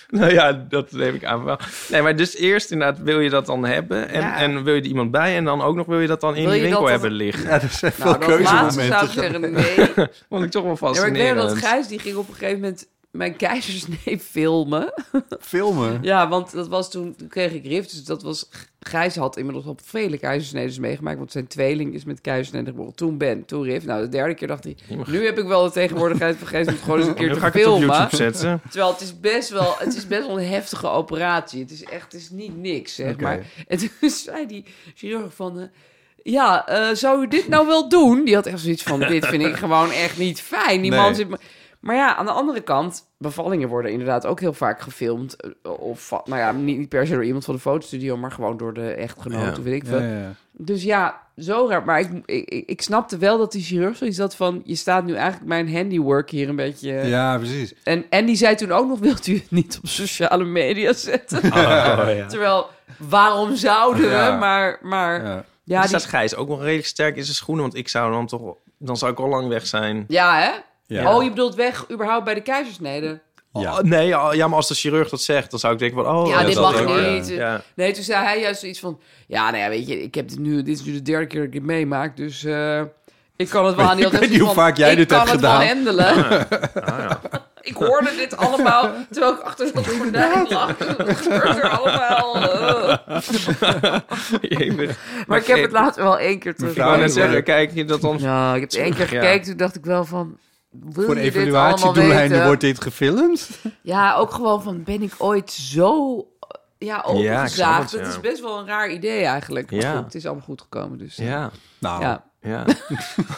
(laughs) Nou ja, dat neem ik aan wel. Nee, maar dus eerst inderdaad wil je dat dan hebben. En, Ja. en wil je er iemand bij. En dan ook nog wil je dat dan in Wil die je dat winkel dan- hebben liggen. Ja, er zijn Nou, veel dat laatste zou ik keuzemomenten. zeggen nee. Vond ik toch wel Ja, maar ik fascinerend. weet nog dat Gijs die ging op een gegeven moment mijn keizersnee (laughs) filmen. Filmen. Ja, want dat was toen, toen kreeg ik rift. Dus dat was, Gijs had inmiddels al vele keizersnedes meegemaakt. Want zijn tweeling is met keizersnede geboren. Toen Ben, toen rift. Nou, de derde keer dacht hij, nu heb ik wel de tegenwoordigheid van Gijs om het (laughs) gewoon eens een keer Nu ga te ik het op filmen. YouTube zetten. Terwijl het is best wel, het is best wel een heftige operatie. Het is echt, het is niet niks, zeg Oké. maar. En toen (laughs) zei die chirurg van, eh, ja, eh, zou u dit nou wel doen? Die had echt zoiets van, dit vind (laughs) ik gewoon echt niet fijn. Die Nee. man zit... me- Maar ja, aan de andere kant, bevallingen worden inderdaad ook heel vaak gefilmd. eh, Of, va- nou ja, niet, niet per se door iemand van de fotostudio, maar gewoon door de echtgenoot, Ja. of weet ik Ja, veel. ja, ja. Dus ja, zo raar. Maar ik, ik, ik- ik snapte wel dat die chirurg zoiets had van... je staat nu eigenlijk mijn handiwork hier een beetje... eh, Ja, precies. en, en die zei toen ook nog, wilt u het niet op sociale media (laughs) zetten? Terwijl, waarom zouden we? Ja. Maar, maar ja, Ja. Ja, die, staat Gijs ook wel redelijk sterk in zijn schoenen. Want ik zou dan toch dan zou ik al lang weg zijn. Ja, hè? Ja. Oh, je bedoelt weg überhaupt bij de keizersnede? Oh, nee, oh, ja, maar als de chirurg dat zegt, dan zou ik denken van... Oh, ja, dit dat mag ook, niet. Ja. Nee, toen zei hij juist zoiets van... Ja, nou ja, weet je, ik heb dit, nu, dit is nu de derde keer dat ik dit meemaak, dus... eh, ik kan het wel Ik aan die weet niet hoe vaak jij dit hebt gedaan. Ik kan het wel handelen. Ah, (laughs) ja. Ik hoorde dit allemaal terwijl ik achter dat gordijn lag. (laughs) Het gebeurt er (laughs) allemaal. eh. Maar ik heb het later wel één keer terug. Ik wou net zeggen, kijk je dat dan... Ja, ik heb één keer gekeken, toen dacht ik wel van... Wil Voor je dit allemaal evaluatiedoeleinden weten? wordt dit gefilmd. Ja, ook gewoon van ben ik ooit zo eh, ja, Ja, ik snap het, opengezaagd. ja. Dat is best wel een raar idee eigenlijk. Maar Ja. goed, het is allemaal goed gekomen. Dus, eh, Ja. Nou. Ja. Ja.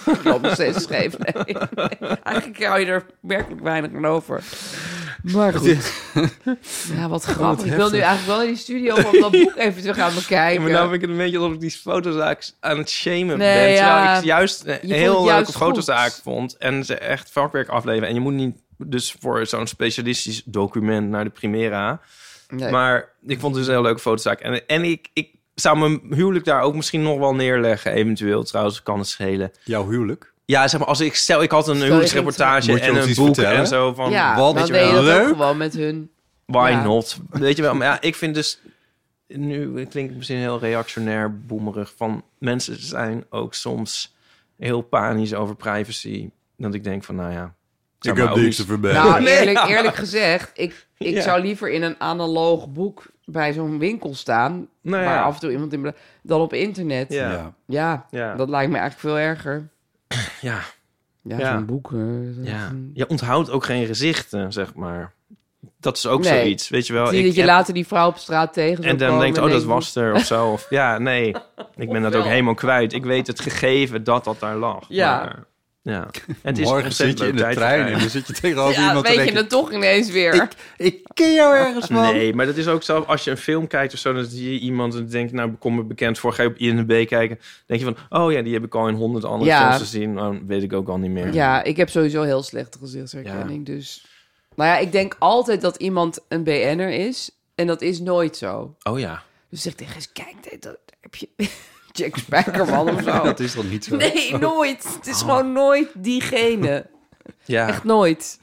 ik loop nog steeds scheef. Nee, nee. (laughs) Eigenlijk hou je er werkelijk weinig aan over. Maar goed. Ja, wat grappig. ik wil nu eigenlijk wel in die studio om dat boek even terug aan Ja, bekijken. maar nou vind ik het een beetje alsof ik die fotozaak aan het shamen eh, Nee, ben. Terwijl ja. ik juist Je een vond het heel juist leuke goed. fotozaak vond. En ze echt vakwerk afleveren. En je moet niet dus voor zo'n specialistisch document naar de Primera. Nee. Maar ik vond het dus een heel leuke fotozaak. En, en ik, ik zou mijn huwelijk daar ook misschien nog wel neerleggen. Eventueel trouwens, kan het schelen. Jouw huwelijk? Ja, zeg maar, als ik stel, ik had een je huwelijksreportage ging- Moet je en ons een iets boek vertellen? en zo van ja, wat dan je deed je wel. dat ook gewoon met hun. Why Ja. not? Weet je wel, maar ja, ik vind dus... Nu klinkt het misschien heel reactionair, boemerig... van mensen zijn ook soms heel panisch over privacy. Dat ik denk van, nou ja... zou Ik mij heb ook niks niet- te verbergen. Nou, eh, (laughs) Nee. eerlijk, eerlijk gezegd, ik, ik Ja. zou liever in een analoog boek bij zo'n winkel staan, Nou ja. waar af en toe iemand in bla- dan op internet. Ja. Ja. Ja. Ja. dat lijkt me eigenlijk veel erger. Ja. Ja, Ja. zo'n boek. eh, dat- ja. Je onthoudt ook geen gezichten, zeg maar. Dat is ook Nee. zoiets, weet je wel. Zie ik dat je heb- later die vrouw op straat tegen zou En dan komen denkt, oh, dat denkt, was er of zo. Of, ja, nee, ik ben dat ook helemaal kwijt. Ik weet het gegeven dat dat daar lag. Ja. maar, ja. Het is Morgen ontzettend zit je in leuk de tijd trein en verdrijven. dan zit je oh, tegenover Ja, iemand te weet je denken... dat toch ineens weer. Ik ken jou ergens van. Nee, maar dat is ook zo. Als je een film kijkt of zo, dan zie je iemand en denkt, nou, kom me bekend voor. Ga je op INB kijken, denk je van, oh ja, die heb ik al in honderd andere Ja. films gezien. Nou, weet ik ook al niet meer. Ja, ik heb sowieso heel slechte gezichtsherkenning, dus... Nou ja, ik denk altijd dat iemand een BN'er is, en dat is nooit zo. Oh ja. Dus zeg tegen eens, kijk, dit- dat heb je... (laughs) Jack Spijkerman of zo. Dat is dan niet zo. (laughs) Ah. Nee, nooit. Het is gewoon nooit diegene. Ja. Echt nooit.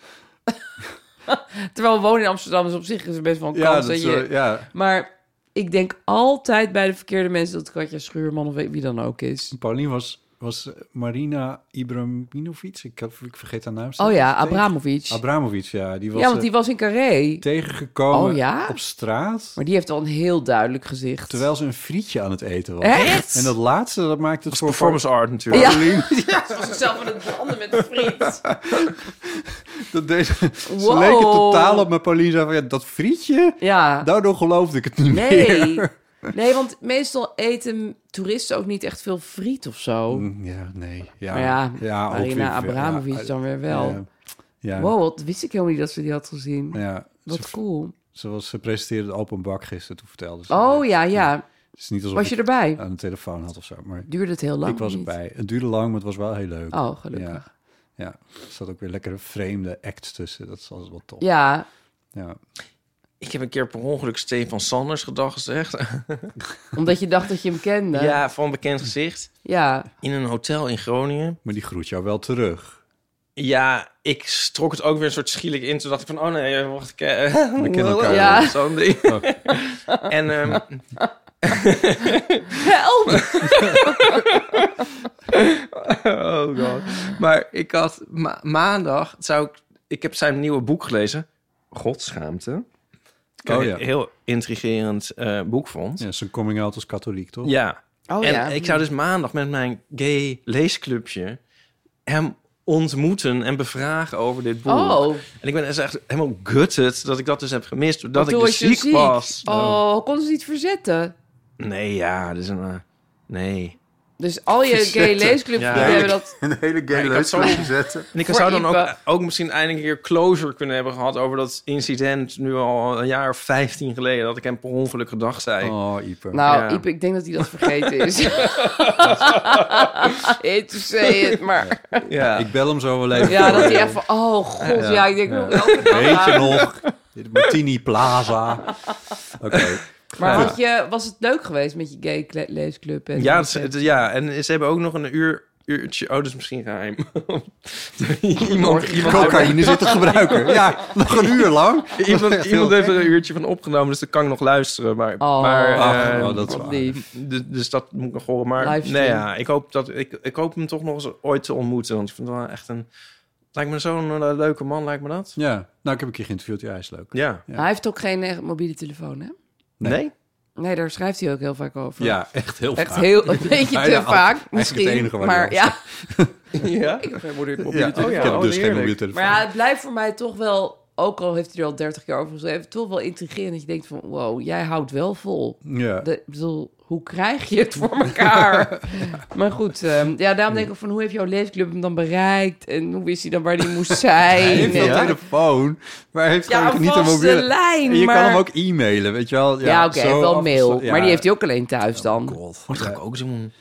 (laughs) Terwijl wonen in Amsterdam is op zich is er best wel een Ja, kans dat dat, is, je... eh, ja. Maar ik denk altijd bij de verkeerde mensen dat Katja Schuurman of wie dan ook is. Paulien was, was Marina Ibraminovic. Ik, heb- ik vergeet haar naam. Oh ja, Abramovic. Abramovic, ja. Die was, ja, want eh, die was in Carré. tegengekomen Oh ja? op straat. Maar die heeft al een heel duidelijk gezicht. Terwijl ze een frietje aan het eten was. Echt? En dat laatste, dat maakte het voor... Performance art natuurlijk. Ja. Paulien. (laughs) Ja, ze was zichzelf aan het branden met een friet. Dat deed, Ze Wow. leek het totaal op, maar Paulien zei van... Ja, dat frietje? (laughs) Ja. Daardoor geloofde ik het niet Nee. meer. Nee, want meestal eten toeristen ook niet echt veel friet of zo. Ja, nee. Mm. Ja, Maar ja, ook Marina weer- Abramovic ja, dan weer wel. Ja, ja. Wow, wat wist ik helemaal niet dat ze die had gezien. Ja, Wat cool. Zoals ze presenteerde het open bak gisteren, toen vertelde ze. Oh ja, ja. Het is niet alsof Was je ik erbij? Aan de telefoon had of zo. Maar Duurde het heel lang Ik was of niet? erbij. Het duurde lang, maar het was wel heel leuk. Oh, gelukkig. Ja, ja. er zat ook weer lekkere vreemde acts tussen. Dat is altijd wel tof. Ja. Ja. Ik heb een keer per ongeluk Stefan Sanders gedacht gezegd. Omdat je dacht dat je hem kende. ja, van bekend gezicht. Ja. In een hotel in Groningen. Maar die groet jou wel terug. Ja, ik strok het ook weer een soort schielijk in. Toen dacht ik van, oh nee, wacht, ik... eh, (laughs) We kennen elkaar Ja. wel. Zo'n ding. (laughs) En ehm, Help! (laughs) oh god. Maar ik had ma- maandag zou ik, ik heb zijn nieuwe boek gelezen. Godschaamte. Dat Oh, ik ja. een heel intrigerend eh, boek vond. Ja, zijn coming out als katholiek, toch? Ja. Oh, en ja. ik zou dus maandag met mijn gay leesclubje hem ontmoeten en bevragen over dit boek. Oh. En ik ben dus echt helemaal gutted dat ik dat dus heb gemist. Doordat Toen ik dus was je ziek, was. Oh, kon ze niet verzetten? Nee, ja, dus een... eh, nee. Dus al je gay leesclubs Ja. die hebben dat... Een hele Ja, gay ik had leuk zo'n- zetten. En ik Voor zou dan ook, Ipe. ook misschien eindelijk een keer closure kunnen hebben gehad over dat incident nu al een jaar of 15 geleden dat ik hem per ongeluk gedacht zei. Oh, Ieper. Nou, Ja. Iep, ik denk dat hij dat vergeten is. Hate to say it, maar... ja. Ik bel hem zo wel even. Ja, dat hij echt van... Oh, god, ja, ik denk nog elke dag Weet je aan. nog? Dit Martini Plaza. (laughs) Oké. Maar had je, was het leuk geweest met je gay kle- leesclub? En ja, het is- het- ja, en ze hebben ook nog een uur uurtje. Oh, dat is misschien geheim. (laughs) iemand, Cocaïne zit te gebruiken. Ja, nog een uur lang. Dat is (laughs) Iemand, echt iemand heel heeft er een uurtje van opgenomen, dus dat kan ik nog luisteren. Maar, Oh. maar Ach, nou, eh, oh, dat is wat waar. lief. Dus, dus dat moet ik nog horen. Maar Livestream. nee, ja, ik, hoop dat, ik, ik hoop hem toch nog eens ooit te ontmoeten. Want ik vind het wel echt een... Lijkt me zo'n eh, leuke man, lijkt me dat. Ja, nou, ik heb een keer geïnterviewd. Ja, hij is leuk. Ja. Hij heeft ook geen eh, mobiele telefoon, hè? Nee. Nee? Nee, daar schrijft hij ook heel vaak over. Ja, echt heel echt vaak. Heel, een beetje Bijna te altijd. vaak, Eigenlijk het misschien. enige waar hij maar (laughs) op ja. (laughs) Oh, Ja? Ik heb geen mobiele Ja, ik telefoon. heb dus geen mobiele heerlijk. telefoon. Maar ja, het blijft voor mij toch wel, ook al heeft hij er al 30 jaar over geschreven, toch wel intrigerend dat je denkt van, wow, jij houdt wel vol. Ja. De- ik bedoel, hoe krijg je het voor (laughs) elkaar? Maar goed, ehm, ja, daarom denk ik ook van, hoe heeft jouw leesclub hem dan bereikt? En hoe wist hij dan waar hij moest zijn? (laughs) Hij heeft wel En- telefoon, maar hij heeft Ja, gewoon een niet een vaste mobiele... lijn, En je maar- kan hem ook e-mailen, weet je wel. Ja, oké, hij zo heeft wel af- mail. ja. Maar die heeft hij ook alleen thuis dan. dat ga ik ook doen.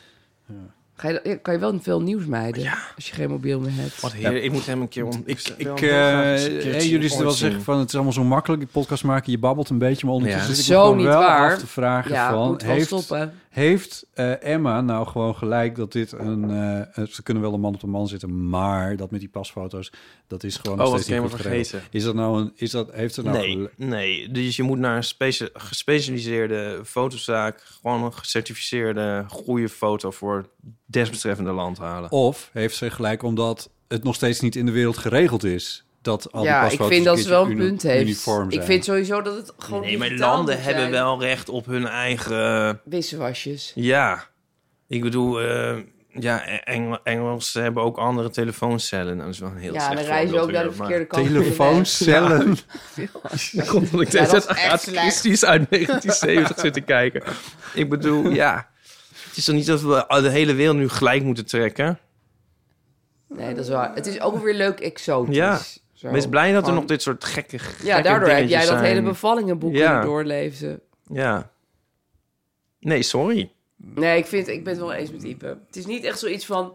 Ga je, ja, kan je wel veel nieuws mijden als je geen mobiel meer hebt. Wat heer, ik moet hem een keer... Om, ik, ik, Ik, wil hem heel graag eens een eh, keertje hey, jullie zullen wel ooit zien. zeggen van het is allemaal zo makkelijk, die podcast maken, je babbelt een beetje, maar ondertussen Ja. zit ik Zo me gewoon niet wel waar. af te vragen Ja, van, moet wel heeft, stoppen. heeft eh, Emma nou gewoon gelijk dat dit een, eh, ze kunnen wel een man op een man zitten, maar dat met die pasfoto's, dat is gewoon Oh, nog was steeds ik niet goed helemaal geregeld. vergeten. Is dat nou een, is dat, heeft er nou nee, gel- nee, dus je moet naar een specia- gespecialiseerde fotozaak... gewoon een gecertificeerde goede foto voor het desbetreffende land halen. Of heeft ze gelijk omdat het nog steeds niet in de wereld geregeld is? Dat al die Ja, ik pasfoto's vind dat ze wel een keertje uni- punt heeft. uniform Ik zijn. vind sowieso dat het gewoon Nee, maar digitaal landen moet hebben zijn. wel recht op hun eigen... eh, Wisselwasjes. Ja, ik bedoel... eh, ja, Engel, Engelsen hebben ook andere telefooncellen. Nou, Dat is wel een heel Ja, slecht dan reizen voorbeeld ook naar de weer, maar- verkeerde kant van de Telefooncellen. (laughs) weg. Ja. Komt (laughs) omdat ik Ja, dat deze is ja, echt slecht. precies uit 1970 zit te kijken. Ik bedoel, ja. Het is toch niet dat we de hele wereld nu gelijk moeten trekken? Nee, dat is waar. Het is ook wel weer leuk exotisch. Ja. Zo. Wees blij dat er Gewoon- nog dit soort gekke, gekke Oh, Ja, daardoor heb jij dingetjes dat zijn. hele bevallingenboek Ja. kunnen doorleven. Ja. Nee, sorry. Nee, ik, vind, ik ben het wel eens met Ipe. Het is niet echt zoiets van...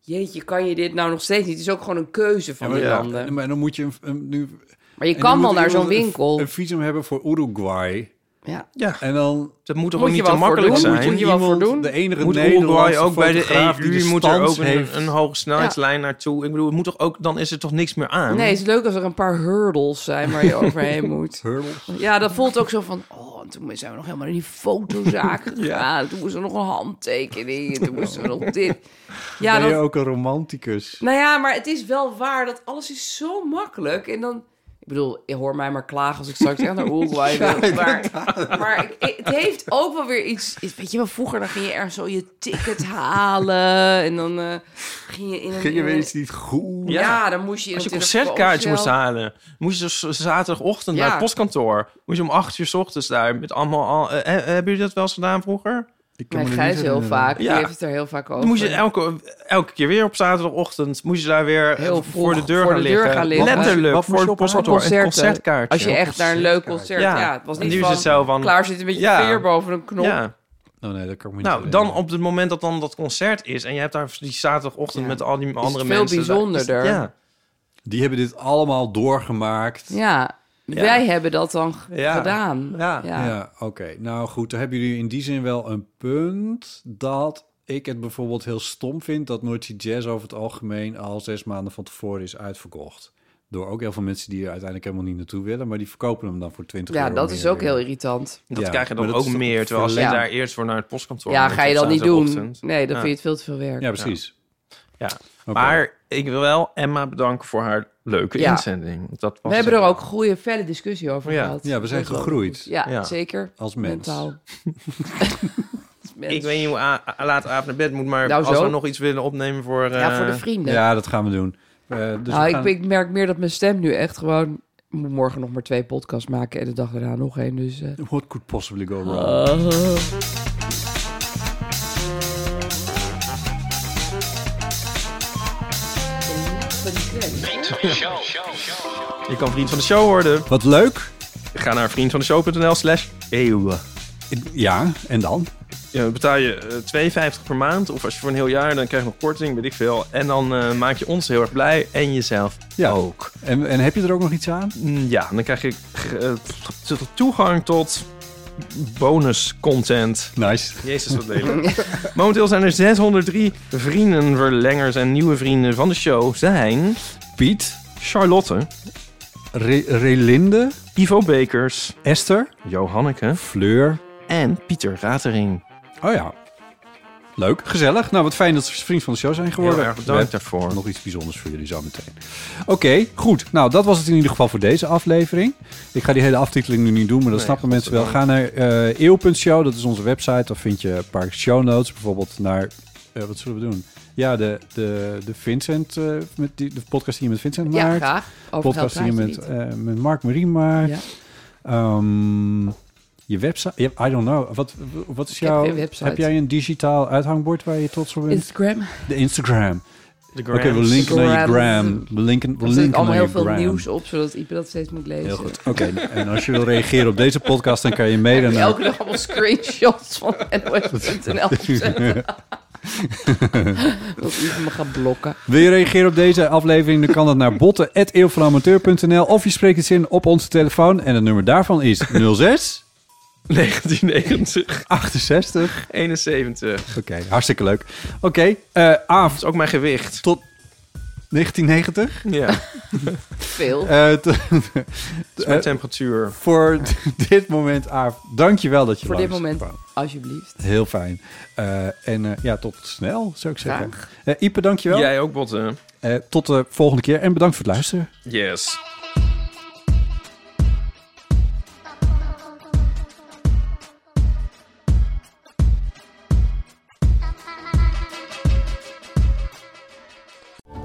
Jeetje, kan je dit nou nog steeds niet? Het is ook gewoon een keuze van Ja, maar, die ja, landen. maar dan moet je een, een- nu. Maar je en kan dan wel moet naar zo'n iemand een- winkel. Een, visum hebben voor Uruguay. Ja. ja. En dan. Dat moet toch ook niet te makkelijk zijn? Moet je wat voor doen? De enige moet Uruguay Nederlandse ook bij de fotograaf die EU de moet er stans ook heeft. een, een hoge snelheidslijn naartoe. Ik bedoel, het moet toch ook, dan is er toch niks meer aan? Nee, het is leuk als er een paar hurdles zijn waar (laughs) je overheen moet. hurdles? Ja, dat voelt ook zo van... Oh, en toen zijn we nog helemaal in die fotozaak (laughs) gegaan. Toen moesten we nog een handtekening. En toen moesten we nog dit. Ja, ben je dat- ook een romanticus? Nou ja, maar het is wel waar dat alles is zo makkelijk. En dan... Ik bedoel, je hoor mij maar klagen als ik straks echt naar Uruguay Ja, wil. Maar, maar ik- het heeft ook wel weer iets... iets- Weet je wel, vroeger dan ging je ergens zo je ticket halen. En dan eh, ging je in een... Ging je in weer een- eens niet goed? Ja, dan moest je in Als je een concertkaartjes telefooncel- moest halen, moest je dus zaterdagochtend Ja. naar het postkantoor. Moest je om acht uur 's ochtends daar met allemaal... Al, eh, eh, hebben jullie dat wel eens gedaan vroeger? Ik Mijn Gijs heel vaak, die heeft het er heel vaak over. Dan moest je elke, elke keer weer op zaterdagochtend moest je daar weer eh, Heel vroeg voor de deur, voor gaan, de deur liggen. gaan liggen. Letterlijk, Wat moest voor je het ophalen? postkantoor. Een Concerten. concertkaartje. Als je echt naar een leuk concert... Ja, het was En niet nu van, is het zo van... Klaar zit een beetje Ja. veer boven een knop. Ja. Oh nee, dat kan ik me niet Nou, herinneren. dan op het moment dat dan dat concert is... en je hebt daar die zaterdagochtend met al die andere veel mensen... bijzonderder. Ja. Die hebben dit allemaal doorgemaakt. Ja, Ja. wij hebben dat dan g- Ja. gedaan. Ja. Ja, oké. Nou goed, dan hebben jullie in die zin wel een punt dat ik het bijvoorbeeld heel stom vind dat Noordse Jazz over het algemeen al zes maanden van tevoren is uitverkocht. Door ook heel veel mensen die er uiteindelijk helemaal niet naartoe willen, maar die verkopen hem dan voor 20 Ja, euro. dat is meer ook weer. heel irritant. Dat Ja, krijg je maar dan dat ook is toch meer. Terwijl als je verlengd. daar eerst voor naar het postkantoor Ja, moet ga je op dat niet doen. zaterdagochtend. Nee, dan Ja. vind je het veel te veel werk. Ja, precies. Ja. Oké. Maar ik wil wel Emma bedanken voor haar leuke Ja. inzending. Want Dat was We hebben er ook goede, felle discussie over Ja. gehad. Ja, we zijn Dat was wel gegroeid. goed. Ja, Ja. zeker. Als mens. (laughs) Mentaal. Ik weet niet hoe a- a- laat Aaf naar bed moet, maar Nou, als zo. we nog iets willen opnemen voor... eh, Ja, voor de vrienden. Ja, dat gaan we doen. Eh, dus nou, we ik, gaan- ik merk meer dat mijn stem nu echt gewoon... Ik moet morgen nog maar twee podcasts maken en de dag daarna nog één. Dus, eh. What could possibly go wrong? Ah. Je kan vriend van de show worden. Wat leuk. Ga naar vriendvandeshow.nl slash eeuw. Ja, en dan? Ja, betaal je eh, 2,50 per maand. Of als je voor een heel jaar, dan krijg je nog korting, weet ik veel. En dan eh, maak je ons heel erg blij en jezelf Ja. ook. En, en heb je er ook nog iets aan? Mm, Ja, dan krijg je eh, toegang tot bonus content. Nice. Jezus, wat lelijk. Momenteel zijn er 603 vrienden, verlengers en nieuwe vrienden van de show zijn... Piet. Charlotte. Relinde. Ivo Bekers. Esther. Johanneke. Fleur. En Pieter Ratering. Oh ja. Leuk, gezellig. Nou, wat fijn dat ze vriend van de show zijn geworden. Heel erg bedankt We hebben daarvoor. Nog iets bijzonders voor jullie zo meteen. Oké, goed. Nou, dat was het in ieder geval voor deze aflevering. Ik ga die hele aftiteling nu niet doen, maar dat Nee, snappen mensen wel. Ga naar eh eeuw.show, dat is onze website. Daar vind je een paar show notes. Bijvoorbeeld naar, eh, wat zullen we doen? Ja, de, de, de Vincent, eh, met die, de podcast die je met Vincent Ja, maakt. graag. Over podcast die je geld praat met, je eh, met Mark Marie maakt. Ja. Ehm, je website, ja, I don't know. Wat, wat is heb jouw... geen website. heb jij een digitaal uithangbord waar je trots op bent? Instagram. De Instagram. De Oké, grams. we (laughs) linken naar je Grams. gram. We linken, we Er zit linken allemaal naar heel je veel gram. nieuws op, zodat Ipe dat steeds moet lezen. Heel goed. Oké, en als je wil reageren op deze podcast, dan kan je mailen naar... Elke dag allemaal screenshots van NOS.nl. (laughs) Dat Ipe me gaat blokken. Wil je reageren op deze aflevering? Dan kan dat naar botten.eeuwvanamateur.nl of je spreekt iets in op onze telefoon. En het nummer daarvan is 06... 1990. 68. 71. Oké, hartstikke leuk. Oké, eh, Aaf. Dat is ook mijn (laughs) gewicht. Tot 1990? Ja. Veel. Eh, t- (laughs) is mijn eh, temperatuur. Voor (laughs) d- dit moment, Aaf, dankjewel dat je Voor dit langs moment, kwam. alsjeblieft. Heel fijn. Eh, en eh, ja, tot snel, zou ik zeggen. Eh Ipe, dankjewel. Jij ook, Botten. Eh, tot de volgende keer en bedankt voor het luisteren. Yes.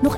Nog